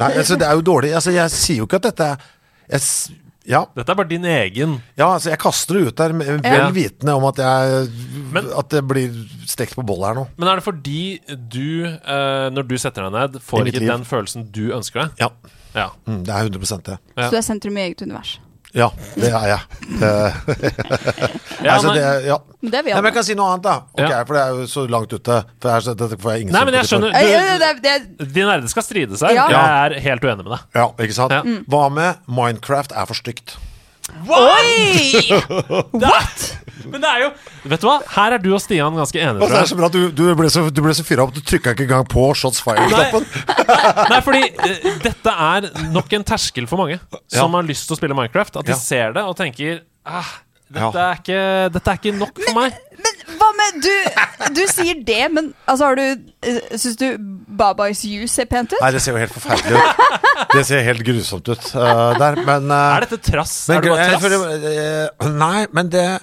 S5: Nei, altså, det er jo dårlig. Altså, jeg sier jo ikke at dette er jeg, s- ja,
S1: Dette er bare din egen.
S5: ja, altså jeg kaster det ut der, med-
S1: Ja.
S5: vel vitende om at, jeg,
S1: Men-
S5: at det blir stekt på boll her nå.
S1: Men er det fordi du, eh, når du setter deg ned,
S5: I
S1: får
S5: mitt
S1: ikke
S5: liv.
S1: den følelsen du ønsker deg?
S5: Ja.
S1: Ja.
S5: Mm, det er 100 det.
S1: Ja.
S4: Så du er sentrum i eget univers.
S5: Ja, det er jeg. Eh,
S1: Ja,
S5: altså,
S1: men-
S5: det, er- ja.
S4: Men det er vi
S5: Nei, men
S4: alle.
S5: jeg kan si noe annet, da. Ok,
S1: Ja.
S5: For det er jo så langt ute. For jeg, er så- dette får jeg ingen
S1: Nei, men jeg
S5: sympati for.
S1: skjønner.
S4: Eh, eh,
S1: Du,
S4: det, er- det, er-
S1: de nerde skal stride seg.
S4: Ja.
S1: Jeg er helt uenig med deg.
S5: Ja, Mm. ikke sant?
S1: Ja.
S5: Hva med Minecraft er for stygt?
S4: Oi! What?!
S1: Men det er jo Vet du hva? Her er du og Stian ganske enige.
S5: Altså,
S1: tror
S5: det er
S1: jeg.
S5: så bra at du, du ble så, du ble så fyra opp, du trykka ikke engang på shots fire-knappen.
S1: Nei, fordi eh, dette er nok en terskel for mange som har lyst til å spille Minecraft. At de
S5: Ja.
S1: ser det og tenker ah, dette,
S5: Ja.
S1: er ikke, dette er ikke nok for meg.
S4: Men hva med Du, du sier det, men altså, har du Syns du Babais You ser pent ut?
S5: Nei, det ser jo helt forferdelig ut. Det ser helt grusomt ut eh, der, men eh,
S1: Er dette trass?
S5: men,
S1: er det bare
S5: jeg
S1: trass?
S5: føler- eh, Nei, men det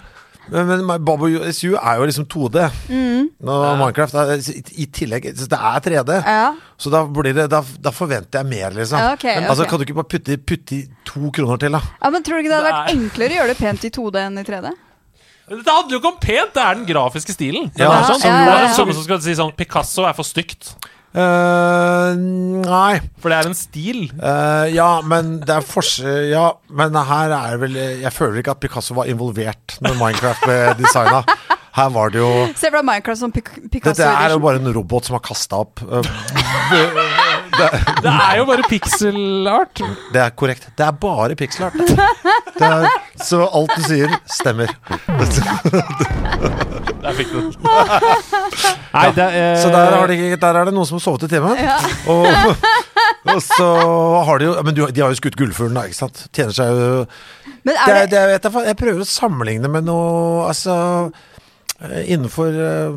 S5: men, men My- Bobo SU er jo liksom 2D. Nå, Minecraft er, i, i tillegg Det er 3D.
S4: Ja.
S5: Så da, blir det, da, da forventer jeg mer, liksom.
S4: Ja, ok,
S5: Men Altså,
S4: ok.
S5: kan du ikke bare putte, putte i to kroner til, da?
S4: ja, men Tror du ikke det hadde vært
S1: Nei.
S4: enklere å gjøre det pent i 2D enn i 3D?
S1: Dette handler jo ikke om pent, det er den grafiske stilen. Det
S5: Ja,
S1: er sånn.
S4: ja, ja, ja.
S1: Det er det samme som skal si sånn Picasso er for stygt.
S5: Eh, nei.
S1: For det er en stil.
S5: Eh, ja, men det er forskjell Ja, men her er det vel Jeg føler ikke at Picasso var involvert når Minecraft ble designa. Her var det jo
S4: Se for deg Minecraft som Pic Picasso
S5: Dette er jo
S4: Edition.
S5: bare en robot som har kasta opp. Eh,
S1: Det er jo bare pixelart.
S5: Det er korrekt. Det er bare pixelart. Det er, så alt du sier, stemmer.
S1: Der fikk du den. Nei, det eh, er
S5: Så der,
S4: Eh.
S5: har de, der er det noen som har sovet i timen. Og, og så har de jo Men du, de har jo skutt gullfuglen, da, ikke sant? Tjener seg jo
S4: Men
S5: det,
S4: er
S5: er-
S4: det,
S5: det, er- vet jeg, fa- jeg prøver å sammenligne med noe Altså eh, innenfor eh,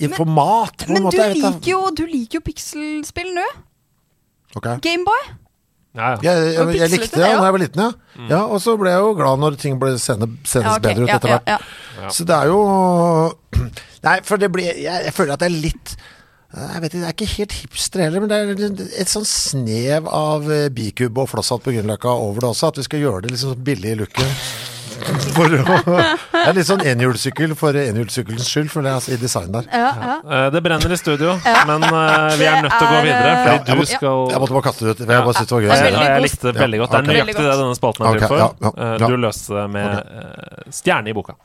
S5: Innenfor mat, på en
S4: men
S5: måte.
S4: du
S5: jeg vet da.
S4: liker jo, du liker jo pixelspill nå.
S5: Ok.
S4: Gameboy.
S1: ja, ja.
S5: Jeg, jeg, jeg
S4: Pixelete,
S5: likte det
S4: det, ja.
S5: da jeg var liten, ja. ja. Og så ble jeg jo glad når ting ble sende,
S4: Ja,
S5: sendes
S4: ok.
S5: bedre
S4: Ja,
S5: ut etter
S4: ja,
S5: hvert.
S4: ja.
S5: Så det er jo Nei, for det blir jeg, jeg føler at det er litt eh, jeg vet ikke, Det er ikke helt hipster heller, men det er et sånn snev av eh, bikube og flosshatt på Grünerløkka over det også. At vi skal gjøre det liksom billig i looken. For å, det er litt sånn enhjulssykkel for enhjulssykkelens skyld, føler jeg, altså, i design der.
S4: Ja, ja.
S1: Eh, Det brenner i studio, men eh, vi er nødt til å gå
S4: Det er,
S1: videre.
S4: eh,
S5: Ja, jeg
S1: Fordi
S5: må-
S1: du skal
S5: Jeg måtte bare kaste det ut, for jeg bare syntes det var
S1: Eh,
S5: gøy.
S4: veldig
S1: jeg
S4: god.
S1: likte det veldig godt. Det er
S4: Ja, ok.
S1: nøyaktig det denne spalten er
S5: Ok,
S1: til for.
S5: ja, ja,
S1: Eh,
S5: ja.
S1: Du løste det med eh, stjerne i boka.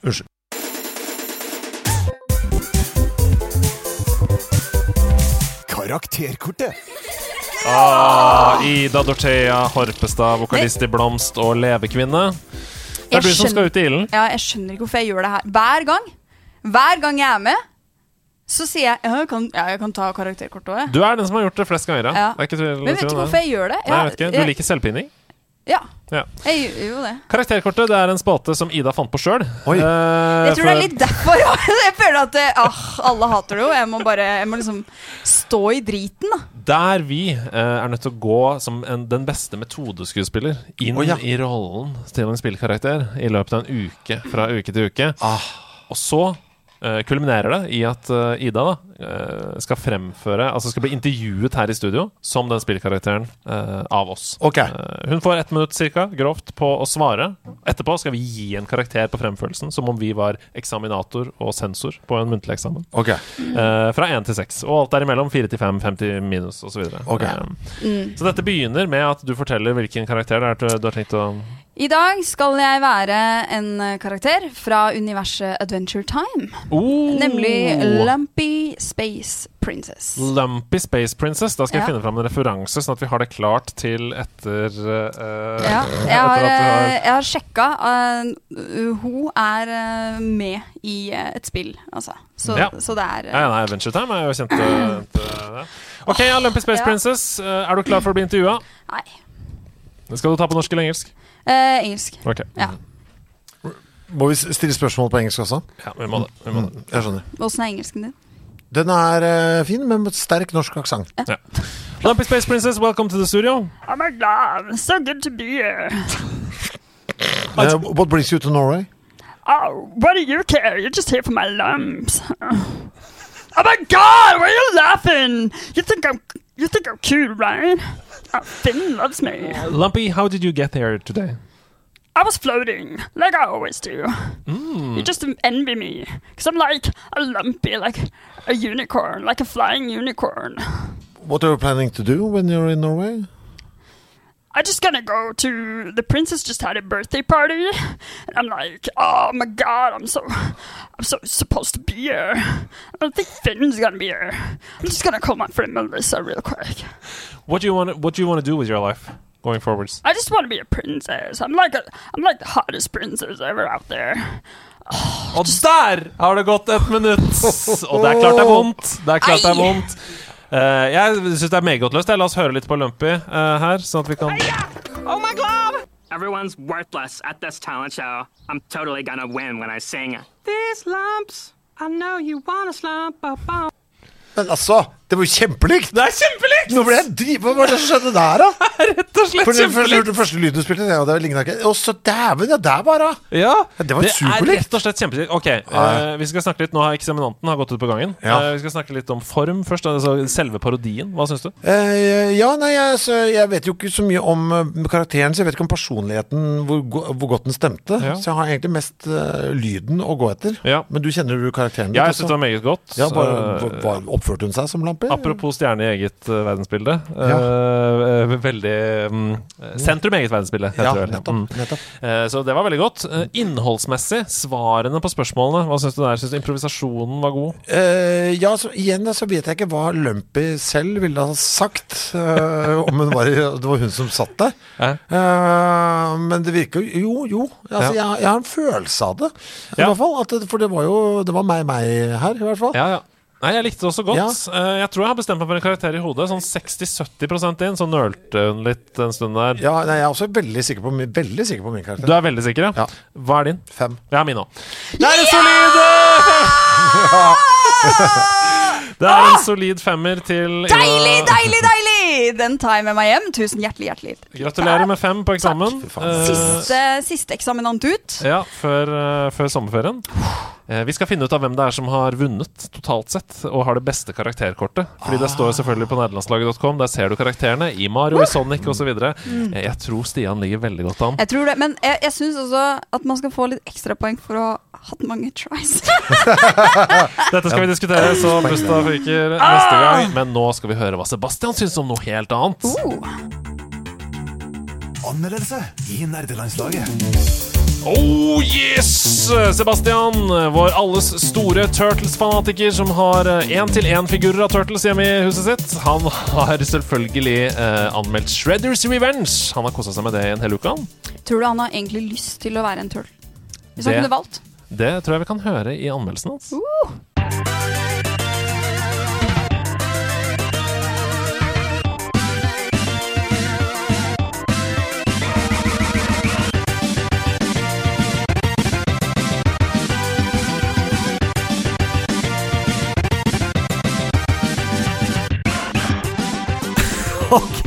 S7: Karakterkortet.
S1: Ah, Ida Dorthea Horpestad, vokalist i Blomst og Levekvinne. Det er du
S4: Jeg
S1: som skal
S4: skjønner-
S1: ut i ilden.
S4: Ja, jeg skjønner ikke hvorfor jeg gjør det her. Hver gang Hver gang jeg er med, så sier jeg ja, jeg kan, ja, jeg kan ta karakterkortet òg, jeg.
S1: Du er den som har gjort det flest ganger. Ja.
S4: Ja.
S1: Det er ikke tvil,
S4: Men jeg vet ikke
S1: tvil om det.
S4: hvorfor jeg gjør det.
S1: Nei, jeg vet ikke. Du liker selvpining?
S4: Ja,
S1: Ja.
S4: jeg gjør jo det.
S1: Karakterkortet det er en spalte som Ida fant på Eh, sjøl.
S5: Oi.
S4: Jeg tror det er litt derfor. ja. Jeg føler at eh, ah, alle hater det jo. Jeg må bare jeg må liksom stå i driten, da.
S1: Der vi eh, er nødt til å gå som en, den beste metodeskuespiller inn
S5: Å, ja.
S1: i rollen til en spillkarakter i løpet av en uke fra uke til uke.
S5: Ah.
S1: Og så eh, kulminerer det i at eh, Ida da, eh, skal fremføre Altså skal bli intervjuet her i studio som den spillkarakteren eh, av oss.
S5: Ok.
S1: Eh, hun får ett minutt cirka, grovt, på å svare. Etterpå skal vi gi en karakter på fremførelsen, som om vi var eksaminator og sensor på en muntlig eksamen.
S5: Ok.
S1: Eh, fra 1 til 6, og alt derimellom 4 til 5, 5 til minus osv.
S5: Ok.
S1: Eh,
S4: Mm.
S1: Så dette begynner med at du forteller hvilken karakter det er du, du har tenkt å
S4: I dag skal jeg være en eh, karakter fra universet Adventure Time.
S1: oh!
S4: Nemlig Lumpy Space Princess.
S1: Lumpy Space Princess. Da skal jeg
S4: Ja.
S1: finne fram en referanse, sånn at vi har det klart til etter eh,
S4: Ja,
S1: etter
S4: jeg har,
S1: at du har-
S4: eh, jeg har sjekka. eh, hun er eh, med i eh, et spill, altså. Så,
S1: Ja.
S4: så det er eh,
S1: Ja, ja, nei, Adventure Time er jo kjent eh, til det. OK, ja, Lumpy Space
S4: Ja.
S1: Princess, eh, er du klar for å bli intervjua?
S4: Nei.
S1: Det skal du ta på norsk eller engelsk?
S4: eh, engelsk.
S1: Ok,
S4: Ja.
S5: Må vi s- stille spørsmål på engelsk også?
S1: ja, vi må det. Vi må det.
S5: Jeg skjønner.
S4: Åssen er engelsken din?
S5: Den er eh, fin, men med sterk norsk aksent.
S1: Ja. Lumpy Space Princess, welcome to the studio.
S4: Oh my god, so good to be here.
S5: Eh, what brings you to Norway?
S4: Oh, what do you care? You're just here for my lumps. Oh my god, why are you laughing? You think I'm you think I'm cute, right? Oh, Finn loves me.
S1: Lumpy, how did you get here today?
S4: I was floating, like I always do. You just envy me, because I'm like a lumpy, like a unicorn, like a flying unicorn.
S5: What are you planning to do when you're in Norway?
S4: I just gonna go to the princess just had a birthday party, and I'm like, oh my god, I'm so, I'm so supposed to be here. I don't think Finn's gonna be here. I'm just gonna call my friend Melissa real quick.
S1: What do you want? What do you want to do with your life going forwards?
S4: I just want to be a princess. I'm like a, I'm like the hottest princess ever out there.
S1: Og der har det gått et minutt! Og det er klart det er vondt. Det er klart det er
S4: Ei!
S1: vondt. Eh, jeg syns det er megodløst. La oss høre litt på Lumpy eh, her, sånn at vi kan
S8: Everyone's worthless at this talent show. I'm totally gonna win when I sing. These lumps, I know you want a slump, but
S5: Men altså, det var jo kjempelikt!
S1: Det er kjempelikt!
S5: Nå ble jeg dri- Hva var det som skjedde der, da?
S1: Rett og slett
S5: For den første,
S1: kjempelikt!
S5: den første lyden du spilte, ja, det lignet ikke Å, så dæven, ja, der bare!
S1: Ja,
S5: Ja, det var superlikt.
S1: er rett og slett kjempelikt. Ok, eh, vi skal snakke litt Nå har eksaminanten har gått ut på gangen.
S5: Ja.
S1: Eh, vi skal snakke litt om form først. Altså selve parodien. Hva syns du?
S5: Eh, ja, nei, jeg, så jeg vet jo ikke så mye om eh, karakteren, så jeg vet ikke om personligheten, hvor, go- hvor godt den stemte.
S1: Ja.
S5: Så jeg har egentlig mest eh, lyden å gå etter.
S1: Ja.
S5: Men du kjenner jo karakteren
S1: Ja, jeg
S5: også.
S1: syns det var meget godt.
S5: Ja, bare,
S1: Eh,
S5: hva- hva- oppførte hun seg som lampe?
S1: Apropos stjerne i eget eh, verdensbilde. Eh, veldig mm, Sentrum eget verdensbilde, heter
S5: Ja,
S1: det vel. Mm.
S5: nettopp. Mm. nettopp.
S1: Eh, Så det var veldig godt. Eh, Innholdsmessig, svarene på spørsmålene, hva syns du der? Syns du improvisasjonen var god?
S5: Eh, ja, så igjen så vet jeg ikke hva Lumpy selv ville ha sagt. eh, om hun var, i- det var hun som satt der.
S1: Eh?
S5: Eh, men det virker jo Jo, jo. Altså, jeg, jeg har en følelse av det. I
S1: Ja.
S5: hvert fall, at det, For det var jo Det var meg, meg her, i hvert fall.
S1: Ja, ja. Nei, jeg likte det også godt. Eh, Jeg tror jeg har bestemt meg for en karakter i hodet. Sånn 60-70 inn, så nølte hun litt en stund der.
S5: Ja, nei, jeg er også veldig sikker på, min- veldig sikker på min karakter.
S1: Du er veldig sikker,
S5: Ja.
S1: Hva er din?
S5: Fem.
S1: Jeg er min òg. Det er en solid Det er
S5: Ah!
S1: en solid femmer til
S4: Deilig, deilig, deilig! Den tar jeg med meg hjem. Tusen hjertelig, hjertelig.
S1: Eh. Gratulerer med fem på eksamen. Eh,
S4: Siste, siste eksaminant ut.
S1: Ja, før, eh, før sommerferien. Eh, vi skal finne ut av hvem det er som har vunnet totalt sett, og har det beste karakterkortet. Fordi det står selvfølgelig på nederlandslaget.com. Der ser du karakterene i Mario, i Sonic osv. Mm. Jeg tror Stian ligger veldig godt an.
S4: Jeg tror det, Men jeg, jeg syns også at man skal få litt ekstrapoeng for å ha hatt mange tries.
S1: Dette skal vi diskutere, så busta fyker neste gang. Men nå skal vi høre hva Sebastian syns om noe helt annet.
S4: Oh.
S7: Anmeldelse i nerdelandslaget.
S1: Oh yes! Sebastian, vår alles store Turtles-fanatiker som har én-til-én-figurer av Turtles hjemme i huset sitt, han har selvfølgelig eh, anmeldt Shredders Revenge. Han har kosa seg med det i en hel uke. han.
S4: Tror du han har egentlig lyst til å være en turtle? Hvis han
S1: Det-
S4: kunne valgt.
S1: Det tror jeg vi kan høre i anmeldelsen hans.
S9: Ok,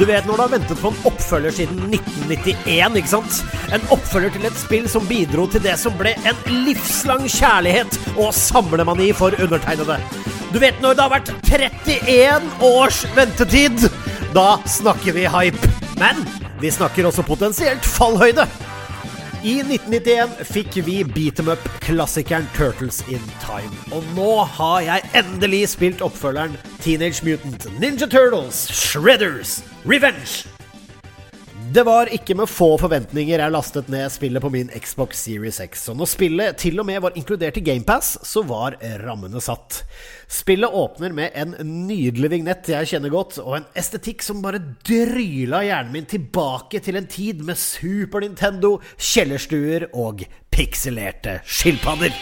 S9: du vet når du har ventet på en oppfølger siden 1991, ikke sant? En oppfølger til et spill som bidro til det som ble en livslang kjærlighet og samlemani for undertegnede. Du vet når det har vært 31 års ventetid? Da snakker vi hype. Men vi snakker også potensielt fallhøyde. I 1991 fikk vi beat em up-klassikeren Turtles in Time. Og nå har jeg endelig spilt oppfølgeren Teenage Mutant Ninja Turtles Shredders Revenge. Det var ikke med få forventninger jeg lastet ned spillet på min Xbox Series X. Og når spillet til og med var inkludert i GamePass, så var rammene satt. Spillet åpner med en nydelig vignett jeg kjenner godt, og en estetikk som bare dryla hjernen min tilbake til en tid med Super Nintendo, kjellerstuer og pikselerte skilpadder.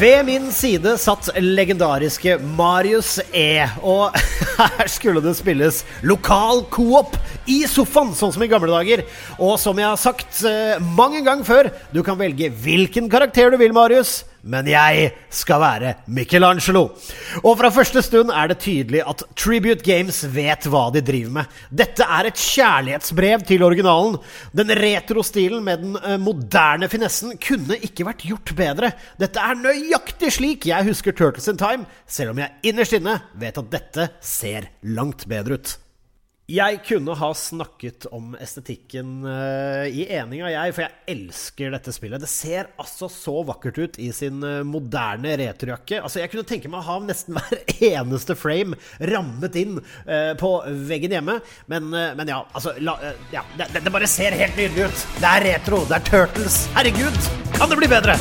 S9: Ved min side satt legendariske Marius E. Og her skulle det spilles lokal coop i sofaen, sånn som i gamle dager. Og som jeg har sagt eh, mang en gang før, du kan velge hvilken karakter du vil, Marius. Men jeg skal være Michelangelo. Og fra første stund er det tydelig at Tribute Games vet hva de driver med. Dette er et kjærlighetsbrev til originalen. Den retro-stilen med den eh, moderne finessen kunne ikke vært gjort bedre. Dette er nøyaktig slik jeg husker Turtles in Time, selv om jeg innerst inne vet at dette ser langt bedre ut. Jeg kunne ha snakket om estetikken eh, i eninga, jeg, for jeg elsker dette spillet. Det ser altså så vakkert ut i sin eh, moderne retrojakke. Altså, jeg kunne tenke meg å ha nesten hver eneste frame rammet inn eh, på veggen hjemme. Men, eh, men ja, altså la, eh, ja, det, det bare ser helt nydelig ut. Det er retro, det er Turtles. Herregud, kan det bli bedre?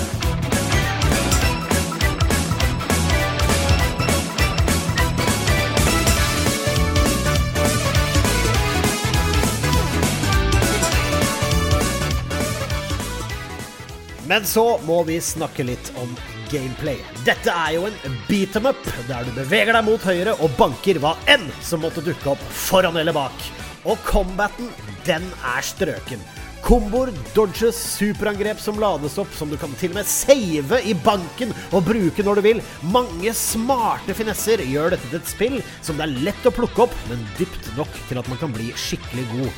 S9: Men så må vi snakke litt om gameplay. Dette er jo en beat em up, der du beveger deg mot høyre og banker hva enn som måtte dukke opp foran eller bak. Og combaten, den er strøken. Komboer, dodges, superangrep som lades opp, som du kan til og med save i banken og bruke når du vil. Mange smarte finesser gjør dette til et spill som det er lett å plukke opp, men dypt nok til at man kan bli skikkelig god.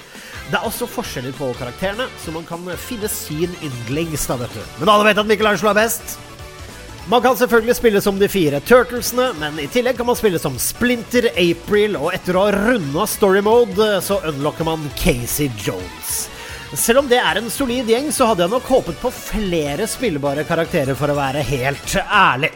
S9: Det er også forskjeller på karakterene, så man kan finne sin yndlings. da, vet du. Men alle vet at Michelangelo er best. Man kan selvfølgelig spille som de fire Turtlesene, men i tillegg kan man spille som Splinter, April, og etter å ha runda story mode, så unlocker man Casey Jones. Selv om det er en solid gjeng, så hadde jeg nok håpet på flere spillbare karakterer, for å være helt ærlig.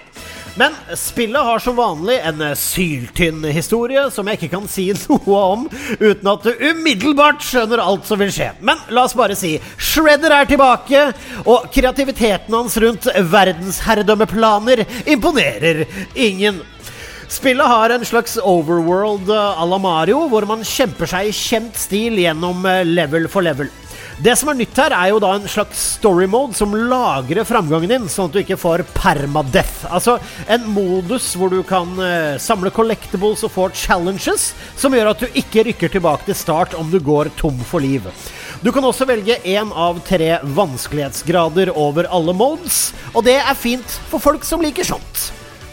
S9: Men spillet har som vanlig en syltynn historie som jeg ikke kan si noe om uten at du umiddelbart skjønner alt som vil skje. Men la oss bare si Shredder er tilbake, og kreativiteten hans rundt verdensherredømmeplaner imponerer ingen. Spillet har en slags overworld eh, à la Mario, hvor man kjemper seg i kjent stil gjennom eh, level for level. Det som er nytt her, er jo da en slags story mode som lagrer framgangen din, sånn at du ikke får permadeath. Altså en modus hvor du kan eh, samle collectibles og få challenges, som gjør at du ikke rykker tilbake til start om du går tom for liv. Du kan også velge én av tre vanskelighetsgrader over alle modes, og det er fint for folk som liker sånt.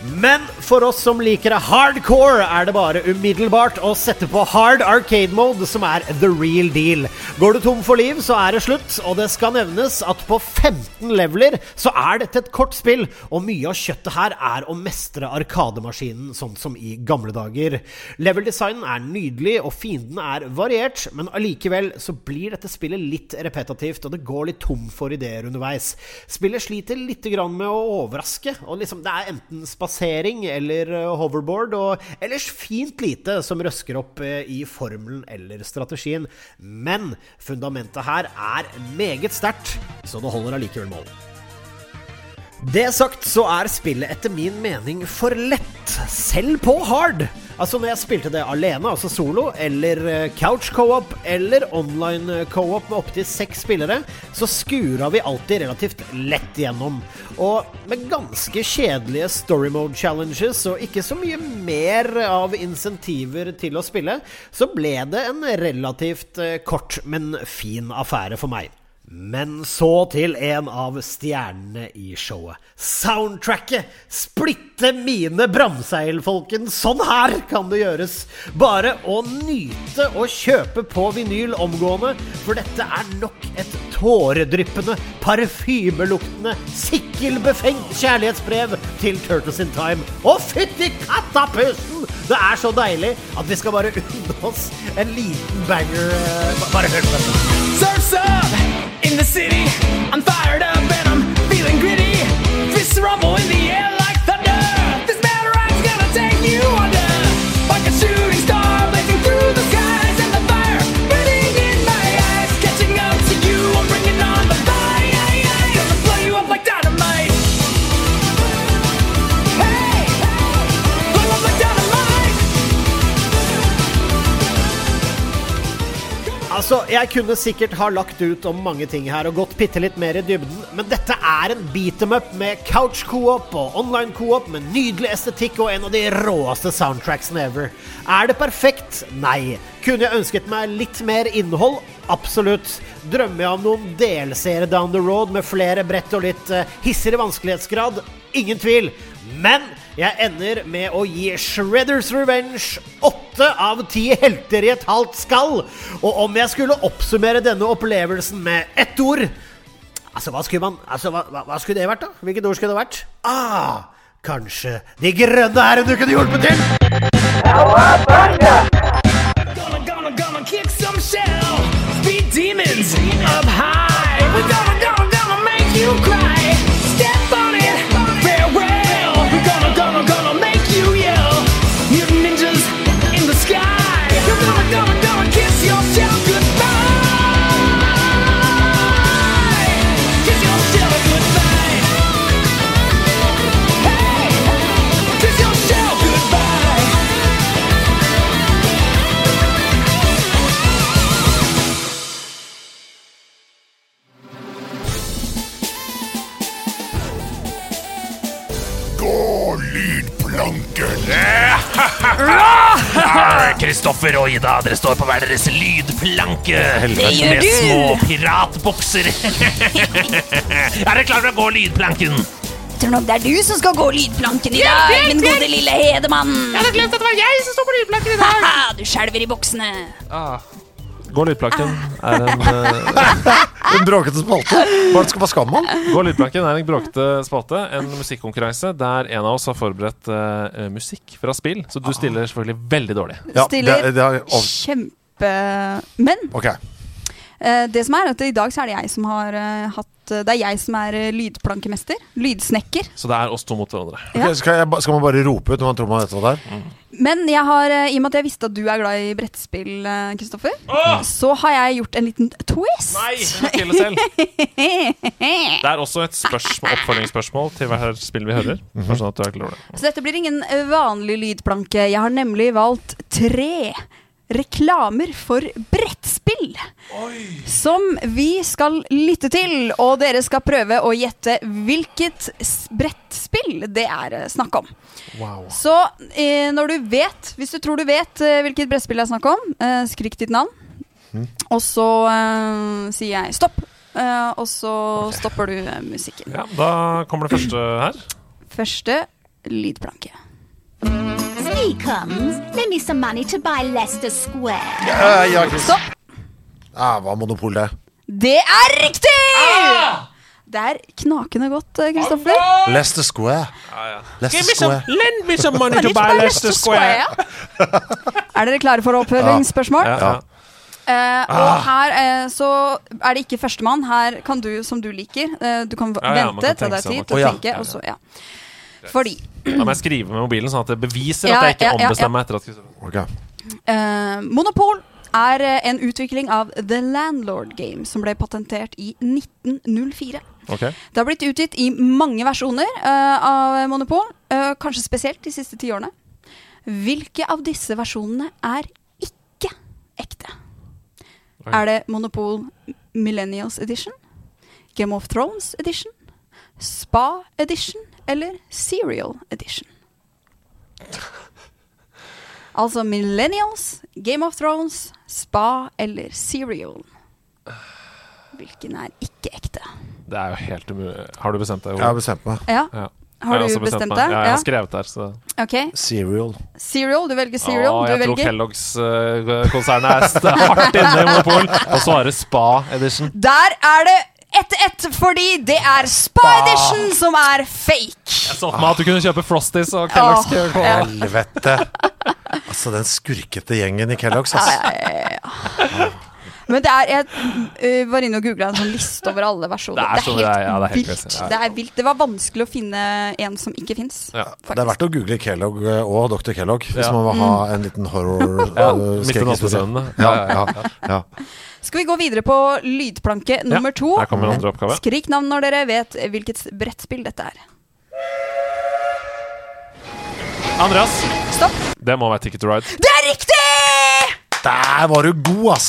S9: Men for oss som liker det hardcore, er det bare umiddelbart å sette på hard arcade mode, som er the real deal. Går du tom for liv, så er det slutt, og det skal nevnes at på 15 leveler så er dette et kort spill, og mye av kjøttet her er å mestre arkademaskinen, sånn som i gamle dager. Level-designen er nydelig, og fienden er variert, men allikevel så blir dette spillet litt repetativt, og det går litt tom for ideer underveis. Spillet sliter litt grann med å overraske, og liksom det er enten spasering eller eh, hoverboard, og ellers fint lite som røsker opp eh, i formelen eller strategien. Men fundamentet her er meget sterkt, så det holder allikevel mål. Det sagt så er spillet etter min mening for lett, selv på hard. Altså når jeg spilte det alene, altså solo, eller eh, couch co-op, eller online eh, co-op med opptil seks spillere, så skura vi alltid relativt lett gjennom. Og med ganske kjedelige story mode challenges og ikke så mye mer av insentiver til å spille, så ble det en relativt eh, kort, men fin affære for meg. Men så til en av stjernene i showet. Soundtracket! Splitte mine bramseil, folkens! Sånn her kan det gjøres! Bare å nyte og kjøpe på vinyl omgående, for dette er nok et tåredryppende, parfymeluktende, sikkelbefengt kjærlighetsbrev til Turtles in Time. Å, fytti kattapusen! Det er så deilig at vi skal bare unne oss en liten banger. eh, ba- Bare hør på dette.
S10: Surf's up in the city. I'm fired up and I'm feeling gritty. Fists rumble in the air like thunder. This mad ride's gonna take you under. Like a shooting star blazing through the skies and the fire burning in my eyes. Catching up to you, I'm bringing on the fire. Gonna blow you up like dynamite. Hey, blow up like dynamite.
S9: Altså, Jeg kunne sikkert ha lagt ut om mange ting her og gått bitte litt mer i dybden, men dette er en beat em up med couch co-op og online co-op med nydelig estetikk og en av de råeste soundtracksene ever. Er det perfekt? Nei. Kunne jeg ønsket meg litt mer innhold? Absolutt. Drømmer jeg om noen delseere down the road med flere brett og litt eh, hissigere vanskelighetsgrad? Ingen tvil. Men jeg ender med å gi Shredders Revenge åtte av ti helter i et halvt skall. Og om jeg skulle oppsummere denne opplevelsen med ett ord Altså, hva skulle man Altså, hva, hva, hva skulle det vært, da? Hvilket ord skulle det vært? Ah, kanskje De grønne her om du kunne hjulpet til?
S10: Gonna, gonna, gonna kick some shell. Speed demons up high. We're gonna, gonna, gonna make you cry. Step on it, farewell. We're gonna, gonna, gonna make you yell. Mutant ninjas in the sky. You're gonna, gonna, gonna kiss your shell goodbye. Kiss your shell goodbye. Hey, kiss your shell goodbye.
S1: Ah, Kristoffer og Ida, dere står på hver deres lydplanke. Det
S4: gjør
S1: Med
S4: du.
S1: små piratbukser. er dere klare for å gå lydplanken?
S4: Jeg tror nok det er du som skal gå lydplanken i dag, min gode lille hedemann. Jeg hadde glemt at det var jeg som står på lydplanken i dag. Haha, du skjelver i buksene.
S1: Gå lydplanken er en, eh,
S5: En bråkete spalte. Hva skal man skamme han?
S1: gå lydplanken er en bråkete spalte. En musikkonkurranse der en av oss har forberedt eh, musikk fra spill. Så du stiller selvfølgelig veldig dårlig.
S5: Ja, det,
S4: Stiller
S5: det er, av-
S4: kjempe... Men
S5: ok.
S4: eh, det som er at i dag så er det jeg som har eh, hatt eh, Det er jeg som er eh, lydplankemester. Lydsnekker.
S1: Så det er oss to mot hverandre.
S4: Ja.
S5: Ok, skal, jeg, ba- skal man bare rope ut når man tror man vet hva det er?
S4: Men jeg har, eh, i og med at jeg visste at du er glad i brettspill, eh, Kristoffer, så har jeg gjort en liten twist.
S1: Nei, det selv. Det er også et spørsmål, oppfølgingsspørsmål til hvert spill vi hører.
S4: Mhm.
S1: Bare sånn at du er klar over det.
S4: Så dette blir ingen eh, vanlig lydplanke. Jeg har nemlig valgt tre reklamer for brettspill. Som vi skal lytte til, og dere skal prøve å gjette hvilket s- brettspill det er eh, snakk om. Så eh, når du vet, hvis du tror du vet eh, hvilket brettspill det er snakk om, eh, skrik ditt navn. Og så eh, sier jeg stopp, eh, og så stopper du eh, musikken.
S1: Ja, da kommer det første her.
S4: Første lydplanke.
S3: Sneak comes. Lend me some money to buy Leicester Square.
S5: Eh, ja, Chris.
S4: Stopp!
S5: Ja, hva er monopol det?
S4: Det er riktig! Det er knakende godt, eh, Kristoffer.
S5: Leicester Square. Leicester
S4: sånn-
S5: Square.
S1: lend me some money
S4: Kan ikke bare rette square? Er dere klare for oppfølgingsspørsmål?
S1: Ja, Ah. ja.
S4: Eh, og her eh, så er det ikke førstemann. Her kan du, som du liker eh, Du kan v-
S1: Ja, ja, man
S4: vente
S1: kan
S4: til det
S1: tenke
S4: er
S1: seg om, man
S4: tid til å
S5: kan-
S4: tenke, og så ja. Fordi
S1: Da må jeg skrive med mobilen, sånn at det beviser
S4: Ja,
S1: at jeg ikke
S4: ja, ja, ja.
S1: ombestemmer meg etter at Kristoffer
S5: Ok.
S4: Eh, Monopol er eh, en utvikling av The Landlord Game, som ble patentert i 1904.
S1: Ok.
S4: Det har blitt utgitt i mange versjoner eh, av Monopol, eh, kanskje spesielt de siste ti årene. Hvilke av disse versjonene er ikke ekte?
S1: Oi.
S4: Er det Monopol Millennials Edition, Game of Thrones Edition, Spa Edition eller Serial Edition? Altså Millennials, Game of Thrones, Spa eller Serial. Hvilken er ikke ekte?
S1: Det er jo helt umulig. Har du bestemt deg?
S5: Jeg har bestemt meg.
S4: Ja,
S1: Ja.
S4: Har
S1: Jeg
S4: du
S1: også
S4: bestemt
S1: meg.
S4: deg?
S1: Ja, jeg
S4: Ja.
S1: har skrevet der, så
S4: ok.
S5: Serial.
S4: Serial, du velger Serial.
S1: Å,
S4: du
S1: jeg tror
S4: velger
S1: Kellogg's-konsernet er st- hardt inne i monopol. Og så er det Spa Edition.
S4: Der er det ett ett, fordi det er Spa Edition som er
S1: Jeg
S4: fake.
S1: så for meg Sånn at du kunne kjøpe Frosties og
S4: Åh,
S1: Kellogg's.
S4: ja.
S5: Helvete. Altså, den skurkete gjengen i Kellogg's, ass.
S4: Eh, Men det er, jeg uh, var inne og googla en sånn liste over alle versjoner.
S1: Det er så- det er- ja, det er helt
S4: vilt.
S1: crazy. Ja.
S4: Det er vilt. Det var vanskelig å finne en som ikke fins.
S1: Ja.
S5: Det er verdt å google Kellogg eh, og Dr. Kellogg hvis
S1: Ja.
S5: man vil ha en liten horror
S1: Ja,
S5: eh,
S1: midt i
S5: skrekkhistorie.
S1: nattesøvnene.
S5: Ja,
S1: Ja, ja,
S5: ja, ja.
S4: Skal vi gå videre på lydplanke nummer to?
S1: Her kommer andre oppgave.
S4: Skrik navn når dere vet hvilket brettspill dette er.
S1: Andreas,
S4: Stopp.
S1: det må være Ticket to Ride.
S4: Det er riktig!
S5: Der var du god, ass!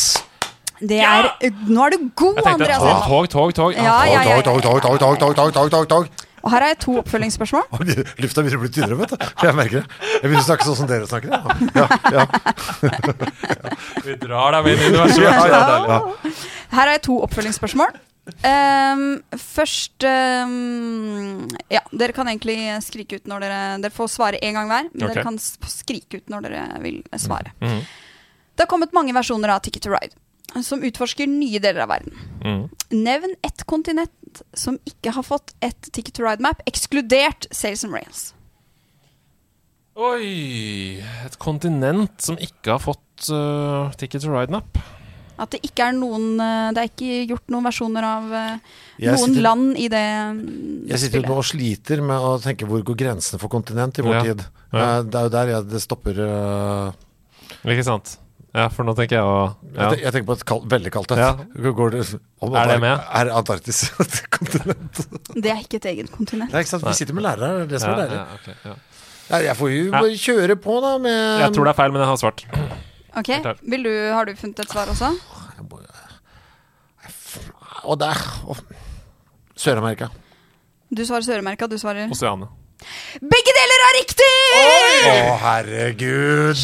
S4: Det er, eh, Nå er du god,
S1: Jeg tenkte
S4: Andreas.
S1: tog,
S4: Hedman.
S1: tog, tog. tog.
S4: Ja, ja, ja, ja.
S5: Tog, tog, tog, tog, tog, tog, tog, tog, tog, tog.
S4: Og her har jeg to oppfølgingsspørsmål.
S5: Lufta begynner å bli tynnere, vet du. Jeg merker det. Jeg begynner å snakke sånn som dere snakker. Ja, ja, ja.
S1: Vi drar deg med inn i universet.
S5: ja,
S4: Her har jeg to oppfølgingsspørsmål. Ehm, først ehm, Ja, dere kan egentlig skrike ut når dere Dere får svare én gang hver, men
S1: Ok.
S4: dere kan s- skrike ut når dere vil svare.
S1: Mhm.
S4: Det har kommet mange versjoner av Ticket to Ride som utforsker nye deler av verden.
S1: Mhm.
S4: Nevn ett kontinent som ikke har fått et Ticket to Ride-map, ekskludert Sales and Rails.
S1: Oi Et kontinent som ikke har fått uh, Ticket to Ride-napp.
S4: At det ikke er noen eh, Det er ikke gjort noen versjoner av eh,
S5: Jeg
S4: noen
S5: sitter-
S4: land i det mm,
S5: Jeg sitter jo
S4: spillet.
S5: nå og sliter med å tenke hvor går grensene for kontinent i vår
S1: Ja.
S5: tid.
S1: Ja.
S5: Eh, Det er jo der jeg, det stopper eh,
S1: Ikke sant? Ja, for nå tenker jeg å ja.
S5: Jeg tenker- Jeg tenker på et kald, veldig kaldt et.
S1: Ja.
S5: Går det, om
S1: Er det med?
S5: Er Antarktis et kontinent?
S4: Det er ikke et eget kontinent.
S5: Nei, ikke sant? Vi sitter med lærere, det er det som
S1: Ja,
S5: er deilig.
S1: ja, ok, ja.
S5: Nei, Jeg får jo bare kjøre på, da, med
S1: Jeg tror det er feil, men jeg har svart.
S4: Ok,
S1: er klart.
S4: Vil du, Har du funnet et svar også?
S5: Og der og- Sør-Amerika.
S4: Du svarer Sør-Amerika, du svarer
S1: Oseanet.
S4: Begge deler er riktig!
S5: Å, herregud!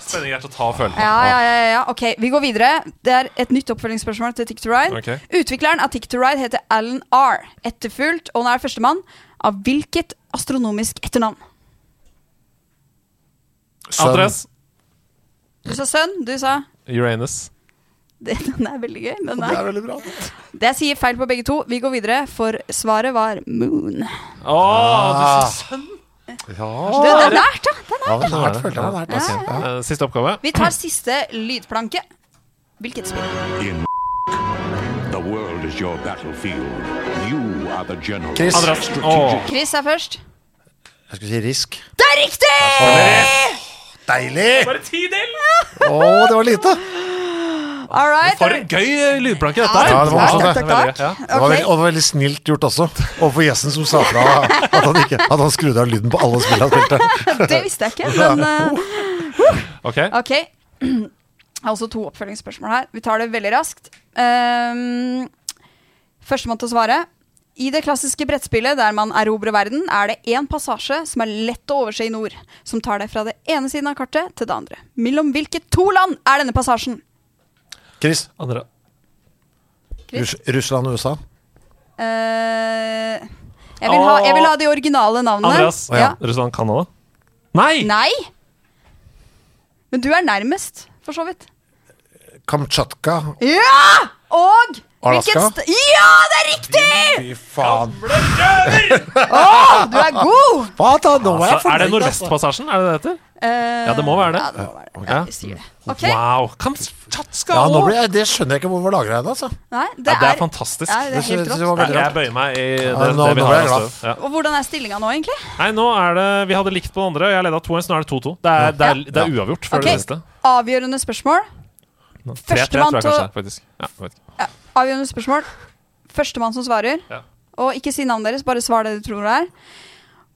S1: Spenning er til å ta og føle på.
S4: Ja, ja, ja, ja. Ok, vi går videre. Det er et nytt oppfølgingsspørsmål til Tick to Ride.
S1: Ok.
S4: Utvikleren av Tick to Ride heter Alan R. Etterfulgt, og nå er førstemann, av hvilket astronomisk etternavn?
S5: Sønn.
S1: Andres.
S4: Du sa sønn, du sa
S1: Uranus.
S4: det, Den er veldig gøy. Den
S5: Det
S4: er.
S5: er veldig bra.
S4: Det sier feil på begge to. Vi går videre, for svaret var moon.
S1: Å, du
S5: Ah.
S1: sa sønn!
S4: Du, det er nært, da! Det er nært.
S5: Ja, men det er følte jeg meg nært. altså. Ja.
S1: Eh, Siste oppgave.
S4: Vi tar siste lydplanke. Hvilket spill?
S6: The world is your battlefield. You are the general.
S5: Chris,
S1: Andreas. Åh.
S4: Chris er først.
S5: jeg skulle si risk.
S4: Det er riktig!
S5: Deilig!
S1: Bare ti del!
S5: Å, det var lite!
S4: All right.
S1: For en gøy eh, lydplanke dette
S5: Ja, det var morsomt,
S1: Ja,
S5: det.
S1: veldig gøy, ja.
S5: Det var veldig, og det var veldig snilt gjort også, overfor gjesten som sa fra at han, ikke, at han skrudde av lyden på alle spillene han spilte.
S4: Det visste jeg ikke, men eh,
S1: Ok.
S4: Ok. Jeg har også to oppfølgingsspørsmål her. Vi tar det veldig raskt. Um, Førstemann til å svare. I det klassiske brettspillet der man erobrer verden, er det én passasje som er lett å overse i nord, som tar deg fra det ene siden av kartet til det andre. Mellom hvilke to land er denne passasjen?
S5: Chris,
S1: Andre.
S5: Russ, Russland og USA.
S4: Eh, jeg, vil ha, jeg vil ha de originale navnene.
S1: Andreas.
S5: Å, ja.
S1: Russland, Canada. Nei!
S4: Nei! Men du er nærmest, for så vidt.
S5: Kamtsjatka.
S4: Ja! Og
S5: Alaska?
S4: hvilket st- Ja, det er riktig!
S5: Fy faen.
S4: Du er god!
S5: Hva da? Nå er jeg
S1: Så er det
S5: fornøyd. altså.
S1: Nordvestpassasjen? Er det det heter? Ja, det må være det.
S4: Eh, Ja, det må være det.
S1: Ja.
S4: Ja, vi sier det. Ok.
S1: Wow! Kamtsjatka
S5: Ja, nå
S1: også.
S5: ble jeg, det skjønner jeg ikke hvor var lagra henne, altså.
S4: Nei,
S1: Ja,
S4: det
S1: det er
S4: er
S1: fantastisk.
S4: Ja, det er
S5: Det
S4: helt
S5: synes jeg
S4: rått.
S5: var veldig
S1: Jeg
S5: rart.
S1: bøyer meg i det,
S5: Ja, nå-
S1: det vi
S5: nå
S1: har.
S5: ble jeg
S1: av støv. Ja.
S4: Og hvordan er stillinga nå, egentlig?
S1: Nei, nå er det Vi hadde likt på den andre, og jeg leda to. Så nå er det 2-2. Det, er- det, er- det er uavgjort før
S4: Ok.
S1: det neste.
S4: Avgjørende spørsmål.
S1: 3-3 tror
S4: Førstemann
S1: jeg
S4: til
S1: kanskje
S4: å
S1: er, faktisk. Ja, jeg vet ikke.
S4: ja, Avgjørende spørsmål. Førstemann som svarer.
S1: Ja.
S4: Og ikke si navnet deres, bare svar det du tror det er.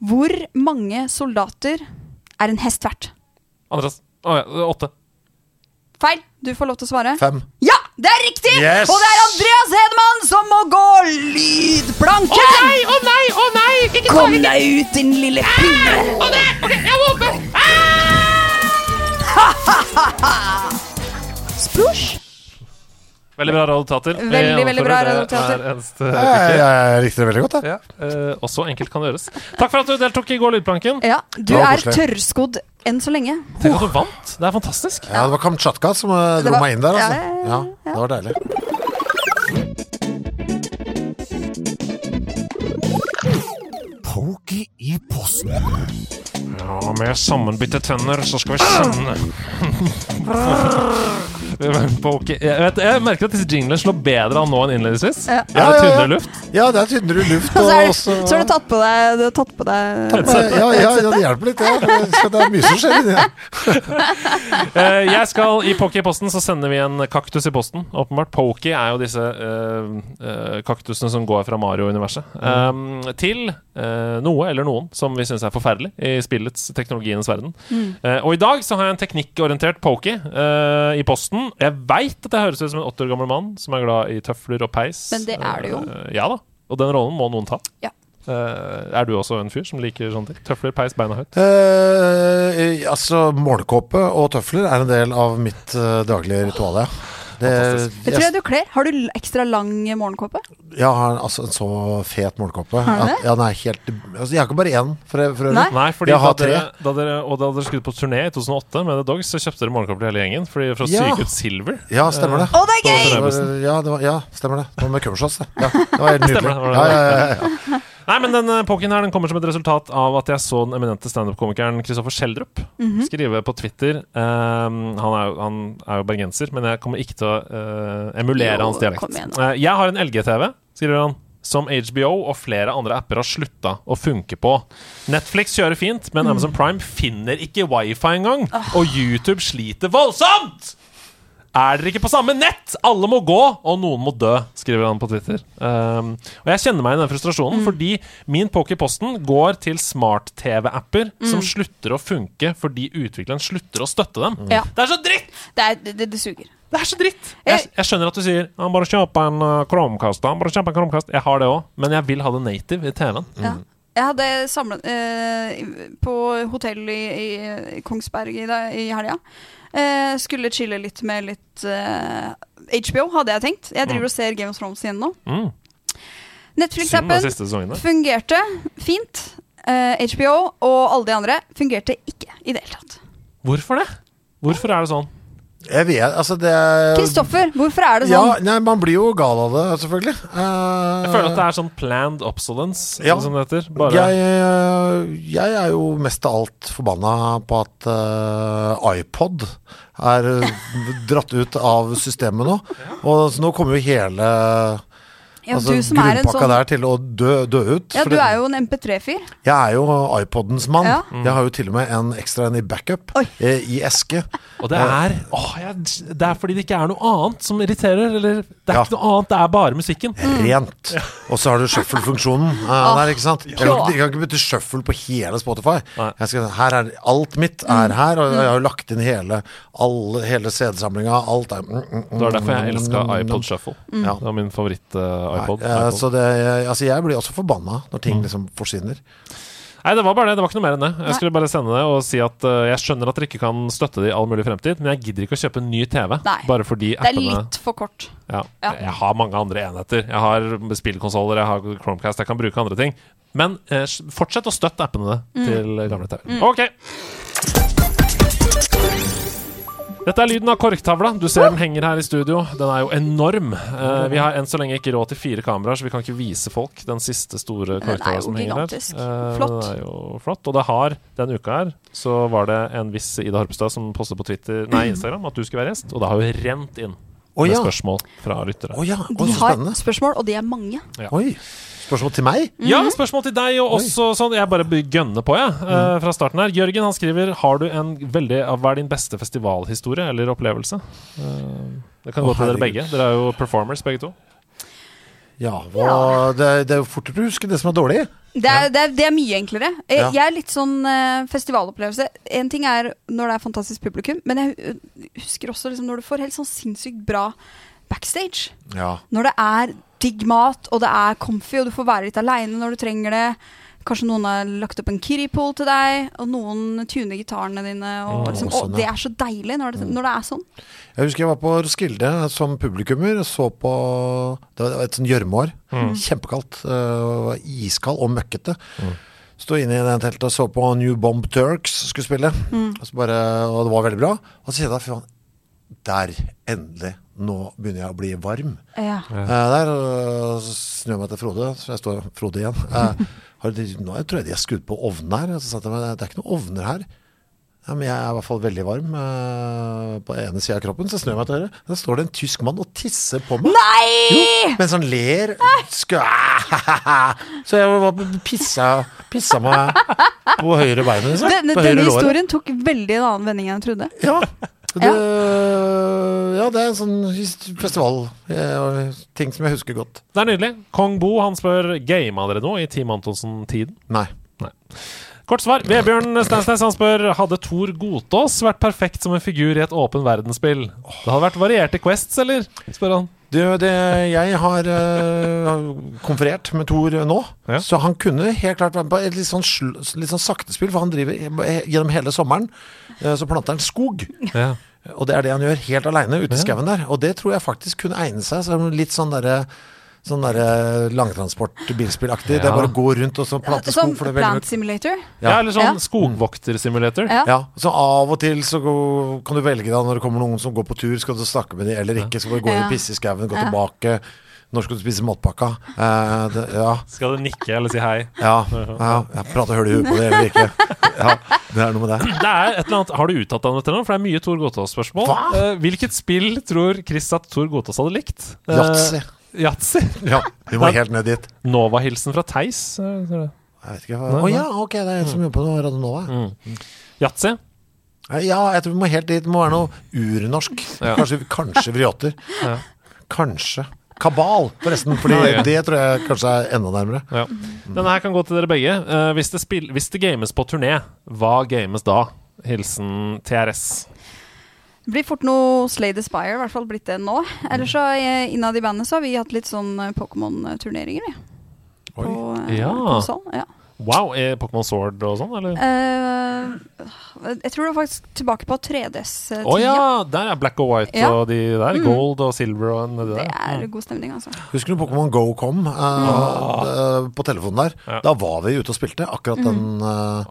S4: Hvor mange soldater er en hest verdt?
S1: Andreas. Å ja, åtte.
S4: Feil. Du får lov til å svare.
S5: Fem.
S4: Ja, det er riktig!
S5: Yes!
S4: Og det er Andreas Hedman som må gå lydplanken! Å nei, å nei, å nei! Kom deg ut, din lille pinne! Å nei, jeg må Splosh!
S1: Veldig bra resultater. Vi
S4: Veldig, veldig
S1: gjennomfører
S4: bra
S1: det
S4: resultater.
S1: hver eneste
S5: Jeg, jeg,
S1: uke.
S5: jeg likte det veldig godt, jeg.
S1: Ja, eh, også enkelt kan det gjøres. Takk for at du deltok i Går lydplanken.
S4: Ja, du
S5: Det var
S4: er
S5: koselig.
S4: tørrskodd enn så lenge.
S1: Tenk at du vant. Det er fantastisk.
S5: Ja, det var Kamtsjatka som eh,
S4: Det
S5: dro
S4: var-
S5: meg inn der, altså.
S4: Ja, ja,
S5: Ja, det var deilig.
S7: Pokey i posten.
S1: Ja, med sammenbitte tenner så skal vi sende Vi var på ok- jeg, vet, jeg merker at disse jinglene slår bedre an nå enn innledningsvis.
S4: Ja.
S1: Er det
S5: Ja, ja, ja.
S1: tynnere luft?
S5: Ja, det er tynnere luft.
S4: Og
S5: Og
S4: så, er,
S5: også,
S4: så har du tatt på deg, du har tatt på deg
S5: ja, ja, ja, det hjelper litt, ja. Det skal- det er mye som skjer inni der.
S1: Eh, jeg skal I Poki i posten så sender vi en kaktus i posten. Åpenbart. Poki er jo disse eh, eh, kaktusene som går fra Mario-universet.
S4: Mm.
S1: Eh, til eh, noe eller noen som vi syns er forferdelig i spillets, teknologiens verden.
S4: Mm.
S1: Eh, og i dag så har jeg en teknikkorientert Poki eh, i posten. Jeg veit at jeg høres ut som en 80 år gammel mann som er glad i tøfler og peis.
S4: Men det er du jo.
S1: Eh, ja da. Og den rollen må noen ta.
S4: Ja.
S1: Eh, er du også en fyr som liker sånne ting? Tøfler, peis, beina høyt?
S5: Eh, eh, altså, målkåpe og tøfler er en del av mitt eh, daglige ritual, ja. Det,
S4: Det tror jeg du kler. Har du l- ekstra lang morgenkåpe?
S5: jeg har altså en så fet målkåpe.
S4: Har du det?
S5: At, ja, den er helt altså, Jeg har ikke bare én, for, for øvrig.
S4: Nei?
S1: Nei, fordi
S5: Jeg
S1: da
S5: har
S1: dere, da dere, og da dere skulle på turné i 2008 med The Dogs, så kjøpte dere morgenkåper til hele gjengen fordi for å
S5: Ja.
S1: psyke ut Silver.
S5: Ja, stemmer det.
S4: Å, det er
S5: Det
S4: gøy!
S5: var, ja, det var, ja, stemmer det. Det var med kummershots, det. Ja, det var helt nydelig.
S1: Stemmer det, var det.
S5: Ja, ja, ja, ja.
S1: Nei, men den pokken her den kommer som et resultat av at jeg så den eminente standup-komikeren Kristoffer Schjelderup skrive på Twitter ehm, han, er, jo- han er jo bergenser, men jeg kommer ikke til å eh, emulere
S4: Jo,
S1: hans
S4: kom
S1: dialekt.
S4: igjen
S1: Eh, jeg har en LG-TV, skriver han. Som HBO og flere andre apper har slutta å funke på. Netflix kjører fint, men Amazon Prime finner ikke wifi engang. Og YouTube sliter voldsomt! Er dere ikke på samme nett? Alle må gå, og noen må dø, skriver han på Twitter. Um, og jeg kjenner meg i den frustrasjonen,
S4: Mm.
S1: fordi min Poker i posten går til smart-TV-apper
S4: Mm.
S1: som slutter å funke fordi utvikleren slutter å støtte dem.
S4: Ja.
S1: Det er så dritt!
S4: Det, er, det, det suger.
S1: Det er så dritt!
S4: Jeg-
S1: Jeg, jeg skjønner at du sier Han eh,
S5: Mm.
S1: bare kjøper en uh, Chromecast, han bare kjøper en Chromecast. Jeg har det òg, men jeg vil ha det native i TV-en.
S4: Ja. Jeg hadde samla eh, På hotell i, i Kongsberg i, dag- i helga. Eh, skulle chille litt med litt eh, HBO, hadde jeg tenkt. Jeg
S5: Mm.
S4: driver og ser Game of Thrones igjen nå.
S1: Mm. Synd det
S4: Netflix-appen
S1: siste sesongen der.
S4: fungerte fint. Eh, HBO og alle de andre fungerte ikke i det hele tatt.
S1: Hvorfor det? Hvorfor er det sånn?
S5: Jeg vet, altså det er-
S4: Kristoffer, hvorfor er det
S5: Ja,
S4: sånn?
S5: nei, man blir jo gal av det, selvfølgelig. Eh,
S1: Jeg føler at det er sånn planned obsolence,
S5: Ja.
S1: som det heter. Bare
S5: jeg, eh, jeg er jo mest av alt forbanna på at eh, iPod er eh, dratt ut av systemet nå. Og så nå kommer jo hele
S4: Ja,
S5: altså,
S4: du som er en
S5: grunnpakka
S4: sånn
S5: der til å dø, dø ut.
S4: Ja,
S5: for
S4: du
S5: det-
S4: er jo en MP3-fyr.
S5: Jeg er jo iPodens mann.
S4: Ja.
S5: Jeg har jo til og med en ekstra en i backup
S4: Oi.
S5: eh, i eske.
S1: Og det er åh, jeg, Det er fordi det ikke er noe annet som irriterer. Eller det er
S5: Ja.
S1: ikke noe annet, det er bare musikken.
S5: Rent. Og så har du shuffle-funksjonen eh, der, ikke sant. Jeg kan
S4: Ja.
S5: ikke, jeg kan ikke bytte shuffle på hele Spotify.
S1: Nei.
S5: Jeg skal, her er, alt mitt er her, og jeg har jo lagt inn hele, alle- hele CD-samlinga. Alt er mm, mm,
S1: Det var derfor jeg
S5: mm,
S1: elska
S5: mm, mm,
S1: iPod Shuffle.
S5: Ja.
S1: Det var min favoritt-iPod.
S5: Nei, eh, så det, jeg- altså jeg blir også forbanna når
S1: Mm.
S5: ting liksom forsvinner.
S1: Nei, det var bare det. Det var ikke noe mer enn det. Jeg
S4: Nei.
S1: skulle bare sende det og si at eh, jeg skjønner at dere ikke kan støtte det i all mulig fremtid, men jeg gidder ikke å kjøpe en ny TV
S4: Nei.
S1: bare fordi
S4: Det er
S1: appene
S4: litt for kort.
S1: ja.
S4: Ja.
S1: Jeg har mange andre enheter. Jeg har spillkonsoller, jeg har Chromecast, jeg kan bruke andre ting. Men eh, fortsett å støtte appene
S4: Mm.
S1: til gamle TV. Ok! Dette er lyden av korktavla. Du ser den henger her i studio. Den er jo enorm.
S4: Mm.
S1: Eh, vi har enn så lenge ikke råd til fire kameraer, så vi kan ikke vise folk den siste store
S4: den er
S1: korktavla
S4: jo
S1: som henger her.
S4: gigantisk.
S1: Eh,
S4: Flott.
S1: Den er jo flott. Og det har denne uka her, så var det en viss Ida Harpestad som postet på Twitter, nei, Instagram at du skulle være gjest, og det har jo rent inn
S5: Å
S1: med
S5: ja.
S1: spørsmål fra lyttere.
S5: Å ja, å,
S4: De
S5: så
S4: har
S5: spennende.
S4: spørsmål, og de er mange.
S5: Oi. Spørsmål til meg?
S1: Ja, spørsmål til deg, og også sånn Jeg bare gønner på, jeg, eh, fra starten her. Jørgen han skriver Har du en veldig Hva er din beste festivalhistorie eller opplevelse? Eh, det kan
S5: Å,
S1: gå til dere begge.
S5: herregud.
S1: Dere er jo performers, begge to.
S5: Ja. Hva, det, det er jo fortere å huske det som er dårlig.
S4: Det er, det, er, det er mye enklere. Jeg,
S5: Ja.
S4: jeg er litt sånn eh, festivalopplevelse. En ting er når det er fantastisk publikum, men jeg hu- husker også liksom når du får helt sånn sinnssykt bra backstage.
S5: Ja.
S4: Når det er digg mat, og det er comfy, og du får være litt aleine når du trenger det. Kanskje noen har lagt opp en kiddie-pool til deg, og noen tuner gitarene dine. Og,
S5: Mm,
S4: liksom,
S5: sånn,
S4: og
S5: ja. Mm.
S4: det er så deilig når det, når det er sånn.
S5: Jeg husker jeg var på Roskilde som publikummer. og Så på Det var et sånn gjørmeår. Kjempekaldt. øh, var Iskald og møkkete. Sto inne i det teltet og så på New Bomb Turks skulle spille. Og, så bare, og det var veldig bra. Og så kjente jeg fy faen, der, endelig. Nå begynner jeg å bli varm.
S4: Ja.
S5: Eh, der øh, så snur jeg meg til Frode, så jeg står Frode igjen. Eh, har de, nå tror jeg de har skrudd på ovnen her. Og Så sa jeg til meg, det er ikke noen ovner her. Ja, men jeg er i hvert fall veldig varm eh, på ene sida av kroppen. Så snur jeg meg til dere. Der står det en tysk mann og tisser på meg.
S4: Nei!
S5: Mens han ler. Skø, så jeg var pissa, pissa meg på høyre beinet. Liksom.
S4: Denne,
S5: på høyre
S4: denne
S5: låret.
S4: historien tok veldig en annen vending enn jeg trodde.
S5: Ja. Så Det, ja, det er en sånn his- festival. eh, Ting som jeg husker godt.
S1: Det er nydelig. Kong Bo han spør gama dere nå i Team Antonsen-tiden.
S5: Nei.
S1: Kort svar. Vebjørn Steinsnes han spør Hadde Thor Godtaas vært perfekt som en figur i et åpen verdensspill? Det hadde vært varierte quests, eller? spør han.
S5: Du, det, jeg har eh, konferert med Thor nå,
S1: Ja.
S5: så han kunne helt klart vært på et litt sånn, sl- litt sånn sakte spill, for han driver he- gjennom hele sommeren. eh, Så planter han skog,
S1: Ja.
S5: og det er det han gjør helt aleine ute i skauen der. Og det tror jeg faktisk kunne egne seg som litt sånn derre Sånn derre langtransport-bilspillaktig. Det er
S1: Ja.
S5: bare å gå rundt og så plante skog.
S4: Som
S5: For det er veldig
S4: plant simulator.
S1: ja, eller sånn
S4: Ja.
S1: skogvoktersimulator.
S4: Ja.
S5: Ja, så av og til så går, kan du velge da når det kommer noen som går på tur, skal du snakke med dem eller ikke, skal du gå
S4: Ja.
S5: og pisse i skauen, gå tilbake, når skal du spise matpakka? Eh, det, ja,
S1: Skal du nikke eller si hei?
S5: ja, ja, jeg prater høl i huet på det eller ikke. Ja, det er noe med det.
S1: Det er et eller annet Har du uttalt deg om dette nå? For det er mye Thor Godtaas-spørsmål.
S5: Hva?
S1: Eh, hvilket spill tror Chris at Thor Godtaas hadde likt? Eh,
S5: Yatzy.
S1: Yatzy.
S5: Ja, vi må helt ned dit.
S1: Nova-hilsen fra Theis. eh, tror jeg.
S5: Jeg vet ikke hva... Å ja, ok, det er en som jobber på noe Radio Nova.
S1: Yatzy.
S5: Ja, jeg tror vi må helt dit. Det må være noe urnorsk.
S1: Ja.
S5: Kanskje, kanskje vrioter.
S1: Ja.
S5: Kanskje. Kabal, forresten, fordi
S1: Ja, ja.
S5: det tror jeg kanskje er enda nærmere.
S1: Ja.
S5: Mm.
S1: Denne her kan gå til dere begge. Eh, hvis, det spill, hvis det games på turné, hva games da? Hilsen TRS.
S4: Det blir fort noe Slay the Spire, i hvert fall blitt det nå. Ellers så eh, innad i bandet så har vi hatt litt sånn eh, Pokémon-turneringer, vi. På, eh,
S1: ja.
S4: konsol, ja.
S1: Wow, er Pokémon Sword og sånn, eller?
S4: Eh, jeg tror det var faktisk tilbake på 3DS-tida.
S1: Å ja, der er black og white
S4: Ja.
S1: og de der.
S4: Mm.
S1: Gold og silver og en- det
S4: Det
S1: der.
S4: er god stemning, altså.
S5: Husker du Pokémon Go kom eh, eh, på telefonen der? Da var vi ute og spilte akkurat
S4: Mm.
S5: den. eh,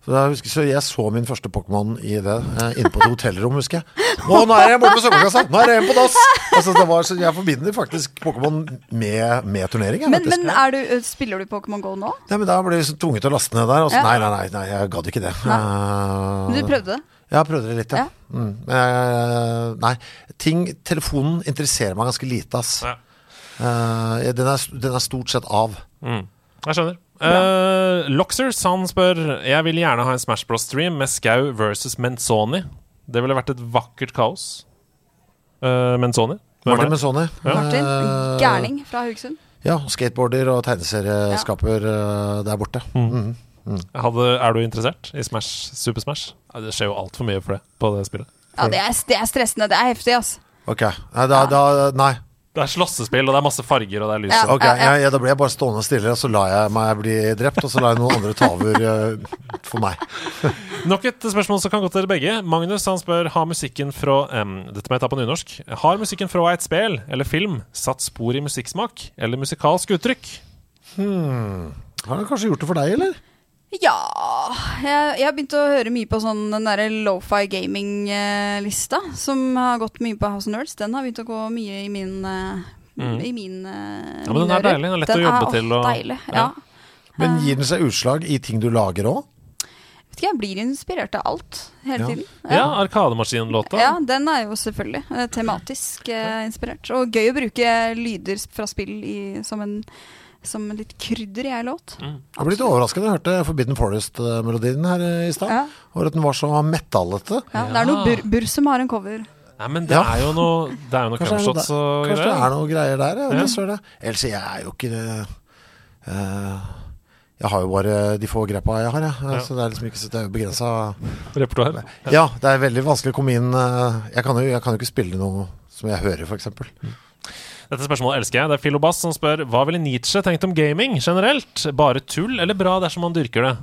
S5: så jeg, husker, så jeg så min første Pokémon i det, eh, inne på et hotellrom, husker jeg. Å, nå er jeg borte på søppelkassa! Nå er jeg hjemme på dass! Altså, det var, så jeg forbinder faktisk Pokémon med, med turnering. jeg,
S4: Men,
S5: faktisk.
S4: men er du, eh, spiller du Pokémon GO nå?
S5: Nei, men da ble vi så tvunget til å laste ned der. Og så,
S4: Ja.
S5: nei, nei, nei, nei, jeg gadd ikke det.
S4: Men
S5: Eh,
S4: Du prøvde det?
S5: Ja, prøvde det litt, ja.
S4: Ja.
S5: Mm. Men jeg- nei, ting Telefonen interesserer meg ganske lite, ass.
S1: Ja.
S5: Eh, den, er, den er stort sett av.
S1: Mm. Jeg skjønner. Eh, Loxers han spør Jeg vil gjerne ha en Smash Bros-stream med Skau versus Menzoni. Det ville vært et vakkert kaos. Eh, Menzoni? Hvem
S5: Martin
S1: er det?
S5: Menzoni.
S1: Ja.
S4: Martin?
S5: Eh,
S4: Gærning fra Haugesund?
S5: Ja, skateboarder og tegneserieskaper eh, der borte. Mhm.
S1: Hadde, er du interessert i Smash, Super Smash? Ja, Det skjer jo altfor mye for det på det spillet.
S4: Ja, det er, det er stressende. Det er heftig, altså.
S5: Ok. Nei, da, da, nei.
S1: Det er slåssespill, og det er masse farger, og det er lys.
S4: Ja.
S1: og-
S5: Ok, jeg, jeg, da ble jeg bare stående stille, og så la jeg meg bli drept, og så la jeg noen andre ta over eh, for meg.
S1: Nok et spørsmål som kan gå til dere begge. Magnus han spør har musikken fra em, Dette må jeg ta på nynorsk. Har musikken fra et spel eller film satt spor i musikksmak eller musikalsk uttrykk?
S5: Hmm. Har han kanskje gjort det for deg, eller?
S4: Eh. Ja Jeg, jeg har begynt å høre mye på sånn den derre lofi gaming-lista som har gått mye på House of Nerds. Den har begynt å gå mye i min eh,
S1: Mm.
S4: I min eh,
S1: Ja, men den
S4: mine
S1: er
S4: ører.
S1: deilig. Den er lett å jobbe
S4: åh,
S1: til og-
S4: Deilig, ja.
S1: Ja.
S5: Men gir den seg utslag i ting du lager òg?
S4: Vet ikke, jeg blir inspirert av alt hele
S5: Ja.
S4: tiden.
S1: Ja, Arkademaskinlåta.
S4: Ja, den er jo selvfølgelig eh, tematisk eh, inspirert. Og gøy å bruke lyder fra spill i, som, en, som en litt krydder i ei låt.
S5: Jeg ble litt overrasket da jeg hørte Forbidden Forest-melodien her eh, i stad.
S4: Ja.
S5: Og at den var så metallete.
S4: Ja, Det er noe bur, bur som har en cover.
S1: Nei, men det
S5: Ja.
S1: er jo noe Det er jo noe
S5: Kanskje, er det,
S1: crumshots og
S5: kanskje det
S1: sånn greier.
S5: er noe greier der, ja.
S1: Ja.
S5: det står det. Ellers jeg er jo ikke eh, Jeg har jo bare de få grepa jeg har, jeg. Eh,
S1: Ja.
S5: Så det er liksom ikke så det er jo begrensa.
S1: Repertoar.
S5: Ja, det er veldig vanskelig å komme inn eh, Jeg kan jo, jeg kan jo ikke spille noe som jeg hører, f.eks.
S1: Dette spørsmålet elsker jeg. Det er Philo Bass som spør hva ville Nietzsche tenkt om gaming generelt? Bare tull eller bra dersom man dyrker det?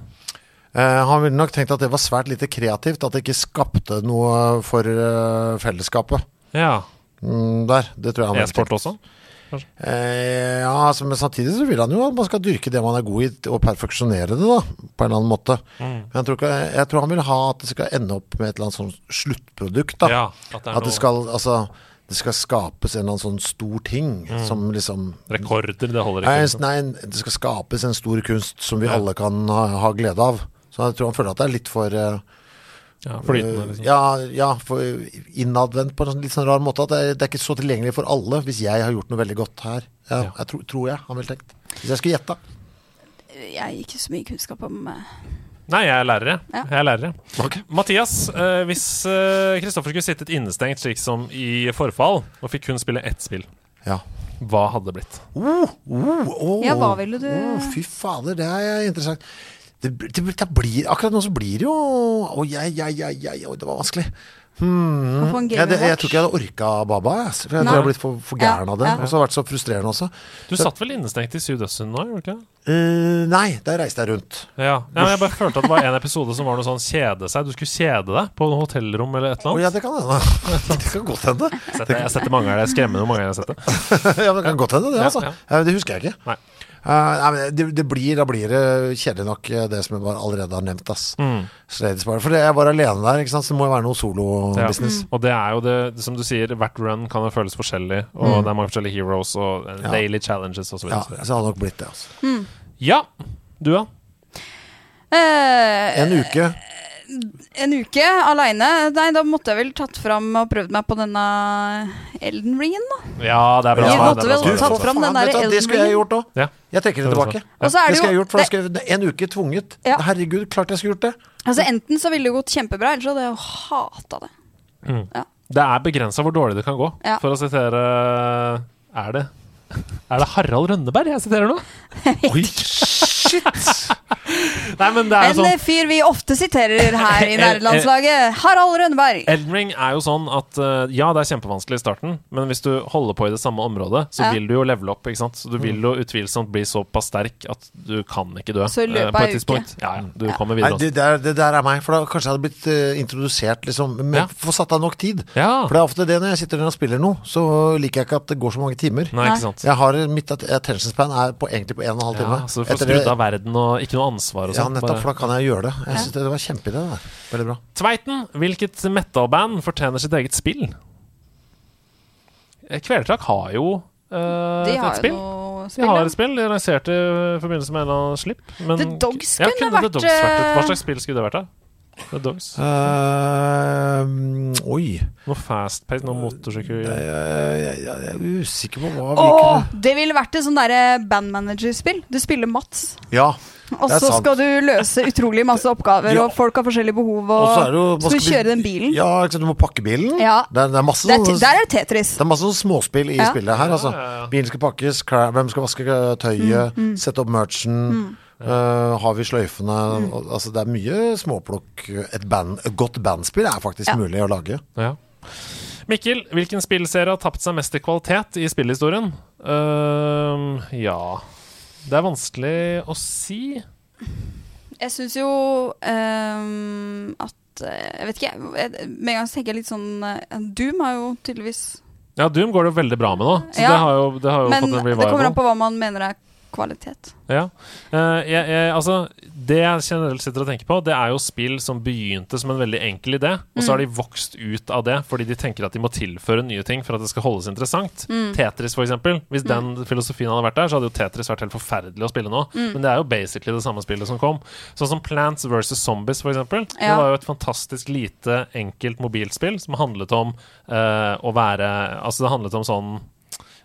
S5: Eh, han ville nok tenkt at det var svært lite kreativt, at det ikke skapte noe for eh, fellesskapet.
S1: Ja.
S5: Mm, der. Det tror jeg han ville
S1: E-sport
S5: tenkt.
S1: også?
S5: Eh, ja, altså, men samtidig så vil han jo at man skal dyrke det man er god i, og perfeksjonere det, da, på en eller annen måte. Men jeg tror, ikke, jeg tror han vil ha at det skal ende opp med et eller annet sånn sluttprodukt, da.
S1: Ja, at det er
S5: at det skal, altså, det skal skapes en eller annen sånn stor ting
S1: Mm.
S5: som liksom
S1: noe rekorder. Det holder
S5: nei,
S1: ikke.
S5: nei, det skal skapes en stor kunst som vi alle kan ha, ha glede av. Så jeg tror han føler at det er litt for eh,
S1: Ja, flytende, liksom.
S5: Øh, ja, ja, for innadvendt på en sånn- litt sånn rar måte. At det, er- det er ikke så tilgjengelig for alle hvis jeg har gjort noe veldig godt her. Ja,
S1: Ja.
S5: Jeg tror, tror jeg han ville tenkt. Hvis jeg skulle gjette.
S4: Jeg har ikke så mye kunnskap om eh,
S1: Nei, jeg er lærer, jeg.
S4: Ja.
S1: Jeg er lærer, jeg. Mathias, eh, hvis eh, Kristoffer skulle sittet innestengt slik som i Forfall, og fikk kun spille ett spill,
S5: Ja.
S1: hva hadde det blitt?
S5: Oh,
S4: Ja, hva ville du-
S5: fy fader, det er interessant. Det, det, det blir, akkurat nå så blir det jo Å, jeg, jeg, jeg, jeg Oi, det var vanskelig.
S4: å få en
S5: Jeg,
S4: game
S5: Mm. det, jeg
S4: watch.
S5: tror ikke jeg hadde orka Baba. Jeg, ass, for jeg tror jeg hadde blitt for, for gæren av det.
S4: Ja, ja.
S5: Og så har det vært så frustrerende også.
S1: Du satt vel innestengt i Sydøsten nå, gjorde du ikke? det?
S5: Eh, nei, der reiste jeg rundt.
S1: Ja. ja, men Jeg bare følte at det var en episode som var noe sånn kjede seg. Du skulle kjede deg på noe hotellrom eller et
S5: Å
S1: eller
S5: ja,
S1: annet.
S5: det kan hende. Det kan godt hende.
S1: Jeg setter, jeg setter mange her, det er skremmende hvor mange jeg har sett det.
S5: ja, men det kan godt hende, det,
S1: Ja,
S5: altså.
S1: ja.
S5: Eh, Det husker jeg ikke.
S1: Nei.
S5: Eh, nei, men det, det blir, da blir det kjedelig nok, eh, det som jeg bare allerede har nevnt. Ass.
S1: Mm.
S5: Slades Bar. For det- jeg var alene der, ikke sant? så det må jo være noe
S1: Ja.
S5: solo-business.
S1: Og det er jo det, som du sier, hvert run kan jo føles forskjellig, og det er mange forskjellige heroes og eh,
S5: Ja.
S1: daily challenges osv.
S5: Ja, så det hadde nok blitt det. Altså.
S1: Ja. Du, ja.
S4: Eh,
S5: En uke.
S4: Mm. en uke aleine? Nei, da måtte jeg vel tatt fram og prøvd meg på denne Elden Ringen, da.
S1: Ja, det er bra.
S4: Vi
S1: svar, det
S4: måtte
S1: er bra
S4: vel
S1: svar,
S4: tatt
S1: det er bra
S4: fram den der
S5: vet du hva, Det
S4: Elden
S5: skulle jeg
S4: Ringen.
S5: gjort òg.
S1: svar. Ja.
S5: Jeg trekker det
S1: Det er bra
S5: tilbake.
S1: svar.
S4: Og så er
S5: Det
S4: det
S5: skal jeg
S4: jo
S5: gjort, for da
S4: det-
S5: skulle jeg, en uke tvunget.
S4: Ja.
S5: Herregud, klart jeg skulle gjort det.
S4: Altså Enten så ville det gått kjempebra, eller så hadde jeg hata det.
S1: Det er begrensa hvor dårlig det kan gå.
S4: Ja.
S1: For å sitere Er det Er det Harald Rønneberg jeg siterer nå?
S5: Oi, shit!
S1: Nei, men det er jo
S4: En
S1: sånn
S4: eh, fyr vi ofte siterer her
S5: Eh,
S4: i nerdelandslaget, Harald Rønneberg.
S1: Elden Ring er jo sånn at eh, ja, det er kjempevanskelig i starten, men hvis du holder på i det samme området, så
S4: Ja.
S1: vil du jo levele opp, ikke sant? Så
S5: Mm.
S1: du vil jo utvilsomt bli såpass sterk at du kan ikke dø
S4: Så i
S1: eh, på
S4: løpet av
S1: et
S4: en
S1: tidspunkt. Ja, ja, du kommer
S5: Nei,
S1: videre.
S5: det, der, det der er meg, for da kanskje jeg hadde blitt eh, introdusert liksom med,
S1: Ja.
S5: Få satt av nok tid.
S1: også. Ja.
S5: For det er ofte det når jeg sitter og spiller noe, så liker jeg ikke at det går så mange timer.
S1: Nei, ikke sant.
S5: Jeg har mitt at- attention span er på, egentlig på en og en halv time.
S1: Ja, så du får
S5: Etter det-
S1: skrudd av verden og ikke noe ansvar og
S5: Ja,
S1: sånn.
S5: nettopp,
S1: bare-
S5: for da kan jeg gjøre det. Jeg synes det, det var kjempeidé, det der. Veldig bra.
S1: Tveiten, hvilket metalband fortjener sitt eget spill? Eh, Kvelertak har jo eh,
S4: De
S1: et
S4: har jo
S1: spill.
S4: noe
S1: De har
S4: spill.
S1: et spill, de lanserte i forbindelse med en eller annen slipp. Men,
S4: The Dogs
S1: ja,
S4: kunne
S1: kunne The
S4: vært,
S1: Dogs vært et. Hva
S4: eh,
S1: slags spill skulle det vært, da? The Dogs.
S5: Eh, mm, oi
S1: Noe fast-paced, noe motorsykkel
S5: jeg, jeg, jeg er usikker på hva
S4: Å,
S5: vi kunne
S4: det ville vært et sånn derre bandmanager-spill. Du spiller Mats,
S5: Ja.
S4: og
S5: Det er
S4: så
S5: sant.
S4: skal du løse utrolig masse oppgaver,
S5: Ja.
S4: og folk har forskjellige behov,
S5: Og
S4: og
S5: så er det jo hva
S4: skal du
S5: skal vi-
S4: kjøre den bilen.
S5: ja ikke sant, du må pakke bilen.
S4: Ja.
S5: Det, er, det er masse
S4: Det er, te-
S5: sånne-
S4: der er det Tetris.
S5: Det er masse sånn småspill i
S4: Ja.
S5: spillet her, altså.
S1: Ja, ja, ja.
S5: Bilen skal pakkes, klær, hvem skal vaske eh, tøyet,
S4: Mm,
S5: sette opp merchen, eh, har vi sløyfene
S4: Mm.
S5: Al- Altså, det er mye småplukk. Et, band, et godt bandspill er faktisk mulig å lage.
S1: Ja. Mikkel, hvilken spillserie har tapt seg mest i kvalitet i spillhistorien? Ehm, ja Det er vanskelig å si.
S4: Jeg syns jo ehm, at eh, Jeg vet ikke, jeg- jeg- med en gang så tenker jeg litt sånn eh, Doom har jo tydeligvis
S1: Ja, Doom går det jo veldig bra med nå, så
S4: Ja.
S1: det har jo, det har jo
S4: Men
S1: fått en
S4: det
S1: revival.
S4: kommer an på hva man mener er kvalitet.
S1: Ja. Eh, jeg, jeg, altså, det jeg generelt sitter og tenker på, det er jo spill som begynte som en veldig enkel idé, og så har de vokst ut av det fordi de tenker at de må tilføre nye ting for at det skal holdes interessant. Tetris, for eksempel. Hvis den filosofien hadde vært der, så hadde jo Tetris vært helt forferdelig å spille nå. Men det er jo basically det samme spillet som kom. Sånn som Plants versus Zombies, for eksempel. Det
S4: Ja.
S1: var jo et fantastisk lite, enkelt mobilspill som handlet om eh, å være Altså, det handlet om sånn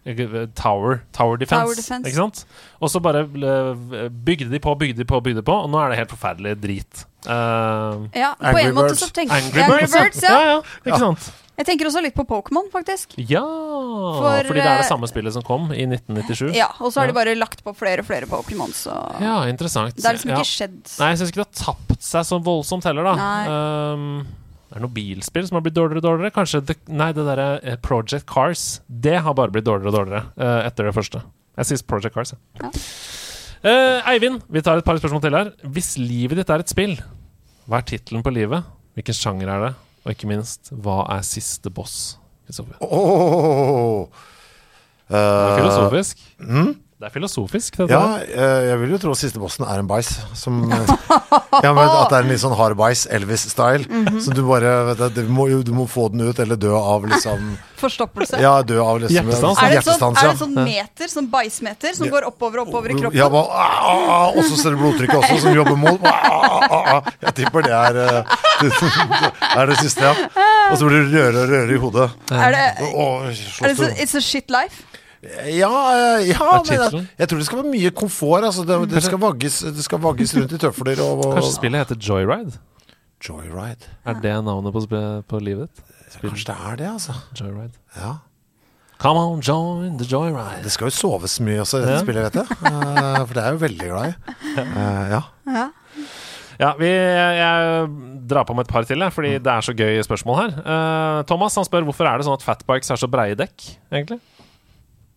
S1: eh, Tower, tower, defense,
S4: Tower defense.
S1: Ikke sant? Og så bare eh, bygde de på, bygde de på, bygde de på, og nå er det helt forferdelig drit. Eh,
S4: Ja, på
S5: Angry
S4: en måte
S5: Birds.
S4: så tenker
S1: Angry
S4: Ja,
S1: Birds, ja.
S4: ja.
S1: ja, Ikke sant?
S4: Jeg tenker også litt på Pokémon, faktisk.
S1: Ja
S4: For,
S1: Fordi det er
S4: eh,
S1: det samme spillet som kom i 1997.
S4: Ja, Og så har
S1: Ja.
S4: de bare lagt på flere og flere Pokémon, så
S1: Ja, interessant.
S4: Det har liksom
S1: Ja.
S4: ikke skjedd.
S1: Nei, jeg syns ikke det har tapt seg sånn voldsomt heller, da.
S4: Nei.
S1: Ehm, det er noen bilspill som har blitt dårligere og dårligere. Kanskje det, Nei, det derre eh, Project Cars. Det har bare blitt dårligere og dårligere eh, etter det første. Jeg sier Project Cars, jeg.
S4: Ja.
S1: Eh, Eivind, vi tar et par spørsmål til her. Hvis livet ditt er et spill, hva er tittelen på livet? Hvilken sjanger er det? Og ikke minst, hva er siste boss? Kristoffer? Det
S5: Ååå. Eh,
S1: er filosofisk. Det er filosofisk, dette
S5: mm? ja,
S1: her.
S5: eh, jeg vil jo tro siste bossen er en bæsj. Som eh, Ja, men At det er en litt sånn hard bæsj, Elvis-style.
S4: Mhm.
S5: Så du bare vet du, du, må, jo- du må få den ut, eller dø av liksom
S4: Forstoppelse.
S5: Ja, dø av liksom
S1: Hjertestans,
S4: Er det et sånn,
S5: hjertestans,
S4: er
S5: ja.
S4: det et sånn meter, sånn bæsjmeter, som går oppover og oppover i kroppen?
S5: Ja, bare, ah, ah, ah, og så ser du blodtrykket også, som jobber mot ah, ah, ah, ah. Jeg tipper det er eh, det er det siste, ja. Og så blir det rødere og rødere i hodet.
S4: Er det,
S5: Åh,
S4: er det
S5: slåss
S4: så,
S5: du?
S4: It's a shit life?
S5: Ja, eh, ja men jeg,
S1: tittelen?
S5: jeg tror det skal være mye komfort. Altså, det, det, skal vagges, det skal vagges rundt i tøfler og, og
S1: Kanskje spillet heter Joyride?
S5: Joyride.
S1: Er det navnet på, sp- på livet ditt?
S5: Kanskje det er det, altså.
S1: Joyride.
S5: Ja.
S1: Come on, join the joyride.
S5: Det skal jo soves mye også i dette
S1: Ja.
S5: spillet, vet jeg. Eh, for det er jeg jo veldig glad i. Eh, ja.
S1: Ja, vi, jeg drar på med et par til, jeg, fordi det er så gøy spørsmål her. Eh, Thomas han spør hvorfor er det sånn at fatbikes er så breie dekk, egentlig?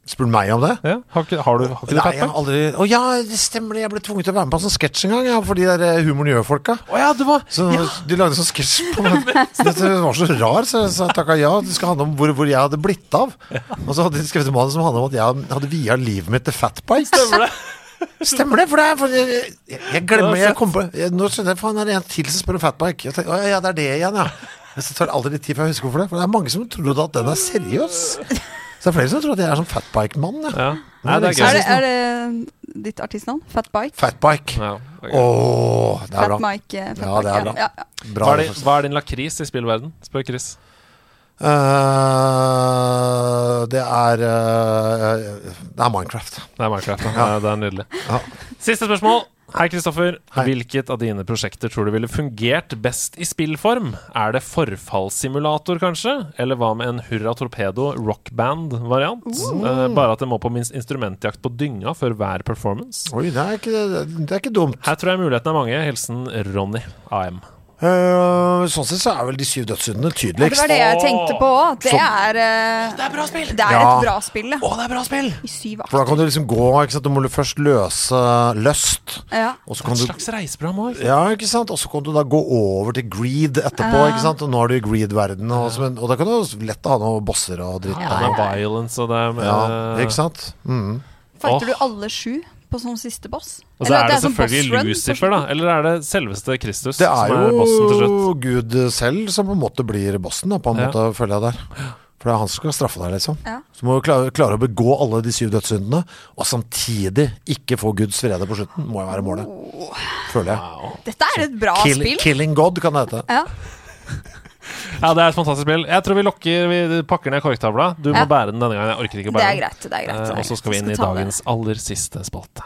S5: Spør du meg om det?
S1: Ja. Har, ikke, har du har ikke du
S5: Nei, jeg har
S1: fatbike?
S5: aldri Å ja, det stemmer det. Jeg ble tvunget til å være med på en sånn sketsj en gang. Ja, for de der eh, humoren gjør-folka.
S1: Å ja, du var
S5: Så De lagde en sånn sketsj på meg. Dette var så rar, så jeg sa takka ja. Det skal handle om hvor, hvor jeg hadde blitt av. Og så hadde de skrevet en mann som handla om at jeg hadde via livet mitt til fatbikes. Stemmer det? Stemmer det? For det er for jeg, jeg, jeg glemmer jeg kom på, jeg, Nå skjønner jeg faen, er det en til som spør om fatbike. Jeg tenker, å, ja, det er det igjen, ja. Så tar det aldri litt tid før jeg husker hvorfor det. For det er mange som tror at den er seriøs. Så det er flere som tror at jeg er sånn fatbike-mann. Ja.
S1: ja. Nei, det er
S4: Er
S1: gøy.
S4: det, er det ditt artistnavn? Fat Bike?
S5: Fatbike.
S1: Ja, det er gøy.
S5: Åh, det er
S4: Fat
S5: bra.
S4: Mike, eh, Fat
S5: Ja, det er
S4: Mike,
S5: bra.
S4: ja, ja.
S5: bra
S1: Hva
S5: altså.
S1: er,
S5: det,
S1: din, hva er din lakris i spillverden? Spør Chris.
S5: Eh, det er eh, Det er Minecraft.
S1: Det er Minecraft. da. Ja. det er nydelig.
S5: Ja.
S1: Siste spørsmål. Hei, Kristoffer. Hvilket av dine prosjekter tror du ville fungert best i spillform? Er det forfallssimulator, kanskje? Eller hva med en Hurra Torpedo rockband-variant? Eh, bare at det må på minst instrumentjakt på dynga før hver performance.
S5: Oi, det er ikke, det er ikke dumt.
S1: Her tror jeg mulighetene er mange. Hilsen Ronny AM.
S5: Eh, sånn sett så er vel de syv dødssyndene
S4: Ja, det
S5: tydeligst.
S4: var det jeg tenkte på òg. Det
S5: Som-
S4: er eh,
S5: er bra spill!
S4: Det er
S5: Ja.
S4: et bra spill, det.
S5: Å, det er bra spill!
S4: I syv
S5: For da
S4: akter.
S5: kan du liksom gå, ikke sant. Da må du først løse lyst.
S4: Ja.
S5: Og så kan du
S1: Slags reiseprogram òg.
S5: ja, ikke sant? Og så kan du da gå over til greed etterpå. ikke sant? Og nå er du i greed-verdenen. Og, så- men- og da kan du lett ha noen bosser og dritt.
S1: Det er violence og det er eh, med
S5: Ja, ikke sant? Mm.
S4: Fighter
S1: Åh.
S4: du alle sju på sånn siste boss?
S1: Og så
S4: Eller
S1: er det
S4: sånn boss
S1: selvfølgelig
S4: run
S1: Lucifer, da. Eller er det selveste Kristus
S5: Det
S1: som
S5: er
S1: er bossen til slutt?
S5: jo Gud selv som på en måte blir bossen, da, på en
S1: Ja.
S5: måte, føler jeg der. For det er han som skal straffe deg, liksom.
S4: Ja.
S5: Så må du klare, klare å begå alle de syv dødssyndene, og samtidig ikke få Guds vrede på slutten, må jo være målet. Føler jeg.
S4: forstå. Dette er et bra
S5: Kill,
S4: spill.
S5: killing God kan det hete.
S4: Ja.
S1: Ja, det er et fantastisk spill. Jeg tror vi lokker Vi pakker ned korktavla. Du må
S4: Ja.
S1: bære den denne gangen. Jeg orker ikke å
S4: Det
S1: bære den.
S4: er greit. det er greit, det
S1: Eh,
S4: er
S1: Og så
S4: greit.
S1: skal vi inn i
S4: ta det.
S1: dagens aller siste spalte.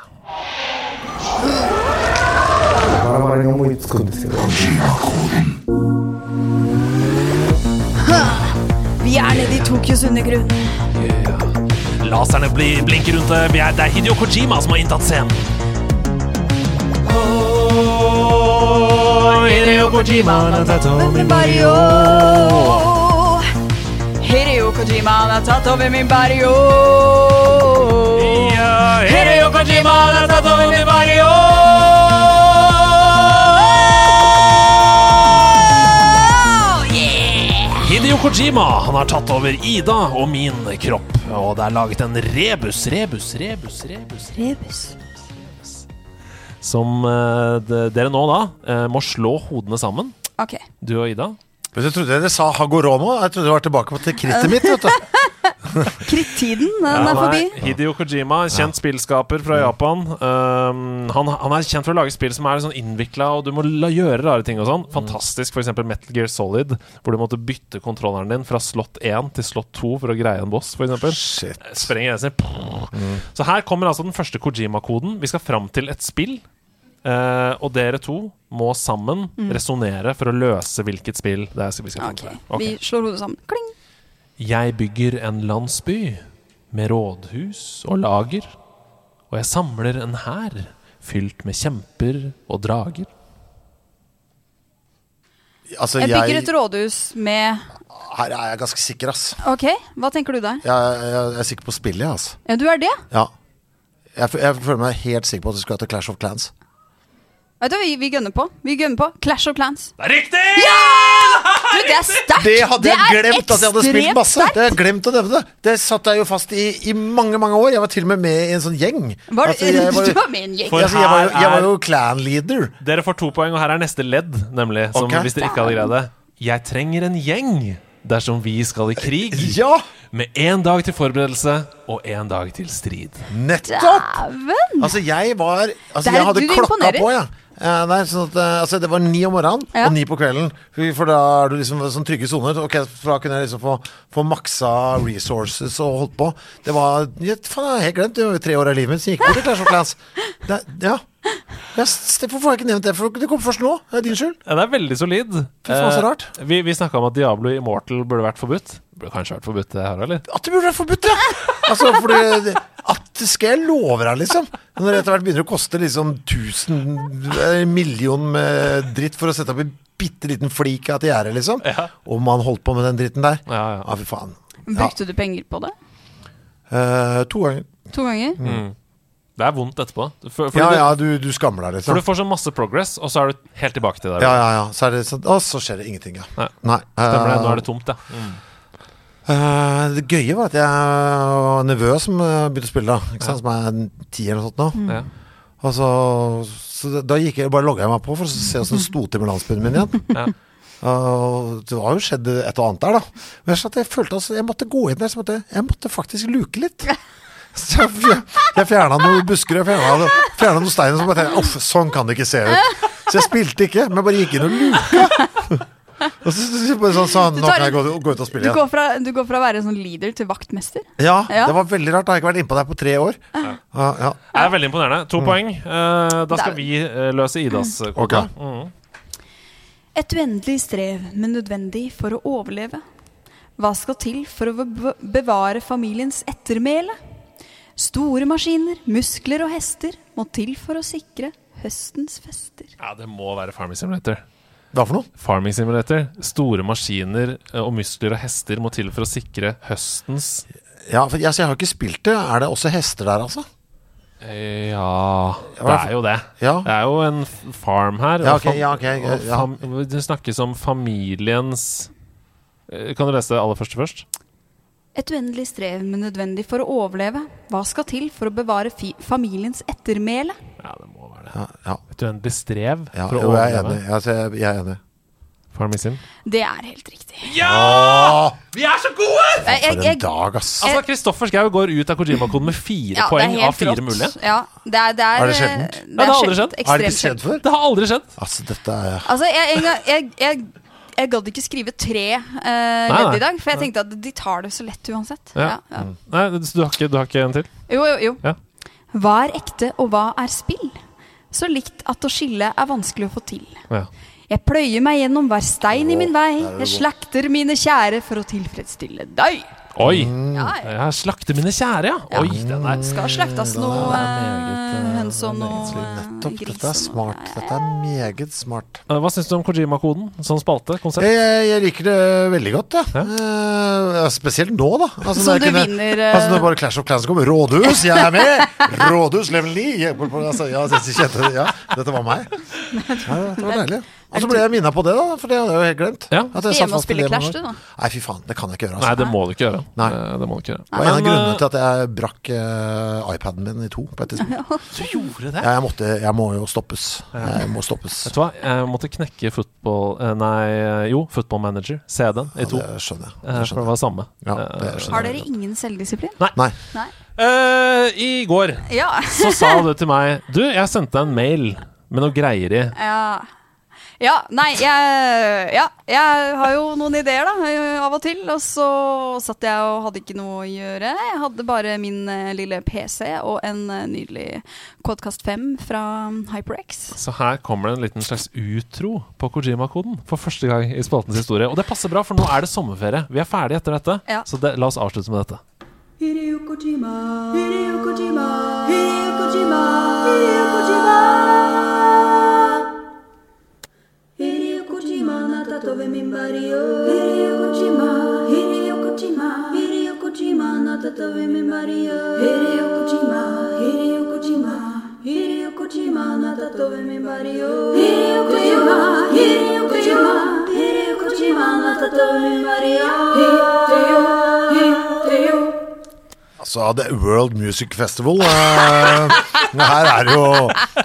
S4: Vi er nede i Tokyos undergrunn.
S1: Laserne blir, blinker rundt det. Vi er, det er Hidio Kojima som har inntatt scenen. Hideo Kojima, na tato mi
S4: Barrio.
S1: Mario.
S4: Hideo Kojima har tatt over min barrio.
S1: Ja, Hideo Kojima, na tato mi Mario.
S4: Yeah!
S1: Hideo Kojima han har tatt over Ida og min kropp. Og det er laget en rebus, rebus, rebus, rebus
S4: Rebus.
S1: Som eh, de- dere nå da eh, må slå hodene sammen,
S4: Ok.
S1: du og Ida.
S5: Vet du, Jeg trodde dere sa Hagoromo. Jeg trodde det var tilbake på til krittet mitt. vet du
S4: Krittiden, den er forbi.
S1: Nei, Hideo Kojima, kjent spillskaper fra Japan. Um, han, han er kjent for å lage spill som er sånn innvikla, og du må la, gjøre rare ting og sånn. Fantastisk f.eks. Metal Gear Solid, hvor du måtte bytte kontrolleren din fra slott 1 til slott 2 for å greie en boss, f.eks.
S5: Shit.
S1: Sprenger grenser. Så her kommer altså den første Kojima-koden. Vi skal fram til et spill. eh, og dere to må sammen resonnere for å løse hvilket spill det er vi skal fram
S4: Mm. Ok,
S1: til.
S4: Vi slår hodet sammen. Kling.
S1: Jeg bygger en landsby med rådhus og lager, og jeg samler en hær fylt med kjemper og drager.
S5: Altså,
S4: Jeg bygger
S5: jeg,
S4: et rådhus med
S5: her er jeg ganske sikker, ass.
S4: Ok, hva tenker du der?
S5: Jeg, jeg, jeg er sikker på spillet, jeg, altså.
S4: Ja, du er det?
S5: Ja. Jeg, f- jeg føler meg helt sikker på at det skulle hete Clash of Clans.
S4: Vet du, hva, vi, vi gønner på. Vi gønner på Clash of Clans.
S1: Det er riktig!
S4: Du, det er sterkt!
S5: Det hadde jeg
S4: er
S5: glemt at jeg hadde spilt
S4: ekstremt
S5: masse.
S4: sterkt.
S5: Det hadde jeg glemt å nevne. Det satt jeg jo fast i i mange mange år. Jeg var til og med med i en sånn gjeng.
S4: Var,
S5: Altså, jeg var,
S4: du
S5: jo-
S4: var med i en gjeng.
S1: For
S5: altså, jeg var, jo- jeg
S1: her
S5: var
S1: er
S5: jo clan leader.
S1: Dere får to poeng, og her er neste ledd, nemlig. Som
S5: Ok.
S1: hvis dere ikke hadde greid det. Jeg trenger en gjeng dersom vi skal i krig.
S5: Ja,
S1: Med én dag til forberedelse og én dag til strid.
S5: nettopp!
S4: Dæven!
S5: Altså, jeg var altså,
S4: Der
S5: Jeg hadde
S4: du
S5: klokka
S4: imponerer.
S5: på, jeg. Eh, nei, sånn at, eh, altså, det var ni om morgenen
S4: Ja.
S5: og ni på kvelden. For for da er du liksom i sånn trygge soner. Ok, for da kunne jeg liksom få, få maksa resources og holdt på. Det var ja, faen, jeg har helt glemt. Det var jo tre år av livet mitt som gikk bort i Clash of Clans. Det, ja. Jeg, s- hvorfor har jeg ikke nevnt det? For det kom først nå. Det er din skyld.
S1: Ja, det er veldig solid.
S5: Fy faen, så rart.
S1: Eh, vi vi snakka om at Diablo Immortal burde vært forbudt. Burde kanskje vært forbudt, det her, eller?
S5: At det burde være forbudt, ja! Altså, for det, at det skal jeg love deg, liksom. Når det etter hvert begynner å koste liksom 1000 eh, million med dritt for å sette opp en bitte liten flik av et gjerde, liksom. Og man holdt på med den dritten der.
S1: Ja, ja.
S5: Ja, fy faen. Ja.
S4: Brukte du penger på det?
S5: Eh, to ganger.
S4: To ganger?
S1: Mm. Det er vondt etterpå. For, for
S5: Ja,
S1: du-
S5: ja, du, du skammer deg,
S1: For
S5: liksom.
S1: du får sånn masse progress, og så er du helt tilbake til det.
S5: Ja, ja, ja. Så er det sånn Å, så skjer det ingenting, ja.
S1: Nei.
S5: Nei.
S1: Stemmer det,
S5: eh,
S1: nå er det tomt, ja.
S5: Eh, det gøye var at jeg var nervøs som eh, begynte å spille, da. Ikke sant? Som er en tier eller noe sånt nå.
S1: ja.
S5: Og så, så da- da gikk jeg, bare logga jeg meg på for å se hvordan det sto til med landsbyen min igjen.
S1: Ja.
S5: Og det har jo skjedd et og annet der, da. Men jeg, satt- jeg følte altså, jeg måtte gå inn der, så måtte, jeg- jeg måtte faktisk luke litt. Så jeg, fj- jeg fjerna noen busker og fjerna noen, fjerna noen steiner. Så bare tenkte jeg, uff, sånn kan det ikke se ut. Så jeg spilte ikke, men bare gikk inn og luka. Og så, så, så, bare sånn, sa han,
S4: Du
S5: nå
S4: tar
S5: kan jeg gå,
S4: en-
S5: gå ut og
S4: Du
S5: spille igjen.
S4: går, fra, du går fra å være en sånn leader til vaktmester.
S5: Ja,
S4: Ja.
S5: det var veldig rart. Da har jeg ikke vært innpå deg på tre år. Ja. ja.
S1: Det er veldig imponerende.
S5: Mm.
S1: To poeng. Eh, da skal
S4: Det er-
S1: vi eh, løse Idas eh,
S5: Ok.
S1: kvote. Mhm.
S4: Et uendelig strev, men nødvendig for å overleve. Hva skal til for å bev- bevare familiens ettermæle? Store maskiner, muskler og hester må til for å sikre høstens fester.
S1: Ja, det må være Farming Simulator.
S5: Hva for noe?
S1: Farming Simulator. Store maskiner eh, og muskler og hester må til for å sikre høstens
S5: Ja, for jeg, så jeg har ikke spilt det. Er det også hester der, altså?
S1: Eh, Ja Det er jo det.
S5: Ja.
S1: Det er jo en f- farm her.
S5: Ja,
S1: og
S5: ok,
S1: fam-
S5: ja, ok, ja,
S1: og fam- Det snakkes om familiens Eh, Kan du lese det aller første først?
S4: Et uendelig strev, men nødvendig for å overleve. Hva skal til for å bevare fi familiens ettermæle?
S1: Ja, det må være det.
S5: Ja, ja,
S1: Et uendelig strev
S5: ja.
S1: for å
S5: Jo, jeg er
S1: overleve.
S5: enig. Ja, så jeg, jeg er enig.
S1: Farming
S4: Eh,
S1: Sim.
S4: Det er helt riktig.
S5: Åh,
S1: Vi er så gode!
S4: Jeg,
S5: for en dag, ass.
S1: Altså, Kristoffer Schau går ut av Kojima-koden med fire
S4: ja, det er
S1: poeng
S4: helt
S1: av fire
S4: rått.
S1: mulige.
S4: Ja, det er, det er,
S5: Er det sjeldent?
S1: Ja,
S4: eh,
S1: det har aldri skjedd.
S4: sjeldent,
S5: Er det
S4: Ekstremt
S5: ikke skjedd
S4: sjeldent.
S5: før?
S1: Det har aldri skjedd.
S5: Altså, dette er
S4: Altså, jeg, en gang, jeg, jeg, jeg gadd ikke skrive tre eh,
S1: nei.
S4: ledd i dag, for jeg tenkte at de tar det så lett uansett.
S1: Ja.
S4: Ja. Ja,
S5: Mm.
S1: Nei, så du har ikke, du har ikke en til?
S4: Jo, jo, jo.
S1: Ja.
S4: Hva er ekte, og hva er spill? Så likt at å skille er vanskelig å få til.
S1: Ja.
S4: Jeg pløyer meg gjennom hver stein i min vei.
S5: er du
S4: Jeg
S5: god.
S4: slakter mine kjære for å tilfredsstille deg.
S1: Oi!
S5: Mm.
S4: Ja, ja.
S1: Jeg slakter mine kjære, ja. Oi, den er
S4: Skal slaktes noe eh, høns og noe
S5: eh,
S4: eh,
S5: Nettopp.
S4: gris.
S5: Dette er
S4: og noe.
S5: smart. Dette er meget smart.
S1: Eh, Hva syns du om Kojima-koden? Sånn spalte? Konsept?
S5: Jeg, jeg, jeg liker det veldig godt, jeg. Eh, spesielt nå, da. Altså,
S4: Som
S5: når jeg
S4: du vinner, eh,
S5: altså, når bare Clash of Clans kommer. Rådhus, jeg er med! Rådhus level 9! Jeg, bor på- altså, ja, jeg kjente, ja, dette var meg. Ja, dette var deilig. Og så ble jeg minna på det, da, for det hadde jeg jo helt glemt.
S1: Ja.
S4: Skal
S5: At jeg
S4: hjem
S5: satt
S4: og
S5: fast i
S4: spille
S5: det
S4: Clash,
S5: mange år.
S4: du, da.
S5: Nei, fy faen. Det kan jeg ikke gjøre.
S1: Nei,
S5: Altså.
S1: det må du ikke gjøre.
S5: Nei.
S1: Eh, Det må du ikke gjøre.
S5: Det var en av
S1: Men,
S5: grunnene
S1: eh,
S5: til at jeg brakk eh, iPaden min i to på et tidspunkt.
S1: eh, Du gjorde det?
S5: Ja, jeg, måtte, jeg må jo stoppes. Jeg må stoppes.
S1: Vet du hva, jeg måtte knekke football eh, Nei, jo, Football Manager. Se den i
S5: Ja,
S1: to.
S5: det
S1: Eh,
S5: skjønnner jeg. Det
S1: For det
S5: skjønner jeg.
S1: var samme.
S5: Ja, det skjønner jeg.
S4: Har dere ingen selvdisiplin?
S5: Nei.
S4: Nei.
S1: Eh, I går
S4: Ja.
S1: så sa du til meg Du, jeg sendte deg en mail med noe greier i.
S4: Ja. ja. Nei, jeg, ja, jeg har jo noen ideer, da, eh, av og til. Og så satt jeg og hadde ikke noe å gjøre. Jeg hadde bare min eh, lille PC og en eh, nydelig Codecast 5 fra um, HyperX.
S1: Så her kommer det en liten slags utro på Kojima-koden for første gang i spaltens historie. Og det passer bra, for nå er det sommerferie. Vi er ferdig etter dette,
S4: Ja.
S1: så det, la oss avslutte med dette.
S5: Altså, The World Music Festival eh, Her er det jo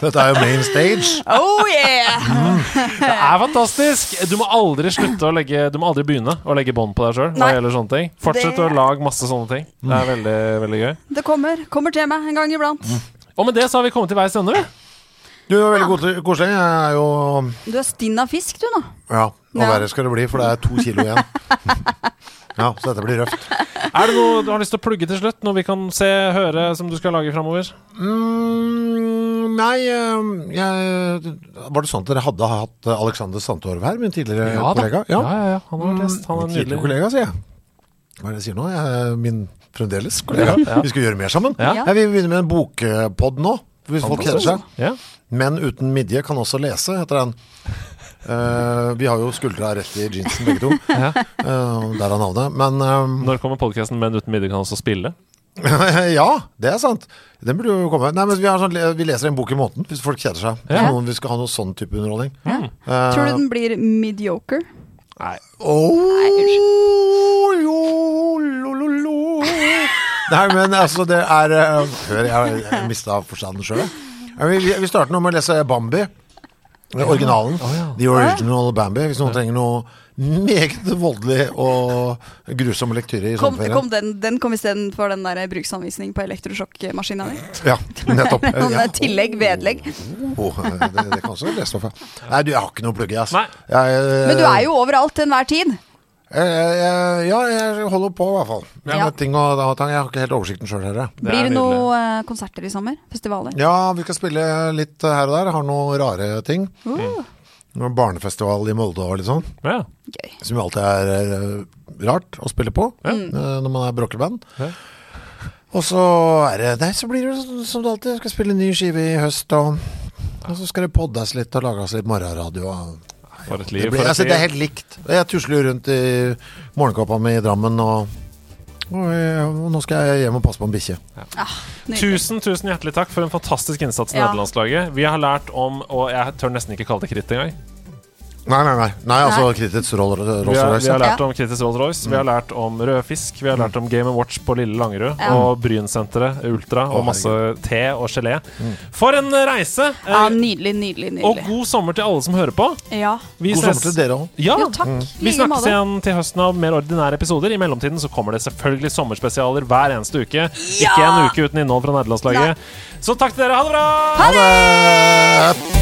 S5: Dette er jo main stage.
S4: Oh yeah!
S1: Det er fantastisk! Du må aldri slutte å legge Du må aldri begynne å legge bånd på deg sjøl hva
S4: Nei.
S1: gjelder sånne ting. Fortsett
S4: Det-
S1: å lage masse sånne ting. Det er veldig, veldig gøy.
S4: Det kommer. Kommer til meg en gang iblant.
S5: Mm.
S1: Og med det så har vi kommet til veis ende, vi.
S5: Du er veldig god- koselig. Jeg er jo
S4: Du er stinn av fisk, du nå.
S5: Ja, og
S4: Ja.
S5: verre skal det bli, for det er to kilo igjen. Ja, så dette blir røft.
S1: Er det noe du har lyst til å plugge til slutt? Noe vi kan se, høre, som du skal lage framover?
S5: Mm, nei eh, jeg, Var det sånn at dere hadde hatt Alexander Sandtorv her, min tidligere kollega?
S1: Ja. ja, ja, ja. Han har vært gjest. Han er
S5: Min tidligere
S1: nydelig.
S5: Mm, kollega, sier jeg. Hva er det jeg sier nå? Jeg, min fremdeles kollega.
S1: Ja, ja.
S5: Vi skal gjøre mer sammen.
S1: Ja.
S5: Ja, vi begynner med en bokpod nå, hvis folk kjeder seg.
S1: Ja.
S5: Menn uten midje kan også lese, heter den. Eh, vi har jo skuldra rett i jeansen, begge to.
S1: Ja.
S5: Eh, der er navnet. Men ehm,
S1: Når kommer podkasten 'Menn uten midje kan også spille'?
S5: ja, det er sant. Den burde jo komme. Nei, men vi, har sånn, vi leser en bok i måneden hvis folk kjeder seg.
S1: Ja.
S5: Noen, vi skal ha noe sånn type underholdning. Eh,
S4: Tror du den blir mediocre?
S1: Nei.
S5: Oh, jo, lo, lo, lo. Nei, men altså, det er eh, Hør, jeg, jeg mista forstanden sjøl. Vi, vi starter nå med å lese Bambi. eh, Originalen. The Original Bambi. Hvis noen trenger noe meget voldelig og grusom lektyre i
S4: Kom,
S5: sommerferien.
S4: kom den, den kom istedenfor den der bruksanvisning på elektrosjokkmaskina di.
S5: Ja, nettopp.
S4: Sånn
S5: Ja.
S4: tillegg,
S1: Eh,
S4: vedlegg.
S5: Oh, det, det kan også lese stoffet. Nei, du, jeg har ikke noe altså. plugg, ass.
S1: Nei.
S5: eh,
S4: Men du er jo overalt til enhver tid.
S5: eh, Ja, jeg holder på, i hvert fall. Men
S4: Ja.
S5: det er ting og, da- tang, jeg har ikke helt oversikten sjøl her. jeg.
S1: Det
S4: Blir
S1: er
S4: det
S1: nydelig.
S4: noen eh, konserter i sommer? Festivaler?
S5: Ja, vi skal spille litt her og der. Jeg har noen rare ting.
S4: Uh,
S5: Noen Barnefestival i Molde og litt sånn.
S1: Ja.
S4: gøy.
S5: Som jo alltid er eh, rart å spille på eh, når man er bråkeband.
S1: Ja.
S5: Og så er det Nei, så blir det jo sånn, som det alltid er. Skal spille ny skive i høst, og, og så skal det poddes litt og lages litt morgenradio. Og,
S1: For et
S5: det,
S1: liv.
S5: blir,
S1: For et
S5: altså, det er
S1: liv.
S5: helt likt. Og Jeg tusler jo rundt i morgenkåpa mi i Drammen, og, og, jeg- og nå skal jeg hjem og passe på en bikkje.
S4: Nydelig.
S1: Tusen tusen hjertelig takk for en fantastisk innsats i
S4: Ja.
S1: nederlandslaget. Vi har lært om Og jeg tør nesten ikke kalle det kritt engang.
S5: Nei, nei, nei. nei altså Kritets roll-
S1: Vi har, vi
S5: Rolls-Royce.
S1: har
S5: ja. Mm.
S1: lært om Kritis Rolls-Royce, vi har lært om rødfisk, vi har lært om Game Watch på Lille Langerud,
S4: Ja.
S1: og Brynsenteret, Ultra, og
S5: Å, Mm.
S1: masse te og gelé. For en reise! eh,
S4: Ja, nydelig, nydelig,
S1: Og
S4: nydelig.
S1: god sommer til alle som hører på.
S4: Ja.
S1: Vi
S5: God sommer til dere Mm. òg.
S1: Ja,
S4: Jo, takk.
S1: Vi
S4: Like
S1: snakkes
S4: måte.
S1: igjen til høsten av mer ordinære episoder. I mellomtiden så kommer det selvfølgelig sommerspesialer hver eneste uke. Ikke en uke uten innhold fra nederlandslaget. Så takk til dere. Ha det bra!
S5: Ha det!